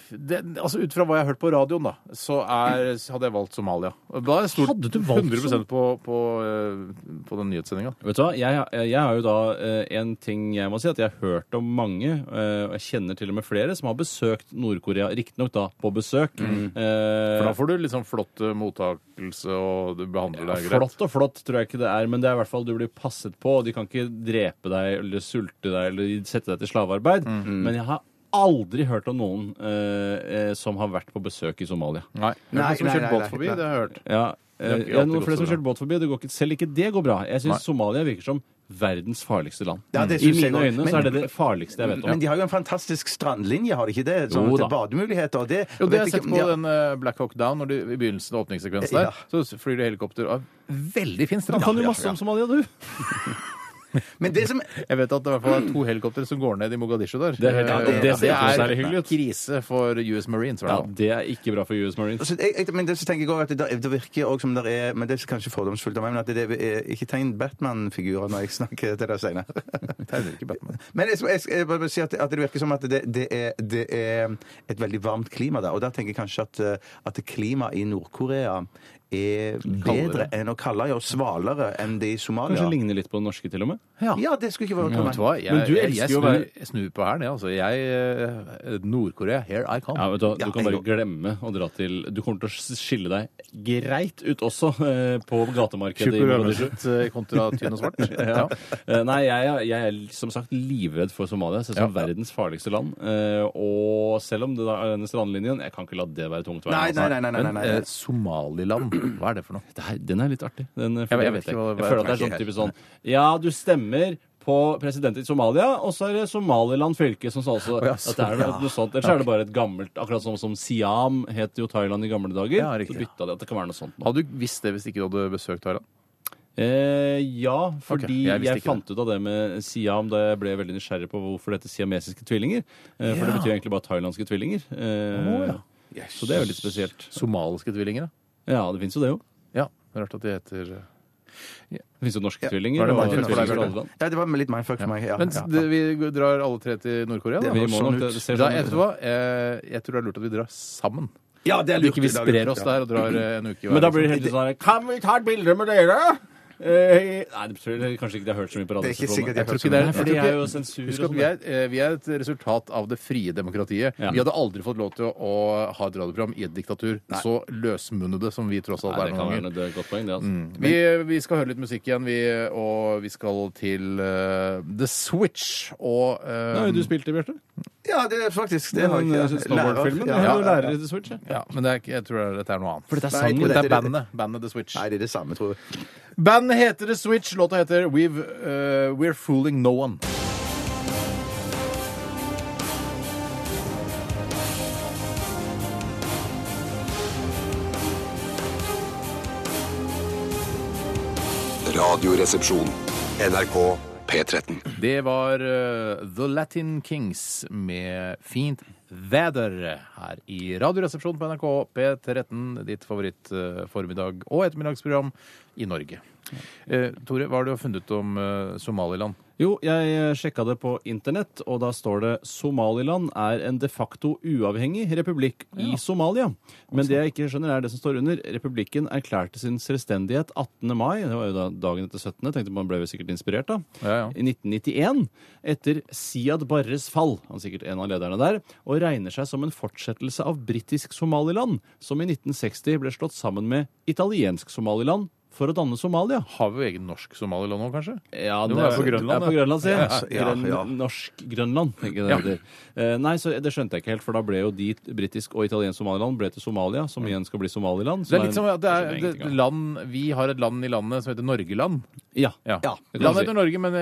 [SPEAKER 2] det, altså Ut fra hva jeg har hørt på radioen, da, så er, så hadde jeg valgt Somalia. Da er jeg stolt
[SPEAKER 4] Hadde du valgt
[SPEAKER 2] 100 på, på, eh, på den nyhetssendinga.
[SPEAKER 4] Vet du hva, jeg, jeg har jo da eh, en ting jeg må si, at jeg har hørt om mange, eh, og jeg kjenner til og med flere, som har besøkt Nord-Korea, riktignok da på besøk. Eh,
[SPEAKER 2] For da får du litt sånn flott eh, mottakelse, og du behandler deg greit.
[SPEAKER 4] Flott og flott tror jeg ikke det er, men det er i hvert fall du blir passet på. og De kan ikke drepe deg eller sulte deg eller sette deg til slavearbeid. Men jeg har aldri hørt om noen eh, eh, som har vært på besøk i Somalia.
[SPEAKER 2] Nei, nei,
[SPEAKER 3] Nei,
[SPEAKER 2] nei,
[SPEAKER 3] nei,
[SPEAKER 2] nei,
[SPEAKER 3] nei,
[SPEAKER 2] båt
[SPEAKER 3] nei.
[SPEAKER 2] forbi, det har jeg hørt.
[SPEAKER 4] Ja, eh,
[SPEAKER 2] Det er ikke
[SPEAKER 4] det er
[SPEAKER 2] alltid
[SPEAKER 4] noen
[SPEAKER 2] gått så
[SPEAKER 4] flere som har kjørt båt forbi. Det går ikke, selv ikke det går bra. Jeg
[SPEAKER 2] Nei.
[SPEAKER 4] syns Somalia virker som verdens farligste land. Mm.
[SPEAKER 3] Ja, det
[SPEAKER 4] I
[SPEAKER 3] synes jeg
[SPEAKER 4] mine
[SPEAKER 3] også.
[SPEAKER 4] øyne så
[SPEAKER 3] Men-
[SPEAKER 4] er det det farligste jeg vet
[SPEAKER 3] Men
[SPEAKER 4] om.
[SPEAKER 3] de har jo en fantastisk strandlinje, har de ikke det? Sånn
[SPEAKER 4] Jo
[SPEAKER 3] at det er
[SPEAKER 4] da.
[SPEAKER 3] bademuligheter. og Det,
[SPEAKER 2] Jo, det har
[SPEAKER 3] vet
[SPEAKER 2] jeg sett
[SPEAKER 3] ikke-
[SPEAKER 2] på
[SPEAKER 3] ja.
[SPEAKER 2] den eh, Black Hawk Down, når de, i begynnelsen av åpningssekvensen der.
[SPEAKER 3] Ja.
[SPEAKER 2] Så flyr de helikopter av veldig fin strand.
[SPEAKER 4] Du kan jo masse om Somalia, du!
[SPEAKER 3] Men det som
[SPEAKER 2] Jeg vet at det i hvert fall er to helikopter som går ned i Mogadishu der.
[SPEAKER 4] Det er helt-
[SPEAKER 2] Eh,
[SPEAKER 4] ja, det-
[SPEAKER 2] og
[SPEAKER 4] det ser ikke noe
[SPEAKER 2] er
[SPEAKER 4] særlig hyggelig ut.
[SPEAKER 2] krise for US Marines.
[SPEAKER 4] Ja,
[SPEAKER 2] Ja.
[SPEAKER 4] det er ikke bra for US Marines.
[SPEAKER 3] altså, jeg, jeg, men det så tenker jeg også at det, der- det virker også som det er Men det er kanskje fordomsfullt av meg, men at det er ikke tegn Batman-figurer når jeg snakker til deg senere.
[SPEAKER 2] Tegner ikke Batman.
[SPEAKER 3] Men jeg, jeg, jeg bare vil si at, at det virker som at det, det, er, det er et veldig varmt klima der. Og der tenker jeg kanskje at, eh, at klimaet i Nord-Korea er bedre
[SPEAKER 4] Kaldere.
[SPEAKER 3] enn å kalle og svalere enn det i Somalia.
[SPEAKER 4] Kanskje ligner litt på den norske, til og med.
[SPEAKER 3] Ja. det skulle ikke være
[SPEAKER 2] Men Mm. vet du hva? Jeg,
[SPEAKER 4] Men du
[SPEAKER 2] jeg-
[SPEAKER 4] elsker
[SPEAKER 2] jeg
[SPEAKER 4] jo å være-
[SPEAKER 2] snur- Jeg snur på hælen, jeg. Altså. Jeg, eh, Nord-Korea, here I come.
[SPEAKER 4] Ja, vet Du hva,
[SPEAKER 3] Ja,
[SPEAKER 4] du kan
[SPEAKER 3] jeg
[SPEAKER 4] bare glemme å dra til Du kommer til å skille deg greit ut også eh, på gatemarkedet. i
[SPEAKER 2] Tjukk og
[SPEAKER 4] Mogadishu.
[SPEAKER 2] rødmesset eh, kontra tynn og svart. Ja.
[SPEAKER 4] Eh, Nei, jeg, jeg er som sagt livredd for Somalia. Jeg ser det som
[SPEAKER 2] Ja.
[SPEAKER 4] verdens farligste land. Eh, Og selv om det da er denne strandlinjen Jeg kan ikke la det være tungt. å være
[SPEAKER 3] Nei,
[SPEAKER 4] med,
[SPEAKER 3] nei,
[SPEAKER 4] altså.
[SPEAKER 3] nei. nei, nei,
[SPEAKER 2] Men
[SPEAKER 3] nei,
[SPEAKER 2] eh,
[SPEAKER 3] nei.
[SPEAKER 2] Somaliland, hva er det for noe?
[SPEAKER 4] Det her, den er litt artig. Den, eh,
[SPEAKER 2] Jeg vet-
[SPEAKER 4] føler
[SPEAKER 2] jeg vet
[SPEAKER 4] jeg, vet jeg.
[SPEAKER 2] ikke hva- hva-
[SPEAKER 4] jeg føler at det er
[SPEAKER 3] Nei,
[SPEAKER 4] sånn
[SPEAKER 3] ikke
[SPEAKER 4] type sånn Ja, du stemmer på president i Somalia, og så er det Somaliland fylke som sa også
[SPEAKER 2] Å, ja,
[SPEAKER 4] at det er noe,
[SPEAKER 2] så-
[SPEAKER 4] noe sånt. Ellers er det bare et gammelt Akkurat sånn som, som Siam het jo Thailand i gamle dager.
[SPEAKER 2] Ja, riktig.
[SPEAKER 4] så bytta de at det kan være noe sånt nå.
[SPEAKER 2] Hadde du visst det hvis ikke du hadde besøkt Thailand?
[SPEAKER 4] Eh, ja, fordi
[SPEAKER 2] jeg
[SPEAKER 4] jeg,
[SPEAKER 2] visste ikke
[SPEAKER 4] fant ut av det med Siam da jeg ble veldig nysgjerrig på hvorfor dette siamesiske tvillinger. Eh, For det betyr egentlig bare thailandske tvillinger. Eh, Så det er veldig spesielt.
[SPEAKER 2] Somaliske tvillinger, da?
[SPEAKER 4] Ja, det fins jo det jo.
[SPEAKER 2] Ja. det er Rart at de heter eh,
[SPEAKER 4] Det fins jo norske
[SPEAKER 2] Var
[SPEAKER 4] tvillinger.
[SPEAKER 2] det
[SPEAKER 4] og
[SPEAKER 2] Martin
[SPEAKER 4] tvillinger
[SPEAKER 2] Ødegaard?
[SPEAKER 4] fra alle land.
[SPEAKER 3] Ja, det var litt mindfuck for meg. Ja,
[SPEAKER 2] Men
[SPEAKER 3] ja.
[SPEAKER 2] det, vi drar alle tre til Nord-Korea, da.
[SPEAKER 4] Vi må
[SPEAKER 2] Sånn
[SPEAKER 4] nok-
[SPEAKER 2] ut.
[SPEAKER 4] det ser
[SPEAKER 2] da
[SPEAKER 4] sånn ut.
[SPEAKER 2] vet du hva? Eh, Jeg tror det er lurt at vi drar sammen.
[SPEAKER 3] ja, det
[SPEAKER 2] At
[SPEAKER 3] er
[SPEAKER 2] vi
[SPEAKER 3] lurt.
[SPEAKER 2] ikke vi
[SPEAKER 3] det er lurt,
[SPEAKER 2] sprer oss
[SPEAKER 3] ja.
[SPEAKER 2] der og drar eh, en uke i hver,
[SPEAKER 4] Men da blir
[SPEAKER 2] liksom.
[SPEAKER 4] det helt sånn her, Kan vi ta et bilde med dere? Eh, nei, det betyr kanskje ikke de har hørt så mye på
[SPEAKER 3] Det er ikke
[SPEAKER 4] radioen.
[SPEAKER 3] sikkert jeg
[SPEAKER 2] tror ikke det er
[SPEAKER 3] føler sånn.
[SPEAKER 4] Nei,
[SPEAKER 2] Jeg
[SPEAKER 4] for det
[SPEAKER 2] tror
[SPEAKER 4] er
[SPEAKER 2] ikke-
[SPEAKER 4] jo sensur. og
[SPEAKER 2] Husk at
[SPEAKER 4] sånn
[SPEAKER 2] vi er, eh, vi er et resultat av det frie demokratiet.
[SPEAKER 4] Ja.
[SPEAKER 2] Vi hadde aldri fått lov til å, å ha et radioprogram i et diktatur. Så løsmunnede som vi tross alt
[SPEAKER 4] Nei,
[SPEAKER 2] er
[SPEAKER 4] det kan
[SPEAKER 2] noen
[SPEAKER 4] være
[SPEAKER 2] ganger.
[SPEAKER 4] et eh, godt poeng, det. altså.
[SPEAKER 2] Vi, vi skal høre litt musikk igjen, vi, og vi skal til eh, The Switch og eh,
[SPEAKER 4] Nå har jo du spilt det, Bjarte.
[SPEAKER 3] Ja, det er faktisk det. har jeg
[SPEAKER 4] Den
[SPEAKER 3] ikke-
[SPEAKER 4] eh,
[SPEAKER 3] Lærer.
[SPEAKER 4] snowboard-filmen.
[SPEAKER 3] Ja,
[SPEAKER 4] Du
[SPEAKER 3] ja,
[SPEAKER 4] er jo
[SPEAKER 3] ja.
[SPEAKER 4] lærer i The Switch. ja.
[SPEAKER 2] ja, Men det er, ikke- jeg tror dette er noe annet. For dette
[SPEAKER 3] er sangen.
[SPEAKER 2] Dette er
[SPEAKER 3] Dette er-
[SPEAKER 2] bandet. Bandet The Switch.
[SPEAKER 3] Nei, det er det samme, tror jeg.
[SPEAKER 2] Bandet heter The Switch, låta heter We've, eh, We're Fooling No One.
[SPEAKER 10] Radioresepsjon. NRK P13.
[SPEAKER 2] Det var eh, The Latin Kings med Fint Væder her i Radioresepsjonen på NRK P13, ditt favoritt-formiddag- og ettermiddagsprogram i Norge. Eh, Tore, hva har du funnet ut om eh, Somaliland?
[SPEAKER 4] Jo, jeg sjekka det på internett, og da står det Somaliland er en de facto uavhengig republikk i Somalia. Men det jeg ikke skjønner, er det som står under. Republikken erklærte sin selvstendighet 18. mai, det var jo da dagen etter 17. Tenkte man ble jo sikkert inspirert, da.
[SPEAKER 2] Ja, ja.
[SPEAKER 4] I 1991, etter Siad Barres fall, han er sikkert en av lederne der, og regner seg som en fortsettelse av britisk Somaliland, som i 1960 ble slått sammen med italiensk Somaliland for å danne Somalia.
[SPEAKER 2] Har vi jo egen norsk Somaliland nå, kanskje?
[SPEAKER 4] Ja,
[SPEAKER 2] Jo,
[SPEAKER 4] det
[SPEAKER 2] det er på Grønland,
[SPEAKER 4] det er på
[SPEAKER 2] det.
[SPEAKER 4] Grønland, sier jeg.
[SPEAKER 3] Ja, ja,
[SPEAKER 4] Grønn-
[SPEAKER 3] ja.
[SPEAKER 4] Norsk Grønland, tenker jeg det
[SPEAKER 2] Ja.
[SPEAKER 4] heter. Eh, Nei, så det skjønte jeg ikke helt, for da ble jo de britisk og italiensk Somaliland ble til Somalia, som igjen skal bli Somaliland.
[SPEAKER 2] Det
[SPEAKER 4] som
[SPEAKER 2] er litt som at det er, det,
[SPEAKER 4] ingenting av.
[SPEAKER 2] land, vi har et land i landet som heter Norgeland.
[SPEAKER 4] Ja.
[SPEAKER 2] Ja.
[SPEAKER 4] det kan du
[SPEAKER 2] Land
[SPEAKER 4] si.
[SPEAKER 2] heter Norge, men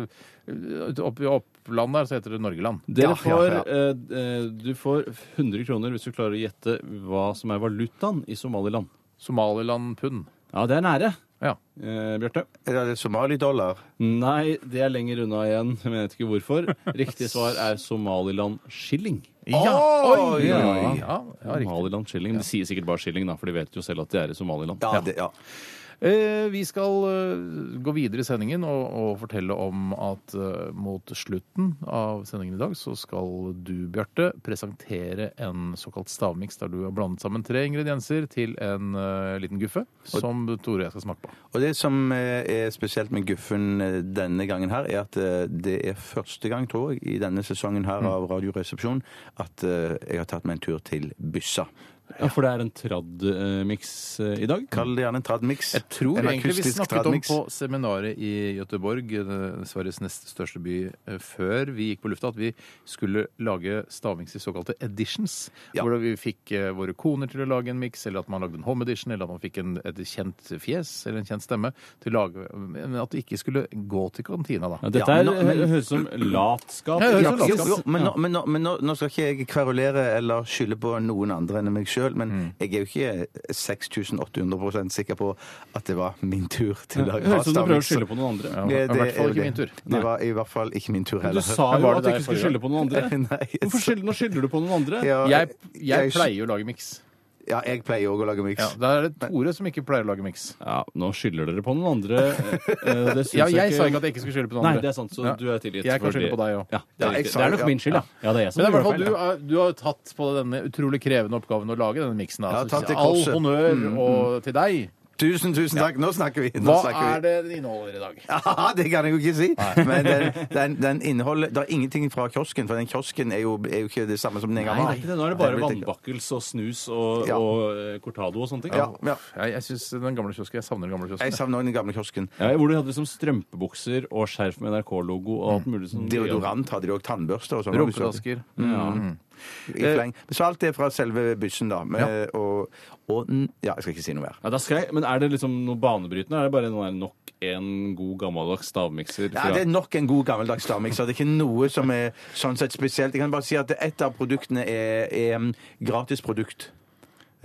[SPEAKER 2] eh, eh, opp i opplandet her så heter det Norgeland.
[SPEAKER 4] Dere
[SPEAKER 3] Ja, ja,
[SPEAKER 4] får,
[SPEAKER 3] ja.
[SPEAKER 4] eh, eh, du får 100 kroner hvis du klarer å gjette hva som er valutaen i Somaliland.
[SPEAKER 2] Somaliland-pund.
[SPEAKER 4] Ja, det er nære.
[SPEAKER 2] Ja.
[SPEAKER 4] Eh, Bjarte?
[SPEAKER 3] Er det somalidollar?
[SPEAKER 4] Nei, det er lenger unna igjen. Jeg vet ikke hvorfor. Riktig svar er Somaliland-skilling.
[SPEAKER 2] Ja! Oi,
[SPEAKER 4] ja.
[SPEAKER 2] oi, oi. Ja, ja, riktig.
[SPEAKER 4] Somaliland Shilling. De sier sikkert bare Shilling, da, for de vet jo selv at de er i Somaliland.
[SPEAKER 3] Ja, det, ja.
[SPEAKER 2] Eh, vi skal eh, gå videre i sendingen og, og fortelle om at eh, mot slutten av sendingen i dag så skal du, Bjarte, presentere en såkalt stavmiks der du har blandet sammen tre ingredienser til en eh, liten guffe som Tore og jeg skal smake på.
[SPEAKER 3] Og det som eh, er spesielt med Guffen eh, denne gangen her, er at eh, det er første gang, tror jeg, i denne sesongen
[SPEAKER 2] Mm.
[SPEAKER 3] her av Radioresepsjonen at eh, jeg har tatt meg en tur til Byssa.
[SPEAKER 4] Ja, For det er en trad-miks eh, i dag.
[SPEAKER 3] Kall det gjerne en tradmix.
[SPEAKER 2] Jeg tror
[SPEAKER 3] en
[SPEAKER 2] egentlig vi
[SPEAKER 3] akustisk
[SPEAKER 2] snakket om
[SPEAKER 3] tradmix.
[SPEAKER 2] på seminaret i Göteborg, eh, Sveriges nest største by, eh, før vi gikk på lufta, at vi skulle lage stavmiks i såkalte editions.
[SPEAKER 3] Ja.
[SPEAKER 2] Hvor vi fikk eh, våre koner til å lage en miks, eller at man lagde en home edition, eller at man fikk en, et kjent fjes eller en kjent stemme til å lage Men at det ikke skulle gå til kantina, da.
[SPEAKER 4] Ja, dette
[SPEAKER 3] Ja,
[SPEAKER 4] er, eh,
[SPEAKER 3] men nå- men-
[SPEAKER 4] høres ut som latskap.
[SPEAKER 2] Ja, det høres ut
[SPEAKER 3] Ja,
[SPEAKER 2] som
[SPEAKER 3] jo,
[SPEAKER 2] latskap.
[SPEAKER 3] jo, men nå, men, nå, men nå, nå skal ikke jeg kverulere eller skylde på noen andre enn meg sjøl, men
[SPEAKER 4] Mm.
[SPEAKER 3] jeg er jo ikke 6800 sikker på at det var min tur til å
[SPEAKER 4] Det høres ut som du prøver å
[SPEAKER 3] stavmix.
[SPEAKER 4] skylde på noen andre.
[SPEAKER 2] Ja, det var i hvert fall
[SPEAKER 3] er jo
[SPEAKER 2] ikke
[SPEAKER 3] det.
[SPEAKER 2] min tur.
[SPEAKER 3] Det var i hvert fall ikke min tur
[SPEAKER 4] Men
[SPEAKER 3] heller.
[SPEAKER 4] Du sa
[SPEAKER 2] Men
[SPEAKER 4] jo
[SPEAKER 2] var det
[SPEAKER 4] at du
[SPEAKER 2] der
[SPEAKER 4] ikke skulle
[SPEAKER 2] forrige
[SPEAKER 4] skylde på noen andre.
[SPEAKER 3] Nei, jeg-
[SPEAKER 4] Hvorfor skylder, nå skylder du på noen andre?
[SPEAKER 3] Ja,
[SPEAKER 2] Jeg,
[SPEAKER 3] jeg-
[SPEAKER 2] jeg pleier jo å lage miks.
[SPEAKER 3] Ja, jeg pleier òg å lage miks.
[SPEAKER 2] Ja, da er det Tore som ikke pleier å lage miks.
[SPEAKER 4] Ja, nå skylder dere på noen andre. eh, Det syns
[SPEAKER 2] Ja, jeg sa ikke at jeg ikke skulle skylde på noen andre.
[SPEAKER 4] Nei, det er sant, så
[SPEAKER 2] Ja.
[SPEAKER 4] du er tilgitt.
[SPEAKER 2] Jeg kan
[SPEAKER 4] for det.
[SPEAKER 2] skylde på deg også.
[SPEAKER 4] Ja, det
[SPEAKER 3] Ja,
[SPEAKER 4] er,
[SPEAKER 3] jeg
[SPEAKER 4] riktig.
[SPEAKER 3] sa
[SPEAKER 4] det er nok
[SPEAKER 3] det, ja.
[SPEAKER 4] min skyld, ja. ja det er jeg som
[SPEAKER 2] Men det er i hvert fall,
[SPEAKER 4] gjorde
[SPEAKER 2] du,
[SPEAKER 4] feil, ja.
[SPEAKER 2] er- du har jo tatt på deg denne utrolig krevende oppgaven å lage denne miksen.
[SPEAKER 3] Ja,
[SPEAKER 2] Da. Så
[SPEAKER 3] tatt det
[SPEAKER 2] all
[SPEAKER 3] korset. Mm,
[SPEAKER 2] honnør og til deg.
[SPEAKER 3] Tusen, tusen takk. Nå snakker vi. Nå
[SPEAKER 2] Hva
[SPEAKER 3] snakker vi.
[SPEAKER 2] er det den inneholder i dag?
[SPEAKER 3] Ja, det kan jeg jo ikke si. Men den, den, den inneholder Det er ingenting fra kiosken, for den kiosken er jo, er jo ikke det samme som den en gang
[SPEAKER 4] Nei, det er ikke det.
[SPEAKER 3] var.
[SPEAKER 4] Nå er det bare
[SPEAKER 3] Jeg blir-
[SPEAKER 4] vannbakkelse og snus og,
[SPEAKER 3] Ja.
[SPEAKER 4] og eh, cortado og sånne ting.
[SPEAKER 3] Ja, ja.
[SPEAKER 2] Jeg, jeg synes den gamle kiosken, jeg savner den gamle
[SPEAKER 3] Jeg
[SPEAKER 2] kiosken.
[SPEAKER 3] savner også den gamle kiosken.
[SPEAKER 4] Ja, hvor du hadde liksom strømpebukser og skjerf med NRK-logo og alt mulig
[SPEAKER 3] Mm.
[SPEAKER 4] sånn.
[SPEAKER 3] Deodorant hadde de òg, tannbørste og sånn.
[SPEAKER 2] Rumpetasker.
[SPEAKER 4] Ja.
[SPEAKER 3] I fleng. Så alt det er fra selve byssen, da. Med, og, og n- Ja, jeg skal ikke si noe mer.
[SPEAKER 4] Ja, da skal jeg, men er det liksom noe banebrytende? Er det bare noe, nok en god gammeldags stavmikser?
[SPEAKER 3] Ja, det er nok en god gammeldags stavmikser. Det er ikke noe som er sånn sett spesielt. Jeg kan bare si at et av produktene er, er mm, gratis produkt.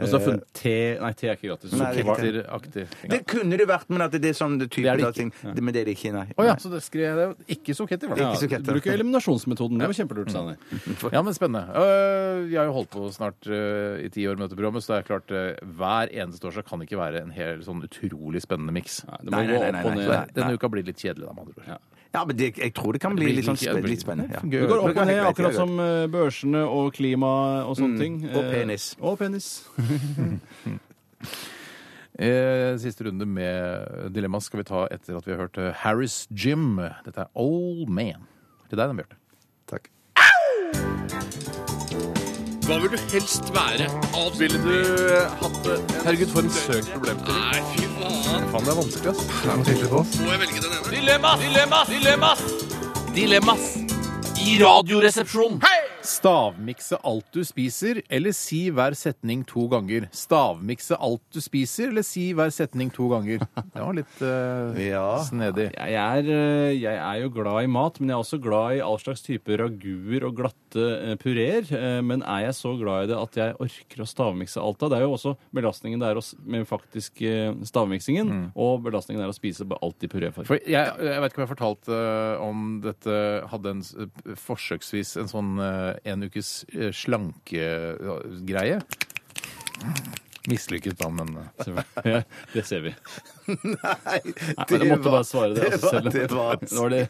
[SPEAKER 4] Og så har jeg funnet te Nei, te er ikke gratis.
[SPEAKER 3] Nei, det er ikke
[SPEAKER 4] Sukkervarer.
[SPEAKER 2] Aktiv.
[SPEAKER 3] Det kunne det vært, men at det er sånn type
[SPEAKER 2] Det er det
[SPEAKER 3] av ting. Men det er det ikke, nei.
[SPEAKER 2] Å ja, så det skrev jeg det. Ikke soketter, var det?
[SPEAKER 4] Ja,
[SPEAKER 3] Ikke Mm. sukkervarer.
[SPEAKER 4] Bruk eliminasjonsmetoden. Det var kjempelurt, Mm. Steinar.
[SPEAKER 2] Ja, men spennende. Øh, vi har jo holdt på snart øh, i ti år med dette programmet, så det er klart øh, hver eneste årsak kan ikke være en hel sånn utrolig spennende miks.
[SPEAKER 4] Nei, det må
[SPEAKER 3] Nei, nei,
[SPEAKER 4] gå
[SPEAKER 3] nei,
[SPEAKER 4] opp og
[SPEAKER 3] nei,
[SPEAKER 4] ned.
[SPEAKER 3] nei.
[SPEAKER 2] Denne uka blir litt kjedelig, da, med andre ord.
[SPEAKER 3] Ja, men det, jeg tror det kan
[SPEAKER 2] Det
[SPEAKER 3] bli
[SPEAKER 2] blir
[SPEAKER 3] litt, sånn,
[SPEAKER 2] like-
[SPEAKER 3] spen
[SPEAKER 2] det blir-
[SPEAKER 3] litt spennende. Ja.
[SPEAKER 2] Gøy.
[SPEAKER 4] Det går opp og
[SPEAKER 3] helt
[SPEAKER 4] ned,
[SPEAKER 3] greit,
[SPEAKER 4] akkurat
[SPEAKER 3] helt
[SPEAKER 4] som eh, børsene og klima og sånne ting.
[SPEAKER 3] og
[SPEAKER 4] Eh,
[SPEAKER 3] penis.
[SPEAKER 4] Og penis.
[SPEAKER 2] Eh, Siste runde med dilemma skal vi ta etter at vi har hørt eh, Harris Jim. Dette er Old Man. Til deg, da, Bjarte.
[SPEAKER 3] Takk.
[SPEAKER 7] Hva vil du helst være? Ville du hatt det? Herregud, for en søk problemstilling. Nei, fy faen.
[SPEAKER 2] Faen, det er vanskelig, ass.
[SPEAKER 7] Må jeg velge den ene?
[SPEAKER 9] Dilemmas! Dilemmas! Dilemmas! Dilemmas i Radioresepsjonen.
[SPEAKER 2] Stavmikse alt du spiser, eller si hver setning to ganger. Stavmikse alt du spiser, eller si hver setning to ganger. Det var litt eh,
[SPEAKER 3] Ja.
[SPEAKER 2] snedig.
[SPEAKER 4] Jeg er, eh, jeg er jo glad i mat, men jeg er også glad i all slags type raguer og glatte eh, pureer. Eh, Men er jeg så glad i det at jeg orker å stavmikse alt av? Det er jo også belastningen det er å s- med faktisk eh, stavmiksingen,
[SPEAKER 3] Mm.
[SPEAKER 4] og belastningen det er å spise bare alt i puréform.
[SPEAKER 2] For jeg, jeg vet ikke om jeg fortalte om dette hadde en s- eh, forsøksvis en sånn eh, en ukes eh, slankegreie. Mislykket, da, men eh,
[SPEAKER 4] Ja, det ser vi.
[SPEAKER 3] Nei,
[SPEAKER 4] Nei, men jeg måtte bare svare det. Altså,
[SPEAKER 3] var,
[SPEAKER 4] selv om-
[SPEAKER 3] det var,
[SPEAKER 4] det var det,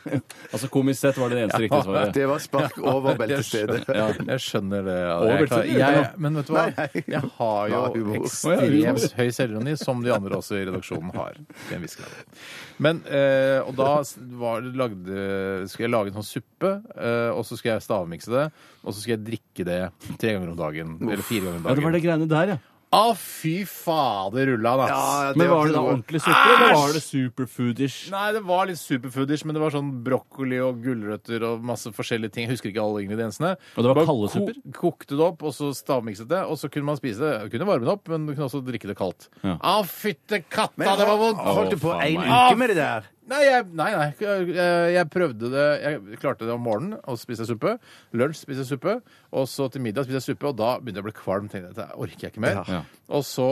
[SPEAKER 4] altså komisk sett var det det eneste riktige svaret.
[SPEAKER 3] det var spark over beltestedet.
[SPEAKER 2] Jeg skjønner, jeg skjønner det. Ja,
[SPEAKER 4] Over
[SPEAKER 2] jeg, klarer-
[SPEAKER 4] beltestedet, gjør
[SPEAKER 2] jeg,
[SPEAKER 4] det
[SPEAKER 2] men vet du hva?
[SPEAKER 3] Nei, nei.
[SPEAKER 2] Jeg har jo
[SPEAKER 3] Bra humor.
[SPEAKER 2] ekstremt høy selvironi, som de andre også i redaksjonen har. Til en viss grad. Men, eh, og da s- var, lagde, skulle jeg lage en sånn suppe, eh, og så skulle jeg stavmikse det, og så skulle jeg drikke det tre ganger om dagen. Eller fire ganger om
[SPEAKER 4] Ja, det var
[SPEAKER 2] dagen.
[SPEAKER 4] det greiene der, ja.
[SPEAKER 2] Å, fy fader, rulla han, ass!
[SPEAKER 3] Ja,
[SPEAKER 4] Men var det da
[SPEAKER 3] ikke noe.
[SPEAKER 4] ordentlig suppe, eller var det superfoodish?
[SPEAKER 2] Nei, det var litt superfoodish, men det var sånn brokkoli og gulrøtter og masse forskjellige ting. Jeg husker ikke alle ingrediensene.
[SPEAKER 4] Og det var
[SPEAKER 2] Bare
[SPEAKER 4] kalde supper?
[SPEAKER 2] Ko kokte det opp, og så stavmikset det, og så kunne man spise det. Kunne varme det opp, men du kunne også drikke det kaldt.
[SPEAKER 4] Ja.
[SPEAKER 2] Å, fytte katta,
[SPEAKER 3] Men
[SPEAKER 2] det var vondt!
[SPEAKER 3] Holdt du på
[SPEAKER 4] faen
[SPEAKER 3] en
[SPEAKER 4] meg.
[SPEAKER 3] uke med det der?
[SPEAKER 2] Nei, jeg, nei, nei. Jeg, jeg prøvde det Jeg klarte det om morgenen, og så spiste jeg suppe. Lunsj spiste jeg suppe, og så til middag spiste jeg suppe, og da begynte jeg å bli kvalm. tenkte jeg, Dette orker jeg ikke mer.
[SPEAKER 4] Ja.
[SPEAKER 2] Og så,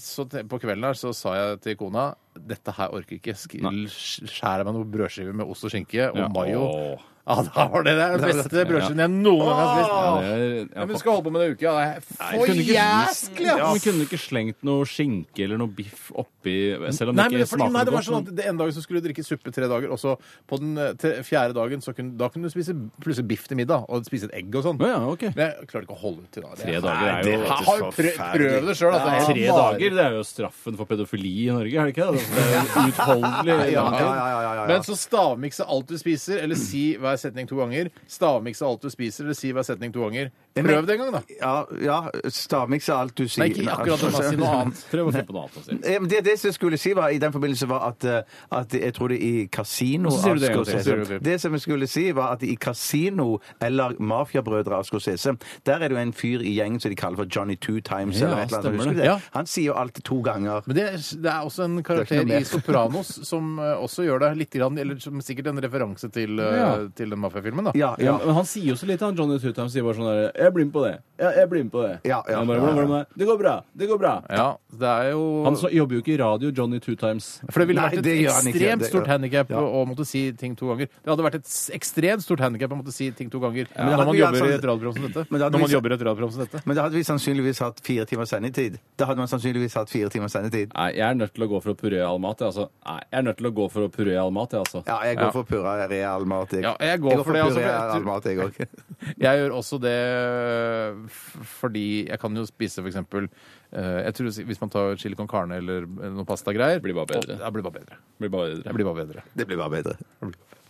[SPEAKER 2] så te- på kvelden her så sa jeg til kona dette her orker jeg ikke. Sk-
[SPEAKER 4] Nei.
[SPEAKER 2] Skjærer meg noen brødskiver med ost og skinke og
[SPEAKER 4] Ja.
[SPEAKER 2] mayo.
[SPEAKER 4] Åh.
[SPEAKER 2] Ja, da var det det beste brødskiven jeg noen gang har spist.
[SPEAKER 4] Ja, det er-
[SPEAKER 2] Ja,
[SPEAKER 4] ja,
[SPEAKER 2] men du skal holde på med det en uke. Ja. det er
[SPEAKER 4] Nei, kunne
[SPEAKER 2] For
[SPEAKER 4] ikke-
[SPEAKER 2] jæsklig!
[SPEAKER 4] Ja,
[SPEAKER 2] ass!
[SPEAKER 4] men kunne ikke slengt noe skinke eller noe biff oppi Selv om
[SPEAKER 2] Nei, men
[SPEAKER 4] det ikke
[SPEAKER 2] det, fordi, nei,
[SPEAKER 4] smaker
[SPEAKER 2] det var sånn
[SPEAKER 4] godt.
[SPEAKER 2] at det en dag så skulle du drikke suppe tre dager, og så på den eh, te, fjerde dagen så kunne, da kunne du spise plutselig biff til middag og spise et egg og sånn.
[SPEAKER 4] men- Å ja, ok.
[SPEAKER 2] Men jeg klarer ikke å holde ut til da. Det
[SPEAKER 4] Tre
[SPEAKER 2] er-
[SPEAKER 4] dager er jo
[SPEAKER 2] Jeg har jo prøv, prøv det altså. sjøl.
[SPEAKER 4] Ja, Tre dager det er jo straffen for pedofili i Norge, er det ikke? det? Altså, Det er jo utholdelig.
[SPEAKER 3] Ja, ja, ja, ja, ja, ja.
[SPEAKER 2] Men så stavmikse alt du spiser, eller si hver setning to ganger. Stavmikse alt du spiser, eller si hver setning to ganger. Prøv det en gang, da.
[SPEAKER 3] Ja, ja stavmiks er alt du sier.
[SPEAKER 2] Nei, ikke akkurat det, si noe annet.
[SPEAKER 4] Prøv å finne på noe annet å si.
[SPEAKER 3] Eh, men Det, det som jeg skulle si var, i den forbindelse var at, eh, at jeg tror det i kasino
[SPEAKER 4] Og så sier du det en gang til. Jeg
[SPEAKER 3] av
[SPEAKER 4] sier
[SPEAKER 3] Scorsese- Det som jeg skulle si var at i kasino eller mafiabrødre av Scorsese, der er det jo en fyr i gjengen som de kaller for Johnny Two Times
[SPEAKER 4] Ja,
[SPEAKER 3] eller et eller annet.
[SPEAKER 4] stemmer
[SPEAKER 3] Husker du
[SPEAKER 4] det.
[SPEAKER 3] det?
[SPEAKER 2] Ja.
[SPEAKER 3] Han sier jo alt to ganger.
[SPEAKER 2] Men det, er- det er også en
[SPEAKER 3] Det er
[SPEAKER 2] karakter
[SPEAKER 3] ikke noe
[SPEAKER 2] i
[SPEAKER 3] mer.
[SPEAKER 2] Sopranos som eh, også gjør det litt, grann, eller som sikkert en referanse til, eh,
[SPEAKER 4] Ja.
[SPEAKER 2] til den mafiafilmen. da.
[SPEAKER 3] Ja,
[SPEAKER 4] Ja,
[SPEAKER 3] ja.
[SPEAKER 4] men han sier jo så lite, han Johnny Two Times sier bare sånn der Jeg blir med på det. Ja, jeg blir med på det.
[SPEAKER 3] Ja, ja.
[SPEAKER 4] Jeg bare, hvordan går det med deg? Det går bra. Det går bra.
[SPEAKER 2] Ja, det er jo
[SPEAKER 4] Han så, jobber jo ikke i radio, Johnny Two Times.
[SPEAKER 2] For det ville
[SPEAKER 3] Nei,
[SPEAKER 2] vært
[SPEAKER 3] det
[SPEAKER 2] et
[SPEAKER 3] gjør han ikke.
[SPEAKER 2] ekstremt
[SPEAKER 3] Det-
[SPEAKER 2] stort handikap
[SPEAKER 3] Ja.
[SPEAKER 2] å å måtte si ting to ganger. Det hadde vært et s- ekstremt stort handikap å måtte si ting to ganger
[SPEAKER 3] det
[SPEAKER 2] når
[SPEAKER 3] hadde
[SPEAKER 2] man
[SPEAKER 3] vi
[SPEAKER 2] jobber
[SPEAKER 3] altså-
[SPEAKER 2] i et radioprogram som dette.
[SPEAKER 3] Men det hadde
[SPEAKER 2] Når man
[SPEAKER 3] vi-
[SPEAKER 2] jobber i et radioprogram som dette.
[SPEAKER 3] Men da hadde vi sannsynligvis hatt fire timers sendetid. Da hadde man sannsynligvis hatt fire timers sendetid.
[SPEAKER 4] Nei, jeg er nødt til å gå for å puré all mat, jeg, altså. Nei, jeg er nødt til å gå for å puré all mat, jeg, altså.
[SPEAKER 3] Ja, jeg går for purra real mat, jeg.
[SPEAKER 2] Ja, jeg går for det, altså,
[SPEAKER 3] puré
[SPEAKER 2] for jeg-
[SPEAKER 3] real mat, jeg òg.
[SPEAKER 2] Jeg gjør også det øh, f- fordi jeg kan jo spise f.eks. Jeg tror si- Hvis man tar chili con carne eller noen pastagreier
[SPEAKER 4] Blir bare bedre.
[SPEAKER 2] og- Ja, blir bare bedre.
[SPEAKER 4] Blir bare bedre.
[SPEAKER 2] Jeg blir bare bedre.
[SPEAKER 3] Det blir bare bedre.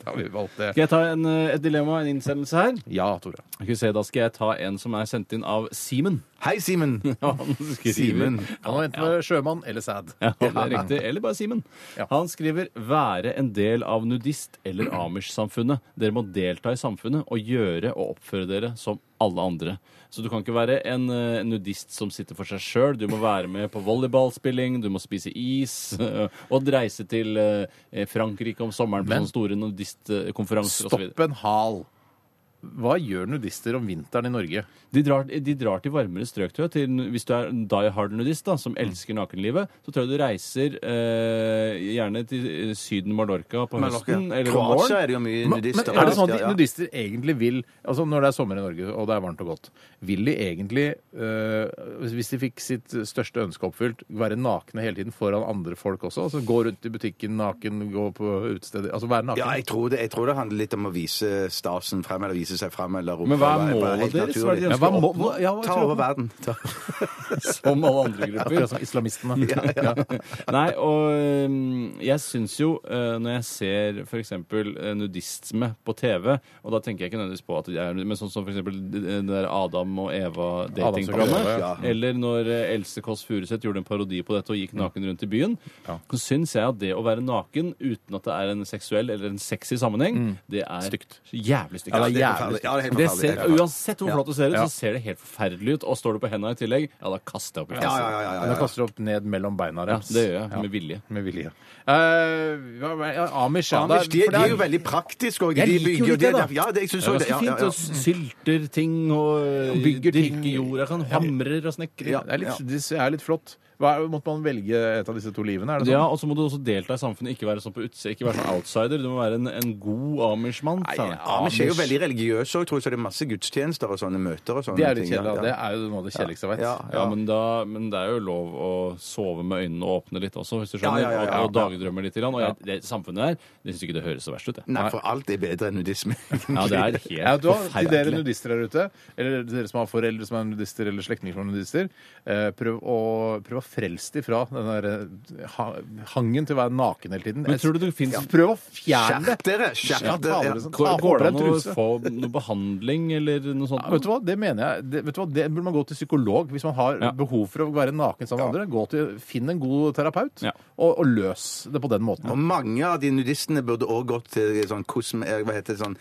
[SPEAKER 2] Da har vi valgt det.
[SPEAKER 4] Skal jeg ta en, eh, et dilemma, en innsendelse her?
[SPEAKER 2] Ja, Tore.
[SPEAKER 4] Skal vi se, Da skal jeg ta en som er sendt inn av Simen.
[SPEAKER 3] Hei, Simen!
[SPEAKER 4] Han skriver-
[SPEAKER 3] Simen.
[SPEAKER 2] Han var enten sjømann eller sæd.
[SPEAKER 4] Ja, det er riktig. Eller bare Simen.
[SPEAKER 2] Ja.
[SPEAKER 4] Han skriver 'være en del av nudist- eller Amish-samfunnet'. Dere må delta i samfunnet og gjøre og oppføre dere som alle andre. Så du kan ikke være en eh, nudist som sitter for seg sjøl. Du må være med på volleyballspilling, du må spise is og reise til eh, Frankrike om sommeren på
[SPEAKER 2] Men-
[SPEAKER 4] sånne store nudistkonferanser osv.
[SPEAKER 2] Stopp en hal. Hva gjør nudister om vinteren i Norge?
[SPEAKER 4] De drar, de drar til varmere strøk, tror jeg. Til, hvis du er en die hard nudist da,
[SPEAKER 3] Mm.
[SPEAKER 4] som elsker nakenlivet, så tror jeg du reiser eh, gjerne til eh, Syden, Mallorca på
[SPEAKER 3] Mallorca.
[SPEAKER 4] høsten eller om
[SPEAKER 3] Kroatia
[SPEAKER 4] våren.
[SPEAKER 3] er det jo mye
[SPEAKER 2] Men, men
[SPEAKER 3] nudister.
[SPEAKER 2] er det sånn at
[SPEAKER 3] Ja,
[SPEAKER 2] de
[SPEAKER 3] ja.
[SPEAKER 2] nudister egentlig vil Altså Når det er sommer i Norge og det er varmt og godt, vil de egentlig, øh, hvis- hvis de fikk sitt største ønske oppfylt, være nakne hele tiden foran andre folk også? Altså Gå rundt i butikken naken, gå på utesteder Altså være naken?
[SPEAKER 3] Ja, jeg tror, det, jeg tror det handler litt om å vise stasen frem, eller vise seg frem, eller opp.
[SPEAKER 4] Men hva er
[SPEAKER 3] eller
[SPEAKER 4] målet
[SPEAKER 3] helt
[SPEAKER 4] deres? Hva er det de
[SPEAKER 3] naturlig.
[SPEAKER 2] Ja, hva må-
[SPEAKER 4] ønsker å oppnå?
[SPEAKER 2] hva- ja, hva
[SPEAKER 3] Ta
[SPEAKER 2] tror
[SPEAKER 3] over
[SPEAKER 2] du?
[SPEAKER 3] verden. Ta.
[SPEAKER 4] Som alle andre grupper.
[SPEAKER 2] Akkurat som altså islamistene.
[SPEAKER 4] Nei, og øhm, jeg syns jo, øh, når jeg ser f.eks. nudisme på TV, og da tenker jeg ikke nødvendigvis på at de er men sånn som f.eks. det der Adam og Eva-datingprogrammet,
[SPEAKER 2] Adam og Eva,
[SPEAKER 3] ja.
[SPEAKER 4] eller når eh, Else Kåss Furuseth gjorde en parodi på dette og
[SPEAKER 3] Mm.
[SPEAKER 4] gikk naken rundt i byen, så syns jeg at det å være naken uten at det er en seksuell eller en sexy sammenheng, det er
[SPEAKER 2] Stygt.
[SPEAKER 4] jævlig stygt.
[SPEAKER 3] Mm. Ja, det er jævlig stygt. Ja, det er helt
[SPEAKER 4] Det
[SPEAKER 3] forferdelig.
[SPEAKER 4] ser,
[SPEAKER 3] Helt forferdelig.
[SPEAKER 4] uansett hvor
[SPEAKER 3] Ja.
[SPEAKER 4] flott det ser ut,
[SPEAKER 2] Ja.
[SPEAKER 4] så ser det helt forferdelig ut. Og står du på henda i tillegg, ja, da kaster jeg opp i
[SPEAKER 3] Ja,
[SPEAKER 4] fjeset.
[SPEAKER 3] ja, ja, ja,
[SPEAKER 2] Da
[SPEAKER 3] ja, ja.
[SPEAKER 2] kaster du opp ned mellom beina
[SPEAKER 4] Ja,
[SPEAKER 2] deres.
[SPEAKER 4] det gjør jeg. Med vilje.
[SPEAKER 2] Med vilje. Eh, hva var det? Ja, Amish, ja.
[SPEAKER 3] Amish,
[SPEAKER 2] det
[SPEAKER 3] de,
[SPEAKER 2] er- for
[SPEAKER 3] de
[SPEAKER 2] det
[SPEAKER 3] er jo veldig praktiske òg.
[SPEAKER 2] Jeg
[SPEAKER 3] De
[SPEAKER 2] liker jo
[SPEAKER 3] bygger jo
[SPEAKER 2] litt
[SPEAKER 3] det,
[SPEAKER 2] det,
[SPEAKER 3] da.
[SPEAKER 2] da.
[SPEAKER 3] Ja, det, jeg synes
[SPEAKER 4] Det er
[SPEAKER 3] også
[SPEAKER 4] ganske
[SPEAKER 3] det. Ja, ja,
[SPEAKER 4] fint.
[SPEAKER 3] ja.
[SPEAKER 4] Og sylter ting og
[SPEAKER 2] Bygger ting.
[SPEAKER 4] dyrker jorda.
[SPEAKER 3] sånn
[SPEAKER 4] Kan hamrer og snekrer.
[SPEAKER 2] Det er litt, det er litt flott. Hva, er- måtte man velge et av disse to livene? Er det sånn?
[SPEAKER 4] Ja, og så må du også delta i samfunnet. Ikke være sånn på utsida, ikke være sånn outsider. Du må være en, en god amish-mann. sa jeg.
[SPEAKER 3] Amish er jo veldig religiøse òg, tror jeg, så det er masse gudstjenester og sånne møter og sånne
[SPEAKER 2] Det er litt
[SPEAKER 3] ting, ja,
[SPEAKER 2] kjedelig. da.
[SPEAKER 3] ja.
[SPEAKER 2] Det er jo noe av det kjedeligste jeg vet.
[SPEAKER 3] Ja,
[SPEAKER 4] Ja, men, da, men det er jo lov å sove med øynene åpne litt også, hvis du
[SPEAKER 3] Ja,
[SPEAKER 4] skjønner.
[SPEAKER 3] ja, ja, ja,
[SPEAKER 4] Og, og
[SPEAKER 3] ja.
[SPEAKER 4] dagdrømme litt. Grann. Og jeg, det samfunnet her, det syns ikke det høres så verst ut. Jeg.
[SPEAKER 3] Nei, for alt er bedre enn nudisme.
[SPEAKER 4] Ja, det er helt
[SPEAKER 2] Ja, du har, til dere
[SPEAKER 4] forferdelig.
[SPEAKER 2] nudister der ute, eller dere som har foreldre som er nudister, eller slektninger som er nudister, eh, prøv å, prøv å frelse dem fra den der eh, ha- hangen til å være naken hele tiden.
[SPEAKER 4] Men tror du det finnes-
[SPEAKER 2] Ja, Prøv å fjerne
[SPEAKER 3] Skjerp
[SPEAKER 2] det!
[SPEAKER 3] dere!
[SPEAKER 2] Ja,
[SPEAKER 3] Skjerp
[SPEAKER 2] ta av
[SPEAKER 3] dere!
[SPEAKER 2] dere sånn.
[SPEAKER 4] Går,
[SPEAKER 2] Ta på
[SPEAKER 4] går det
[SPEAKER 2] deg
[SPEAKER 4] an å
[SPEAKER 2] truse.
[SPEAKER 4] få noe behandling eller noe sånt?
[SPEAKER 2] Ja, vet du hva, det mener jeg. Det, vet du hva? det burde man gå til psykolog hvis man har
[SPEAKER 4] Ja.
[SPEAKER 2] behov for å være naken sammen med andre. Gå til, Finn en god terapeut,
[SPEAKER 4] Ja.
[SPEAKER 2] og, og løs det på den måten.
[SPEAKER 3] Og mange av de nudistene burde òg gått til sånn kosme... eh, Hva heter det sånn,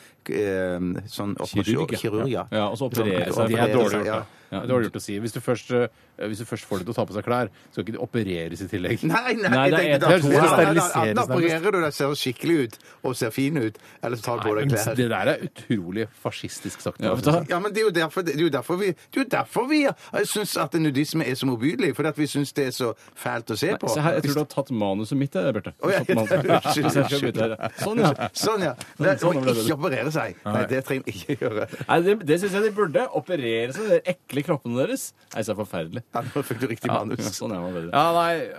[SPEAKER 3] eh, sånn operasjon-
[SPEAKER 4] Kirurg, ja.
[SPEAKER 3] Kirurg, ja.
[SPEAKER 4] Ja, og så operere
[SPEAKER 3] Sånn-
[SPEAKER 4] seg.
[SPEAKER 2] Det er dårlig gjort.
[SPEAKER 3] Ja.
[SPEAKER 2] da. Ja, det er dårlig gjort å si. Hvis du først, eh, hvis du først får dem til å ta på seg klær, skal ikke de opereres i tillegg.
[SPEAKER 3] Nei, nei,
[SPEAKER 4] Nei, det er
[SPEAKER 3] jeg tenkte
[SPEAKER 4] et- det er
[SPEAKER 3] da-
[SPEAKER 4] sånn
[SPEAKER 3] Ja,
[SPEAKER 2] steriliseres
[SPEAKER 3] da- da- Da
[SPEAKER 2] nærmest.
[SPEAKER 3] opererer du deg, ser skikkelig ut og ser fin ut, eller så tar du på
[SPEAKER 2] Nei,
[SPEAKER 3] deg
[SPEAKER 2] men
[SPEAKER 3] klær.
[SPEAKER 2] det der er utrolig fascistisk sagt.
[SPEAKER 4] Ja,
[SPEAKER 2] altså.
[SPEAKER 4] vet du hva?
[SPEAKER 3] Ja, men Det er jo derfor, det er jo derfor vi, det er jo derfor vi syns at nudisme er så motbydelig. Fordi at vi syns det er så fælt å se på.
[SPEAKER 4] Se her, jeg tror du har tatt manuset mitt, jeg, Bjarte.
[SPEAKER 3] Å, ja,
[SPEAKER 4] Tatt manuset.
[SPEAKER 3] ja, unnskyld,
[SPEAKER 4] Så jeg skal bytte her. Sånn, ja.
[SPEAKER 3] Sånn, ja. Det,
[SPEAKER 4] sånn
[SPEAKER 3] og
[SPEAKER 4] ble det.
[SPEAKER 3] ikke operere seg. Nei, det trenger vi ikke gjøre.
[SPEAKER 4] Nei, det, det syns jeg de burde. Operere seg, de der ekle kroppene deres. Nei, så er det forferdelig.
[SPEAKER 3] Ja, nå fikk du riktig manus.
[SPEAKER 4] Sånn er man bedre.
[SPEAKER 2] Ja, nei,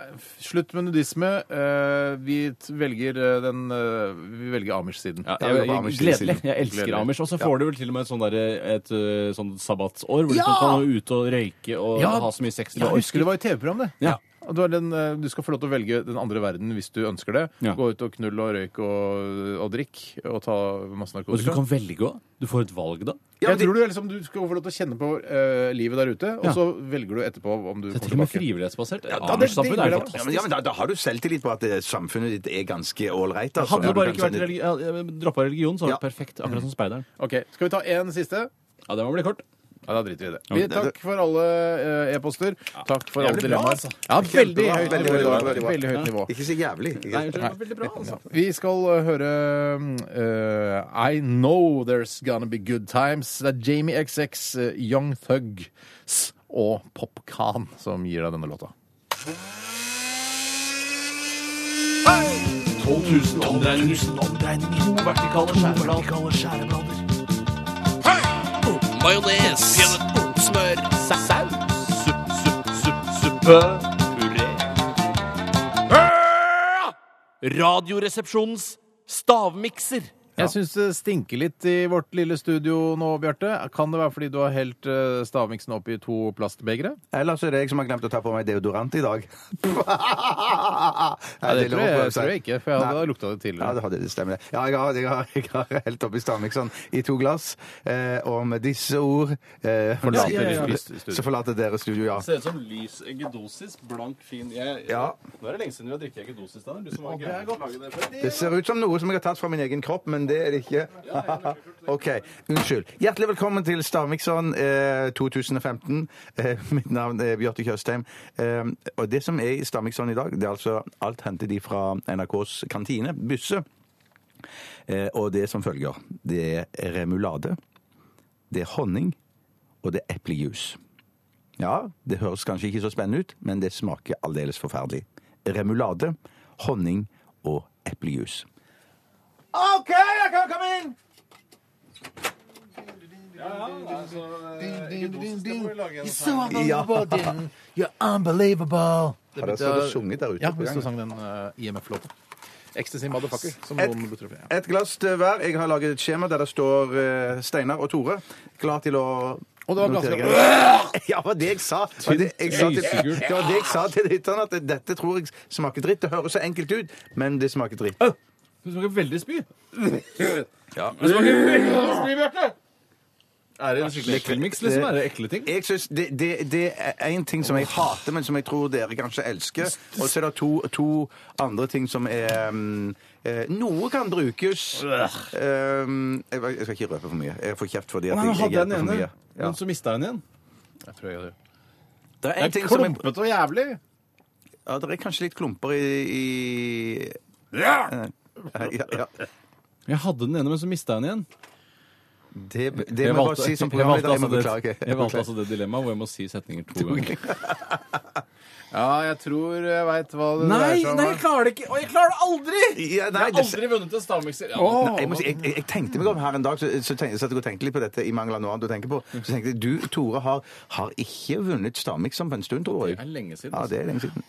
[SPEAKER 2] Slutt med nudisme. Eh, vi t- velger eh, den eh, Vi velger Amish-siden.
[SPEAKER 4] Ja,
[SPEAKER 3] Da
[SPEAKER 4] jeg,
[SPEAKER 3] er vi på
[SPEAKER 4] jeg,
[SPEAKER 3] Amish sin
[SPEAKER 4] gledelig.
[SPEAKER 3] side.
[SPEAKER 4] Jeg elsker
[SPEAKER 2] Gledelig.
[SPEAKER 4] Amish. Og så får du vel til og med et sånn der, et, øh, sånn sabbatsår hvor du kan komme ut og røyke og
[SPEAKER 2] Ja.
[SPEAKER 4] ha så mye sex du
[SPEAKER 2] Jeg husker det
[SPEAKER 4] orker.
[SPEAKER 2] var et TV-program, det.
[SPEAKER 4] Ja.
[SPEAKER 2] Og Du, er den, eh, du skal få lov til å velge den andre verden hvis du ønsker det.
[SPEAKER 4] Ja.
[SPEAKER 2] Gå ut og knull og røyk og, og drikk og ta masse
[SPEAKER 4] Og du
[SPEAKER 2] narkotika.
[SPEAKER 4] kan velge òg. Du får et valg da.
[SPEAKER 2] jeg tror du, liksom, du skal få lov til å kjenne på eh, livet der ute, og
[SPEAKER 4] Ja.
[SPEAKER 2] så velger du etterpå om du
[SPEAKER 4] Det er
[SPEAKER 2] kommer
[SPEAKER 4] til og med
[SPEAKER 2] tilbake.
[SPEAKER 4] frivillighetsbasert.
[SPEAKER 2] det-
[SPEAKER 4] Amish-samfunnet
[SPEAKER 2] det- det-
[SPEAKER 4] er
[SPEAKER 3] Ja,
[SPEAKER 4] fantastisk.
[SPEAKER 3] men, ja, men da, da har du selvtillit på at eh, samfunnet ditt er ganske ålreit. altså.
[SPEAKER 4] Hadde
[SPEAKER 3] Ja,
[SPEAKER 4] du bare
[SPEAKER 3] kan
[SPEAKER 4] ikke vært
[SPEAKER 3] sende-
[SPEAKER 4] religi ja, droppa religion, så var det
[SPEAKER 3] Ja.
[SPEAKER 4] perfekt. Akkurat som speideren.
[SPEAKER 2] Ok, Skal vi ta en siste?
[SPEAKER 4] Ja, det må bli kort.
[SPEAKER 2] Ja, da driter vi i det.
[SPEAKER 4] Ja,
[SPEAKER 2] Vi,
[SPEAKER 4] det-
[SPEAKER 2] takk for alle eh, e-poster. Takk for alle
[SPEAKER 4] Jævlig bra,
[SPEAKER 2] dilemmaer.
[SPEAKER 4] altså.
[SPEAKER 2] Ja, veldig
[SPEAKER 4] Kjempebra.
[SPEAKER 2] høyt
[SPEAKER 4] Veldig
[SPEAKER 2] nivå.
[SPEAKER 4] bra,
[SPEAKER 2] Veldig,
[SPEAKER 4] veldig bra.
[SPEAKER 2] høyt nivå.
[SPEAKER 3] Ikke så jævlig.
[SPEAKER 4] Nei,
[SPEAKER 3] Ikke
[SPEAKER 4] jeg tror det
[SPEAKER 2] Nei.
[SPEAKER 4] var veldig bra, altså.
[SPEAKER 2] Vi skal eh, høre eh, I Know There's Gonna Be Good Times. Det er Jamie XX, eh, Young Thugs og Popkan som gir deg denne låta.
[SPEAKER 9] 12 000 omdreininger. To vertikale skjæreblader. Majones. Smør. Saus. Supp, supp, supp, suppe. Puré. Radioresepsjonens stavmikser.
[SPEAKER 2] Jeg syns det stinker litt i vårt lille studio nå, Bjarte. Kan det være fordi du har helt eh, stavmiksen opp i to plastbegre?
[SPEAKER 3] Eller så er det jeg som har glemt å ta på meg deodorant i dag.
[SPEAKER 2] Nei, det tror jeg, jeg, tror jeg ikke, for jeg hadde lukta det tidligere.
[SPEAKER 3] Ja, det, hadde, det stemmer. det. Ja, jeg har, jeg har, jeg har helt oppi stavmikseren i to glass. Eh, og med disse ord eh,
[SPEAKER 2] Forlater
[SPEAKER 3] ja, ja, ja.
[SPEAKER 2] dere studio.
[SPEAKER 3] Så forlater dere studio, ja.
[SPEAKER 4] Ser ut som lys eggedosis. Blank, fin. Jeg,
[SPEAKER 3] Ja.
[SPEAKER 4] Nå er det lenge siden vi har drukket eggedosis. Daniel. Du som var gæren på å lage det før.
[SPEAKER 3] Det ser ut som noe som jeg har tatt fra min egen kropp, men det er det ikke. OK. Unnskyld. Hjertelig velkommen til Stavmikseren eh, 2015. Eh, mitt navn er Bjarte Tjøstheim. Eh, og det som er i Stavmikseren i dag, det er altså alt hentet de fra NRKs kantine, Bysse. Eh, og det er som følger. Det er remulade, det er honning, og det er eplejus. Ja, det høres kanskje ikke så spennende ut, men det smaker aldeles forferdelig. Remulade, honning og eplejus. OK, jeg kan komme inn! Har dere stått og sunget der ute?
[SPEAKER 2] Ja,
[SPEAKER 3] på
[SPEAKER 2] hvis du
[SPEAKER 3] gangen?
[SPEAKER 2] sang den eh, IMF-låten. Ecstasy Motherfucker, som
[SPEAKER 3] Et-
[SPEAKER 2] noen butter opp i.
[SPEAKER 3] Et glass til hver. Jeg har laget et skjema der det står eh, Steinar og Tore. Klar til å
[SPEAKER 2] Og det var
[SPEAKER 3] notere
[SPEAKER 2] ganske
[SPEAKER 3] greier. Ja, det var det jeg sa. Det var det jeg sa
[SPEAKER 4] Tynn
[SPEAKER 3] til,
[SPEAKER 4] lysegul.
[SPEAKER 3] det var det jeg sa til lytterne, at dette tror jeg smaker dritt. Det høres så enkelt ut, men det smaker dritt.
[SPEAKER 4] Du smaker veldig spy. Er det en skikkelig ekkelmiks, liksom? Er det ekle ting?
[SPEAKER 3] Jeg synes det, det, det er én ting som jeg hater, men som jeg tror dere kanskje elsker. Og så er det to, to andre ting som er mm, eh, Noe kan brukes. Um, jeg, jeg skal ikke røpe for mye. Jeg får kjeft fordi at
[SPEAKER 4] Nei,
[SPEAKER 3] jeg,
[SPEAKER 4] han
[SPEAKER 3] jeg
[SPEAKER 4] hadde den
[SPEAKER 3] hjelper for
[SPEAKER 4] ene,
[SPEAKER 3] mye. Ja.
[SPEAKER 4] men så mista han igjen.
[SPEAKER 2] Jeg tror jeg gjør det.
[SPEAKER 3] Det er, en
[SPEAKER 2] Det
[SPEAKER 3] ting
[SPEAKER 2] er
[SPEAKER 3] som jeg,
[SPEAKER 2] klumpete og jævlig.
[SPEAKER 3] ja, det er kanskje litt klumper i, i ja, ja.
[SPEAKER 4] Jeg hadde den ene, men så mista han igjen.
[SPEAKER 3] Det, det må jeg bare si som
[SPEAKER 4] jeg valgte
[SPEAKER 3] programleder. Jeg
[SPEAKER 4] altså
[SPEAKER 3] må beklage.
[SPEAKER 4] det, jeg valgte altså det dilemmaet hvor jeg må si setninger to ganger.
[SPEAKER 2] Ja, jeg tror jeg veit hva det
[SPEAKER 4] Nei,
[SPEAKER 2] dreier seg om.
[SPEAKER 4] nei, jeg klarer det ikke! Og jeg klarer det aldri! Jeg
[SPEAKER 3] Ja, sånn nei,
[SPEAKER 4] har
[SPEAKER 3] det-
[SPEAKER 4] aldri vunnet en stavmikser. Ja,
[SPEAKER 2] Åh.
[SPEAKER 4] men-
[SPEAKER 3] Nei, jeg, må si, jeg, jeg, jeg tenkte meg om her en dag, så, så, tenkte, så jeg og tenkte litt på dette i mangel av noe annet å tenke på. Så tenkte jeg, du, Tore, har, har ikke vunnet Stavmikseren på en stund, tror jeg.
[SPEAKER 4] Det er lenge siden,
[SPEAKER 3] Ja,
[SPEAKER 4] altså.
[SPEAKER 3] det er lenge siden.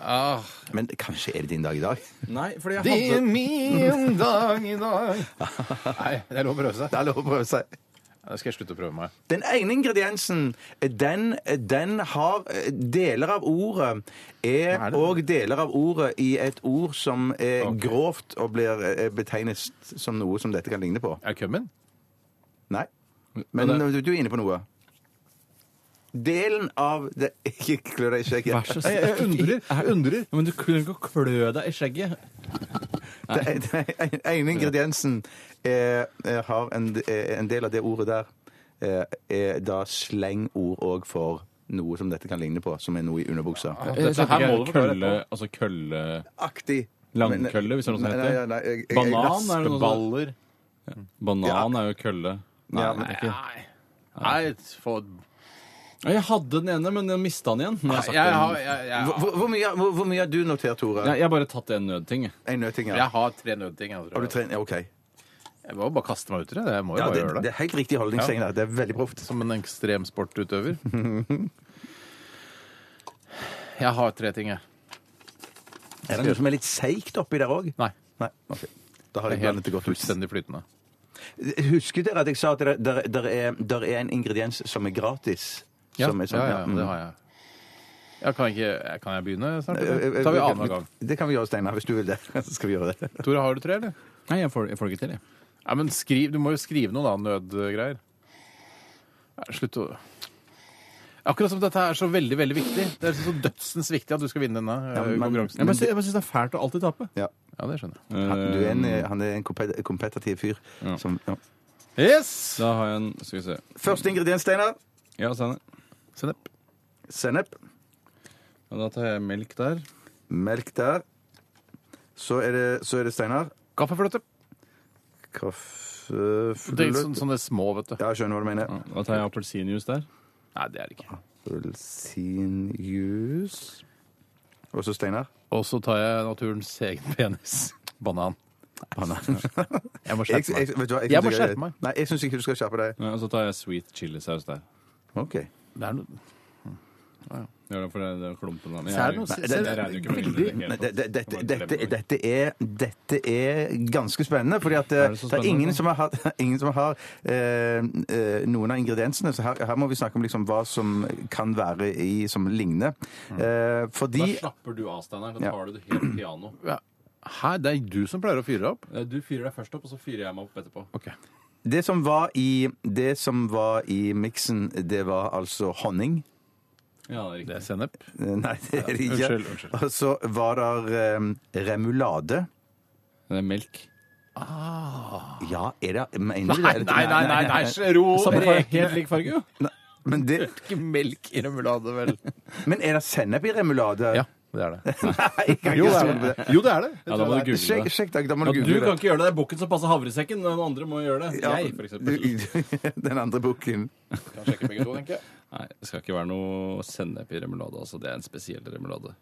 [SPEAKER 2] Ah,
[SPEAKER 3] Men kanskje er det din dag i dag?
[SPEAKER 4] Nei, fordi jeg
[SPEAKER 2] det er
[SPEAKER 4] hadde
[SPEAKER 2] min dag i dag Nei, det er lov å prøve seg.
[SPEAKER 3] Det er lov å prøve seg.
[SPEAKER 2] Da skal jeg slutte å prøve meg.
[SPEAKER 3] Den ene ingrediensen, den, den har Deler av ordet
[SPEAKER 2] Hva er
[SPEAKER 3] er
[SPEAKER 2] det?
[SPEAKER 3] òg deler av ordet i et ord som er grovt og blir eh, betegnet som noe som dette kan ligne på.
[SPEAKER 2] Er det kømmen?
[SPEAKER 3] Nei. Men
[SPEAKER 4] Hva da?
[SPEAKER 3] du, du er inne på noe. Delen av det Ikke klø deg i skjegget.
[SPEAKER 4] Vær så snill. Jeg undrer. Jeg undrer. Ja, men du kunne ikke klø deg i skjegget.
[SPEAKER 3] Den ene ingrediensen eh, eh, har en, eh, en del av det ordet der eh, er da slengord òg for noe som dette kan ligne på, som er noe i underbuksa.
[SPEAKER 4] Dette her må
[SPEAKER 2] du
[SPEAKER 4] du
[SPEAKER 2] bare
[SPEAKER 4] kølle Altså kølle
[SPEAKER 3] Aktig.
[SPEAKER 4] Langkølle, hvis det er noe som
[SPEAKER 3] Nei,
[SPEAKER 4] heter
[SPEAKER 3] nei, nei, jeg- jeg- jeg-
[SPEAKER 4] Banan er det noe som
[SPEAKER 2] Baller.
[SPEAKER 4] Banan er jo kølle. Nei,
[SPEAKER 3] Ja,
[SPEAKER 4] det er ikke.
[SPEAKER 2] Nei. Nei, få-
[SPEAKER 4] Ja, Jeg hadde den ene, men jeg mista den igjen. Nå har
[SPEAKER 2] jeg,
[SPEAKER 4] jeg, sagt
[SPEAKER 2] har,
[SPEAKER 4] den.
[SPEAKER 2] jeg,
[SPEAKER 3] Hvor,
[SPEAKER 2] jeg,
[SPEAKER 3] hvor- hvor, mye, hvor, hvor mye har du notert, Tore?
[SPEAKER 4] Nei, jeg har bare tatt en nødting. jeg.
[SPEAKER 3] En nøtting, ja.
[SPEAKER 2] jeg har tre nødting. Jeg,
[SPEAKER 3] Har du
[SPEAKER 2] tror.
[SPEAKER 3] trent? Ja, OK.
[SPEAKER 2] jeg må jo bare kaste meg ut i det. Jeg må jo
[SPEAKER 3] Ja,
[SPEAKER 2] bare
[SPEAKER 3] det,
[SPEAKER 2] gjøre det.
[SPEAKER 3] det er helt riktig holdning,
[SPEAKER 2] Ja.
[SPEAKER 3] Steinar. Det er veldig proft.
[SPEAKER 2] Som en ekstremsportutøver. Jeg har tre ting, jeg.
[SPEAKER 3] Er det noe som er litt seigt oppi der òg?
[SPEAKER 2] Nei.
[SPEAKER 3] Nei. ok. Da har
[SPEAKER 2] Det
[SPEAKER 3] jeg
[SPEAKER 2] er
[SPEAKER 3] blandet
[SPEAKER 2] helt
[SPEAKER 3] det godt ut.
[SPEAKER 2] fullstendig flytende.
[SPEAKER 3] Husker dere at jeg sa at det der, der, er, der er en ingrediens som er gratis?
[SPEAKER 2] Ja,
[SPEAKER 3] som er sånn-
[SPEAKER 2] ja, ja,
[SPEAKER 3] mm.
[SPEAKER 2] det har jeg. Ja, kan, ikke, kan jeg begynne snart?
[SPEAKER 3] Eh,
[SPEAKER 2] eller?
[SPEAKER 3] eh,
[SPEAKER 2] Tar vi
[SPEAKER 3] eh,
[SPEAKER 2] annenhver gang.
[SPEAKER 3] Det kan vi gjøre, Steinar, hvis du vil det. Så skal vi gjøre det.
[SPEAKER 2] Tore, har du tre, eller?
[SPEAKER 4] Nei, jeg får, jeg får det ikke til, jeg.
[SPEAKER 2] Nei, men skriv, Du må jo skrive noen da, nødgreier. Nei, Slutt å Akkurat som dette er så veldig veldig viktig. Det er så dødsens viktig at du skal vinne denne
[SPEAKER 3] Ja,
[SPEAKER 2] eh,
[SPEAKER 3] men-
[SPEAKER 2] konkurransen.
[SPEAKER 4] Jeg bare, sy- jeg bare syns det er fælt å alltid tape.
[SPEAKER 3] Ja.
[SPEAKER 2] Ja, det skjønner jeg.
[SPEAKER 3] eh, Han, du er en, eh, han er en kompet- kompetitiv fyr. Som, ja.
[SPEAKER 4] Yes! Da har jeg en Skal vi se.
[SPEAKER 3] Første ingrediens, Steinar.
[SPEAKER 4] Ja, sennep.
[SPEAKER 2] Sennep.
[SPEAKER 3] Sennep.
[SPEAKER 4] Ja, Da tar jeg melk der.
[SPEAKER 3] Melk der. Så er det, så er det Steinar.
[SPEAKER 2] Kaffefløte. Det er sånn,
[SPEAKER 3] Kaffefløte
[SPEAKER 2] sånne små, vet du.
[SPEAKER 3] Ja, jeg skjønner hva du mener.
[SPEAKER 4] Da tar jeg appelsinjuice der.
[SPEAKER 2] Nei, det er det ikke.
[SPEAKER 3] Appelsinjuice Og så Steinar.
[SPEAKER 2] Og så tar jeg naturens egen penis. Banan. Jeg må skjerpe
[SPEAKER 3] Jeg, jeg,
[SPEAKER 2] meg.
[SPEAKER 3] vet du hva, jeg,
[SPEAKER 2] Jeg
[SPEAKER 3] synes
[SPEAKER 2] må
[SPEAKER 3] ikke-
[SPEAKER 2] skjerpe meg.
[SPEAKER 3] Nei, jeg syns ikke du skal skjerpe deg.
[SPEAKER 4] Ja, og så tar jeg sweet chilisaus der.
[SPEAKER 3] Ok.
[SPEAKER 2] Det er noe...
[SPEAKER 4] Det er derfor det det er klumpen der. Men
[SPEAKER 2] Så er det
[SPEAKER 4] jeg,
[SPEAKER 2] noe- så
[SPEAKER 4] jeg,
[SPEAKER 2] er
[SPEAKER 4] jeg,
[SPEAKER 2] det-
[SPEAKER 4] regner jo ikke med
[SPEAKER 2] veldig-
[SPEAKER 4] det
[SPEAKER 3] Nei,
[SPEAKER 4] hele
[SPEAKER 3] det- det-
[SPEAKER 4] tatt.
[SPEAKER 3] dette- dette- Dette er Dette er ganske spennende, fordi at eh,
[SPEAKER 4] Er det så
[SPEAKER 3] det er
[SPEAKER 4] spennende?
[SPEAKER 3] ingen som har, hatt- ingen som har eh, eh, noen av ingrediensene. Så her, her må vi snakke om liksom hva som kan være i som ligner. Eh,
[SPEAKER 4] Da
[SPEAKER 3] fordi
[SPEAKER 4] slapper du av, Steinar.
[SPEAKER 3] Ja.
[SPEAKER 4] Da tar du det helt piano. Eh,
[SPEAKER 2] Ja. Hæ, det er du som pleier å fyre opp?
[SPEAKER 4] Du fyrer deg først opp, og så fyrer jeg meg opp etterpå.
[SPEAKER 2] Ok.
[SPEAKER 3] det som var i, det som var i miksen, det var altså honning.
[SPEAKER 4] Ja, det er
[SPEAKER 2] Det
[SPEAKER 4] riktig.
[SPEAKER 2] er sennep.
[SPEAKER 3] Eh, Nei, det er det ikke.
[SPEAKER 2] Unnskyld, unnskyld.
[SPEAKER 3] Og så var det remulade.
[SPEAKER 4] Det er melk.
[SPEAKER 3] Ja, er det Mener
[SPEAKER 2] Nei,
[SPEAKER 3] du det?
[SPEAKER 2] nei,
[SPEAKER 3] eller-
[SPEAKER 2] nei, nei, nei, nei. ro
[SPEAKER 4] Samme farge,
[SPEAKER 2] rekene.
[SPEAKER 4] helt lik farge, jo.
[SPEAKER 3] Men, det,
[SPEAKER 2] Ikke melk i remulade, vel?
[SPEAKER 3] men er det sennep i remulade?
[SPEAKER 2] Ja, det er det.
[SPEAKER 3] Nei, jeg kan
[SPEAKER 2] Jo,
[SPEAKER 3] ikke
[SPEAKER 2] det
[SPEAKER 3] stole
[SPEAKER 2] er
[SPEAKER 3] på det.
[SPEAKER 2] det. Jo, det, er det.
[SPEAKER 4] Ja, da må du google
[SPEAKER 3] Sjekk,
[SPEAKER 4] det.
[SPEAKER 3] sjekk, Dag, da må
[SPEAKER 4] Ja,
[SPEAKER 3] du
[SPEAKER 4] du
[SPEAKER 3] google
[SPEAKER 4] kan ikke gjøre det. Det er bukken som passer havresekken. Den andre må gjøre det. Jeg, for eksempel.
[SPEAKER 3] det. Den andre boken.
[SPEAKER 2] Kan sjekke begge to, tenker jeg.
[SPEAKER 4] Nei, det skal ikke være noe sennep i remulade. Altså, det er en spesiell remulade.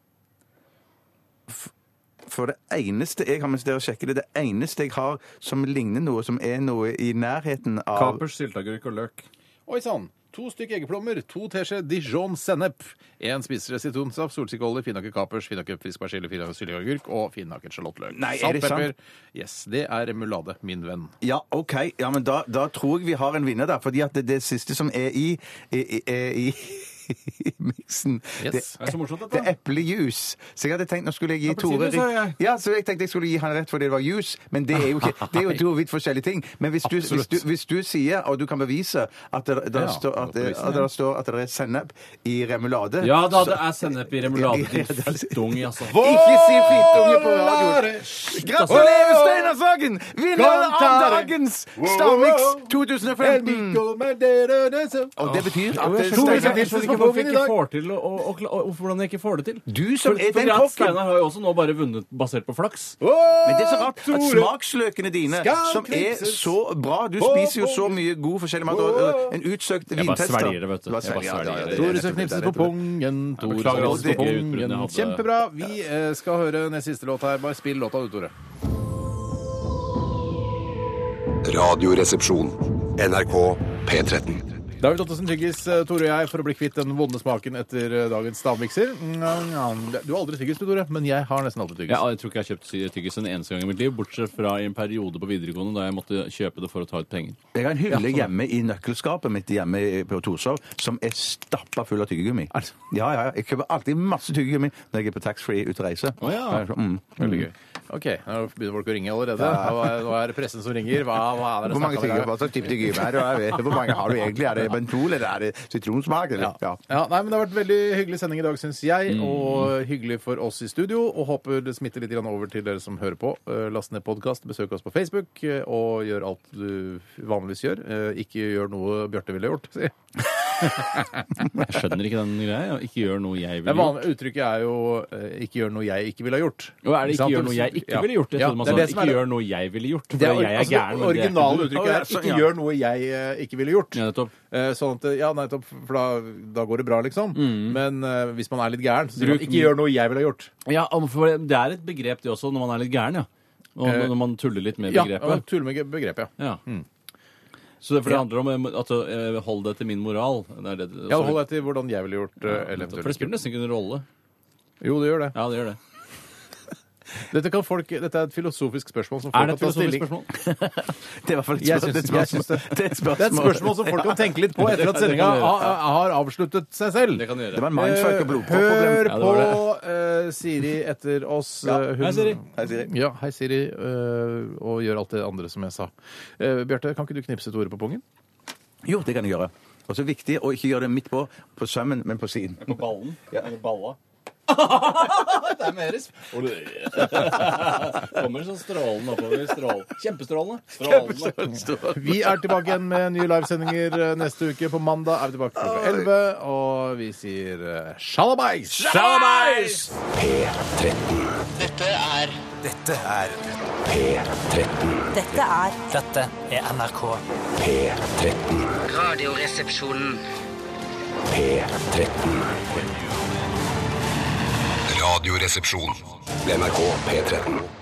[SPEAKER 3] For det eneste jeg har mens dere sjekker det, det eneste jeg har som ligner noe, som er noe i nærheten av
[SPEAKER 4] Kapers, sylteagurk og løk.
[SPEAKER 2] Oi sann. To stykk eggeplommer, to teskjeer Dijon sennep, én spiseskje sitronsaft, solsikkeolje, finhakket kapers, finhakket frisk persille, finhakket sylteagurk og finhakket sjalottløk.
[SPEAKER 3] Nei, er
[SPEAKER 2] Salt,
[SPEAKER 3] det sant?
[SPEAKER 2] pepper. Yes, det er remulade, min venn.
[SPEAKER 3] Ja, OK. Ja, men da, da tror jeg vi har en vinner der. Fordi at det, det siste som er i, i, er i i miksen.
[SPEAKER 2] Yes.
[SPEAKER 3] Det,
[SPEAKER 4] Det er så morsomt,
[SPEAKER 3] det er
[SPEAKER 4] dette.
[SPEAKER 3] eplejus. Så jeg hadde tenkt nå skulle jeg gi Tore
[SPEAKER 4] Appelsinjuice, sa jeg.
[SPEAKER 3] Ja, så jeg tenkte jeg skulle gi han rett fordi det var jus, men det er jo ikke Det er jo to vidt forskjellige ting. Men hvis du, hvis
[SPEAKER 2] Absolutt.
[SPEAKER 3] du, hvis du sier, og du kan bevise, at det, det,
[SPEAKER 2] Ja,
[SPEAKER 3] står, at, det,
[SPEAKER 2] bevise
[SPEAKER 3] at det står at det er sennep i remulade
[SPEAKER 4] Ja da, det er sennep i remulade.
[SPEAKER 3] Ja,
[SPEAKER 4] Din
[SPEAKER 3] det er-
[SPEAKER 4] fittunge, altså.
[SPEAKER 3] Ikke si fittunge på radioen! Gratulerer,
[SPEAKER 4] Åh!
[SPEAKER 3] Steinar Sagen! Vinneren av
[SPEAKER 2] Gratulerer!
[SPEAKER 3] dagens Stavmiks 2015! Og det betyr at det
[SPEAKER 2] skjønner
[SPEAKER 3] Steinar-
[SPEAKER 2] ikke helt
[SPEAKER 4] Hvorfor
[SPEAKER 2] hvorfor jeg
[SPEAKER 4] jeg ikke
[SPEAKER 2] ikke
[SPEAKER 4] får til å, å, å, å, hvordan jeg ikke får det til?
[SPEAKER 3] Du som er
[SPEAKER 4] Fordi
[SPEAKER 3] den
[SPEAKER 4] at
[SPEAKER 3] kokken!
[SPEAKER 4] Steinar har jo også nå bare vunnet basert på flaks.
[SPEAKER 3] Men det er så rart at smaksløkene dine, som er så bra Du spiser jo så mye god forskjellig mat. og, og En utsøkt
[SPEAKER 4] bare
[SPEAKER 3] vintester.
[SPEAKER 4] svelger det, vet du. Jeg bare
[SPEAKER 3] bare svelger, ja, ja,
[SPEAKER 4] svelger det.
[SPEAKER 3] ja, det er
[SPEAKER 2] Tore som
[SPEAKER 3] nettopp det, det
[SPEAKER 2] knipset
[SPEAKER 3] er
[SPEAKER 2] på
[SPEAKER 3] nettopp det.
[SPEAKER 2] pungen. Tore som
[SPEAKER 4] beklager alle
[SPEAKER 2] knipset på
[SPEAKER 4] utbruddene jeg
[SPEAKER 2] pungen.
[SPEAKER 4] hadde.
[SPEAKER 2] Kjempebra. Vi eh, skal høre nest siste låt her. Bare spill låta du, Tore.
[SPEAKER 10] Radioresepsjon. NRK P13.
[SPEAKER 2] David Ottesen Tyggis, eh, Tore og jeg, for å bli kvitt den vonde smaken etter eh, dagens stavmikser. Mm, Du har aldri tyggis, du, Tore, men jeg har nesten alltid tyggis.
[SPEAKER 4] Ja, jeg tror ikke jeg har kjøpt sy- tyggis en eneste gang i mitt liv, bortsett fra i en periode på videregående da jeg måtte kjøpe det for å ta ut penger.
[SPEAKER 3] Jeg har en hylle hjemme i nøkkelskapet mitt hjemme i- på Torshov som er stappa full av tyggegummi.
[SPEAKER 2] Er det så?
[SPEAKER 3] Ja, ja, ja. Jeg kjøper alltid masse tyggegummi når jeg er på taxfree ute og reiser.
[SPEAKER 4] Å, ja.
[SPEAKER 3] Mm.
[SPEAKER 2] Veldig gøy. OK, nå begynner folk å ringe allerede. Nå er- Nå er det pressen som ringer. Hva, hva er det
[SPEAKER 3] Hvor
[SPEAKER 2] snakk om i
[SPEAKER 3] mange
[SPEAKER 2] dag?
[SPEAKER 3] tyggegummi hva slags type tyggegummi er det? og er det- Hvor mange har du egentlig? Er det bentol, eller er det sitronsmak? Eller?
[SPEAKER 2] Ja. Ja, nei, men Det har vært veldig hyggelig sending i dag, syns jeg.
[SPEAKER 4] Mm.
[SPEAKER 2] Og hyggelig for oss i studio. Og håper det smitter litt grann over til dere som hører på. Eh, Last ned podkast, besøk oss på Facebook, eh, og gjør alt du vanligvis gjør. Eh, Ikke gjør noe Bjarte ville gjort. Si.
[SPEAKER 4] Jeg skjønner ikke den greia. jeg, og Ikke gjør noe
[SPEAKER 2] Det
[SPEAKER 4] jeg ville gjort.
[SPEAKER 2] vanlige uttrykket er jo eh, 'ikke gjør noe jeg ikke ville ha gjort'.
[SPEAKER 4] Og er det ikke
[SPEAKER 2] sant?
[SPEAKER 4] gjør noe jeg ikke ville gjort? Jeg
[SPEAKER 2] Ja,
[SPEAKER 4] trodde man
[SPEAKER 2] det er
[SPEAKER 4] sa
[SPEAKER 2] det som er
[SPEAKER 4] ikke
[SPEAKER 2] det-
[SPEAKER 4] gjør noe jeg ville gjort. For
[SPEAKER 2] Det
[SPEAKER 4] jeg er gæren. men det er ikke
[SPEAKER 2] originale
[SPEAKER 4] du.
[SPEAKER 2] uttrykket er
[SPEAKER 3] Å, ja,
[SPEAKER 2] 'ikke
[SPEAKER 3] sånn, ja.
[SPEAKER 2] gjør noe jeg eh, ikke ville gjort'.
[SPEAKER 4] Ja, nettopp.
[SPEAKER 2] Eh, Sånn at, ja, nettopp, for da, da går det bra, liksom. Men eh, hvis man er litt gæren, så sier man
[SPEAKER 4] Mm. Bruk-
[SPEAKER 2] 'ikke gjør noe jeg ville ha gjort'.
[SPEAKER 4] Ja, for det er et begrep det også, når man er litt gæren, ja. Og
[SPEAKER 2] Eh,
[SPEAKER 4] når man tuller litt med
[SPEAKER 2] Ja,
[SPEAKER 4] begrepet.
[SPEAKER 2] tulle med begrepet, ja.
[SPEAKER 4] Ja. Så det, for det handler om at eh, hold deg til min moral. Det er det,
[SPEAKER 2] Ja, det holder jeg til hvordan jeg ville gjort eh, eller
[SPEAKER 4] for det
[SPEAKER 2] eventuelt.
[SPEAKER 4] spiller nesten ikke noen rolle.
[SPEAKER 2] Jo, det gjør det.
[SPEAKER 4] Ja, det gjør det.
[SPEAKER 2] Dette, kan folk, dette er et filosofisk spørsmål som folk
[SPEAKER 4] Er det
[SPEAKER 2] kan
[SPEAKER 4] et
[SPEAKER 2] ta
[SPEAKER 4] filosofisk
[SPEAKER 2] stilling
[SPEAKER 4] spørsmål?
[SPEAKER 3] Det er i hvert fall et
[SPEAKER 2] Jeg syns-
[SPEAKER 3] spørsmål. Det er et
[SPEAKER 2] jeg syns
[SPEAKER 3] spørsmål.
[SPEAKER 2] det.
[SPEAKER 3] Det er et
[SPEAKER 2] Det er et spørsmål som folk kan tenke litt på etter at
[SPEAKER 4] Det kan- det
[SPEAKER 2] sendinga
[SPEAKER 4] kan vi gjøre.
[SPEAKER 2] har har avsluttet seg selv.
[SPEAKER 4] Det kan du
[SPEAKER 3] Det
[SPEAKER 4] gjøre.
[SPEAKER 3] var en mindfuck og blodpropp-problem.
[SPEAKER 2] Hør
[SPEAKER 4] Ja, det
[SPEAKER 2] på
[SPEAKER 4] var
[SPEAKER 2] eh, Siri etter oss. eh, hun-
[SPEAKER 4] Hei, Siri.
[SPEAKER 2] Ja, hei, Siri. eh, og gjør alt det andre som jeg sa. Eh, Bjarte, kan ikke du knipse Tore på pungen?
[SPEAKER 3] Jo, det kan jeg gjøre. Og så er det viktig å ikke gjøre det midt på, på sømmen, men på siden.
[SPEAKER 4] På ballen? Eller balla? det er mer sp- Kommer sånn strålende oppover. Strål. Kjempestrålende. Strålende.
[SPEAKER 2] Vi er tilbake igjen med nye livesendinger eh, neste uke. På mandag er vi tilbake klokka 11, og vi sier eh, sjalabais!
[SPEAKER 9] Sjalabais!
[SPEAKER 10] P13.
[SPEAKER 11] Dette er
[SPEAKER 9] Dette er
[SPEAKER 10] P13.
[SPEAKER 12] Dette er
[SPEAKER 9] Dette er NRK.
[SPEAKER 10] P13.
[SPEAKER 11] Radioresepsjonen.
[SPEAKER 10] P13. Radioresepsjon. NRK P13.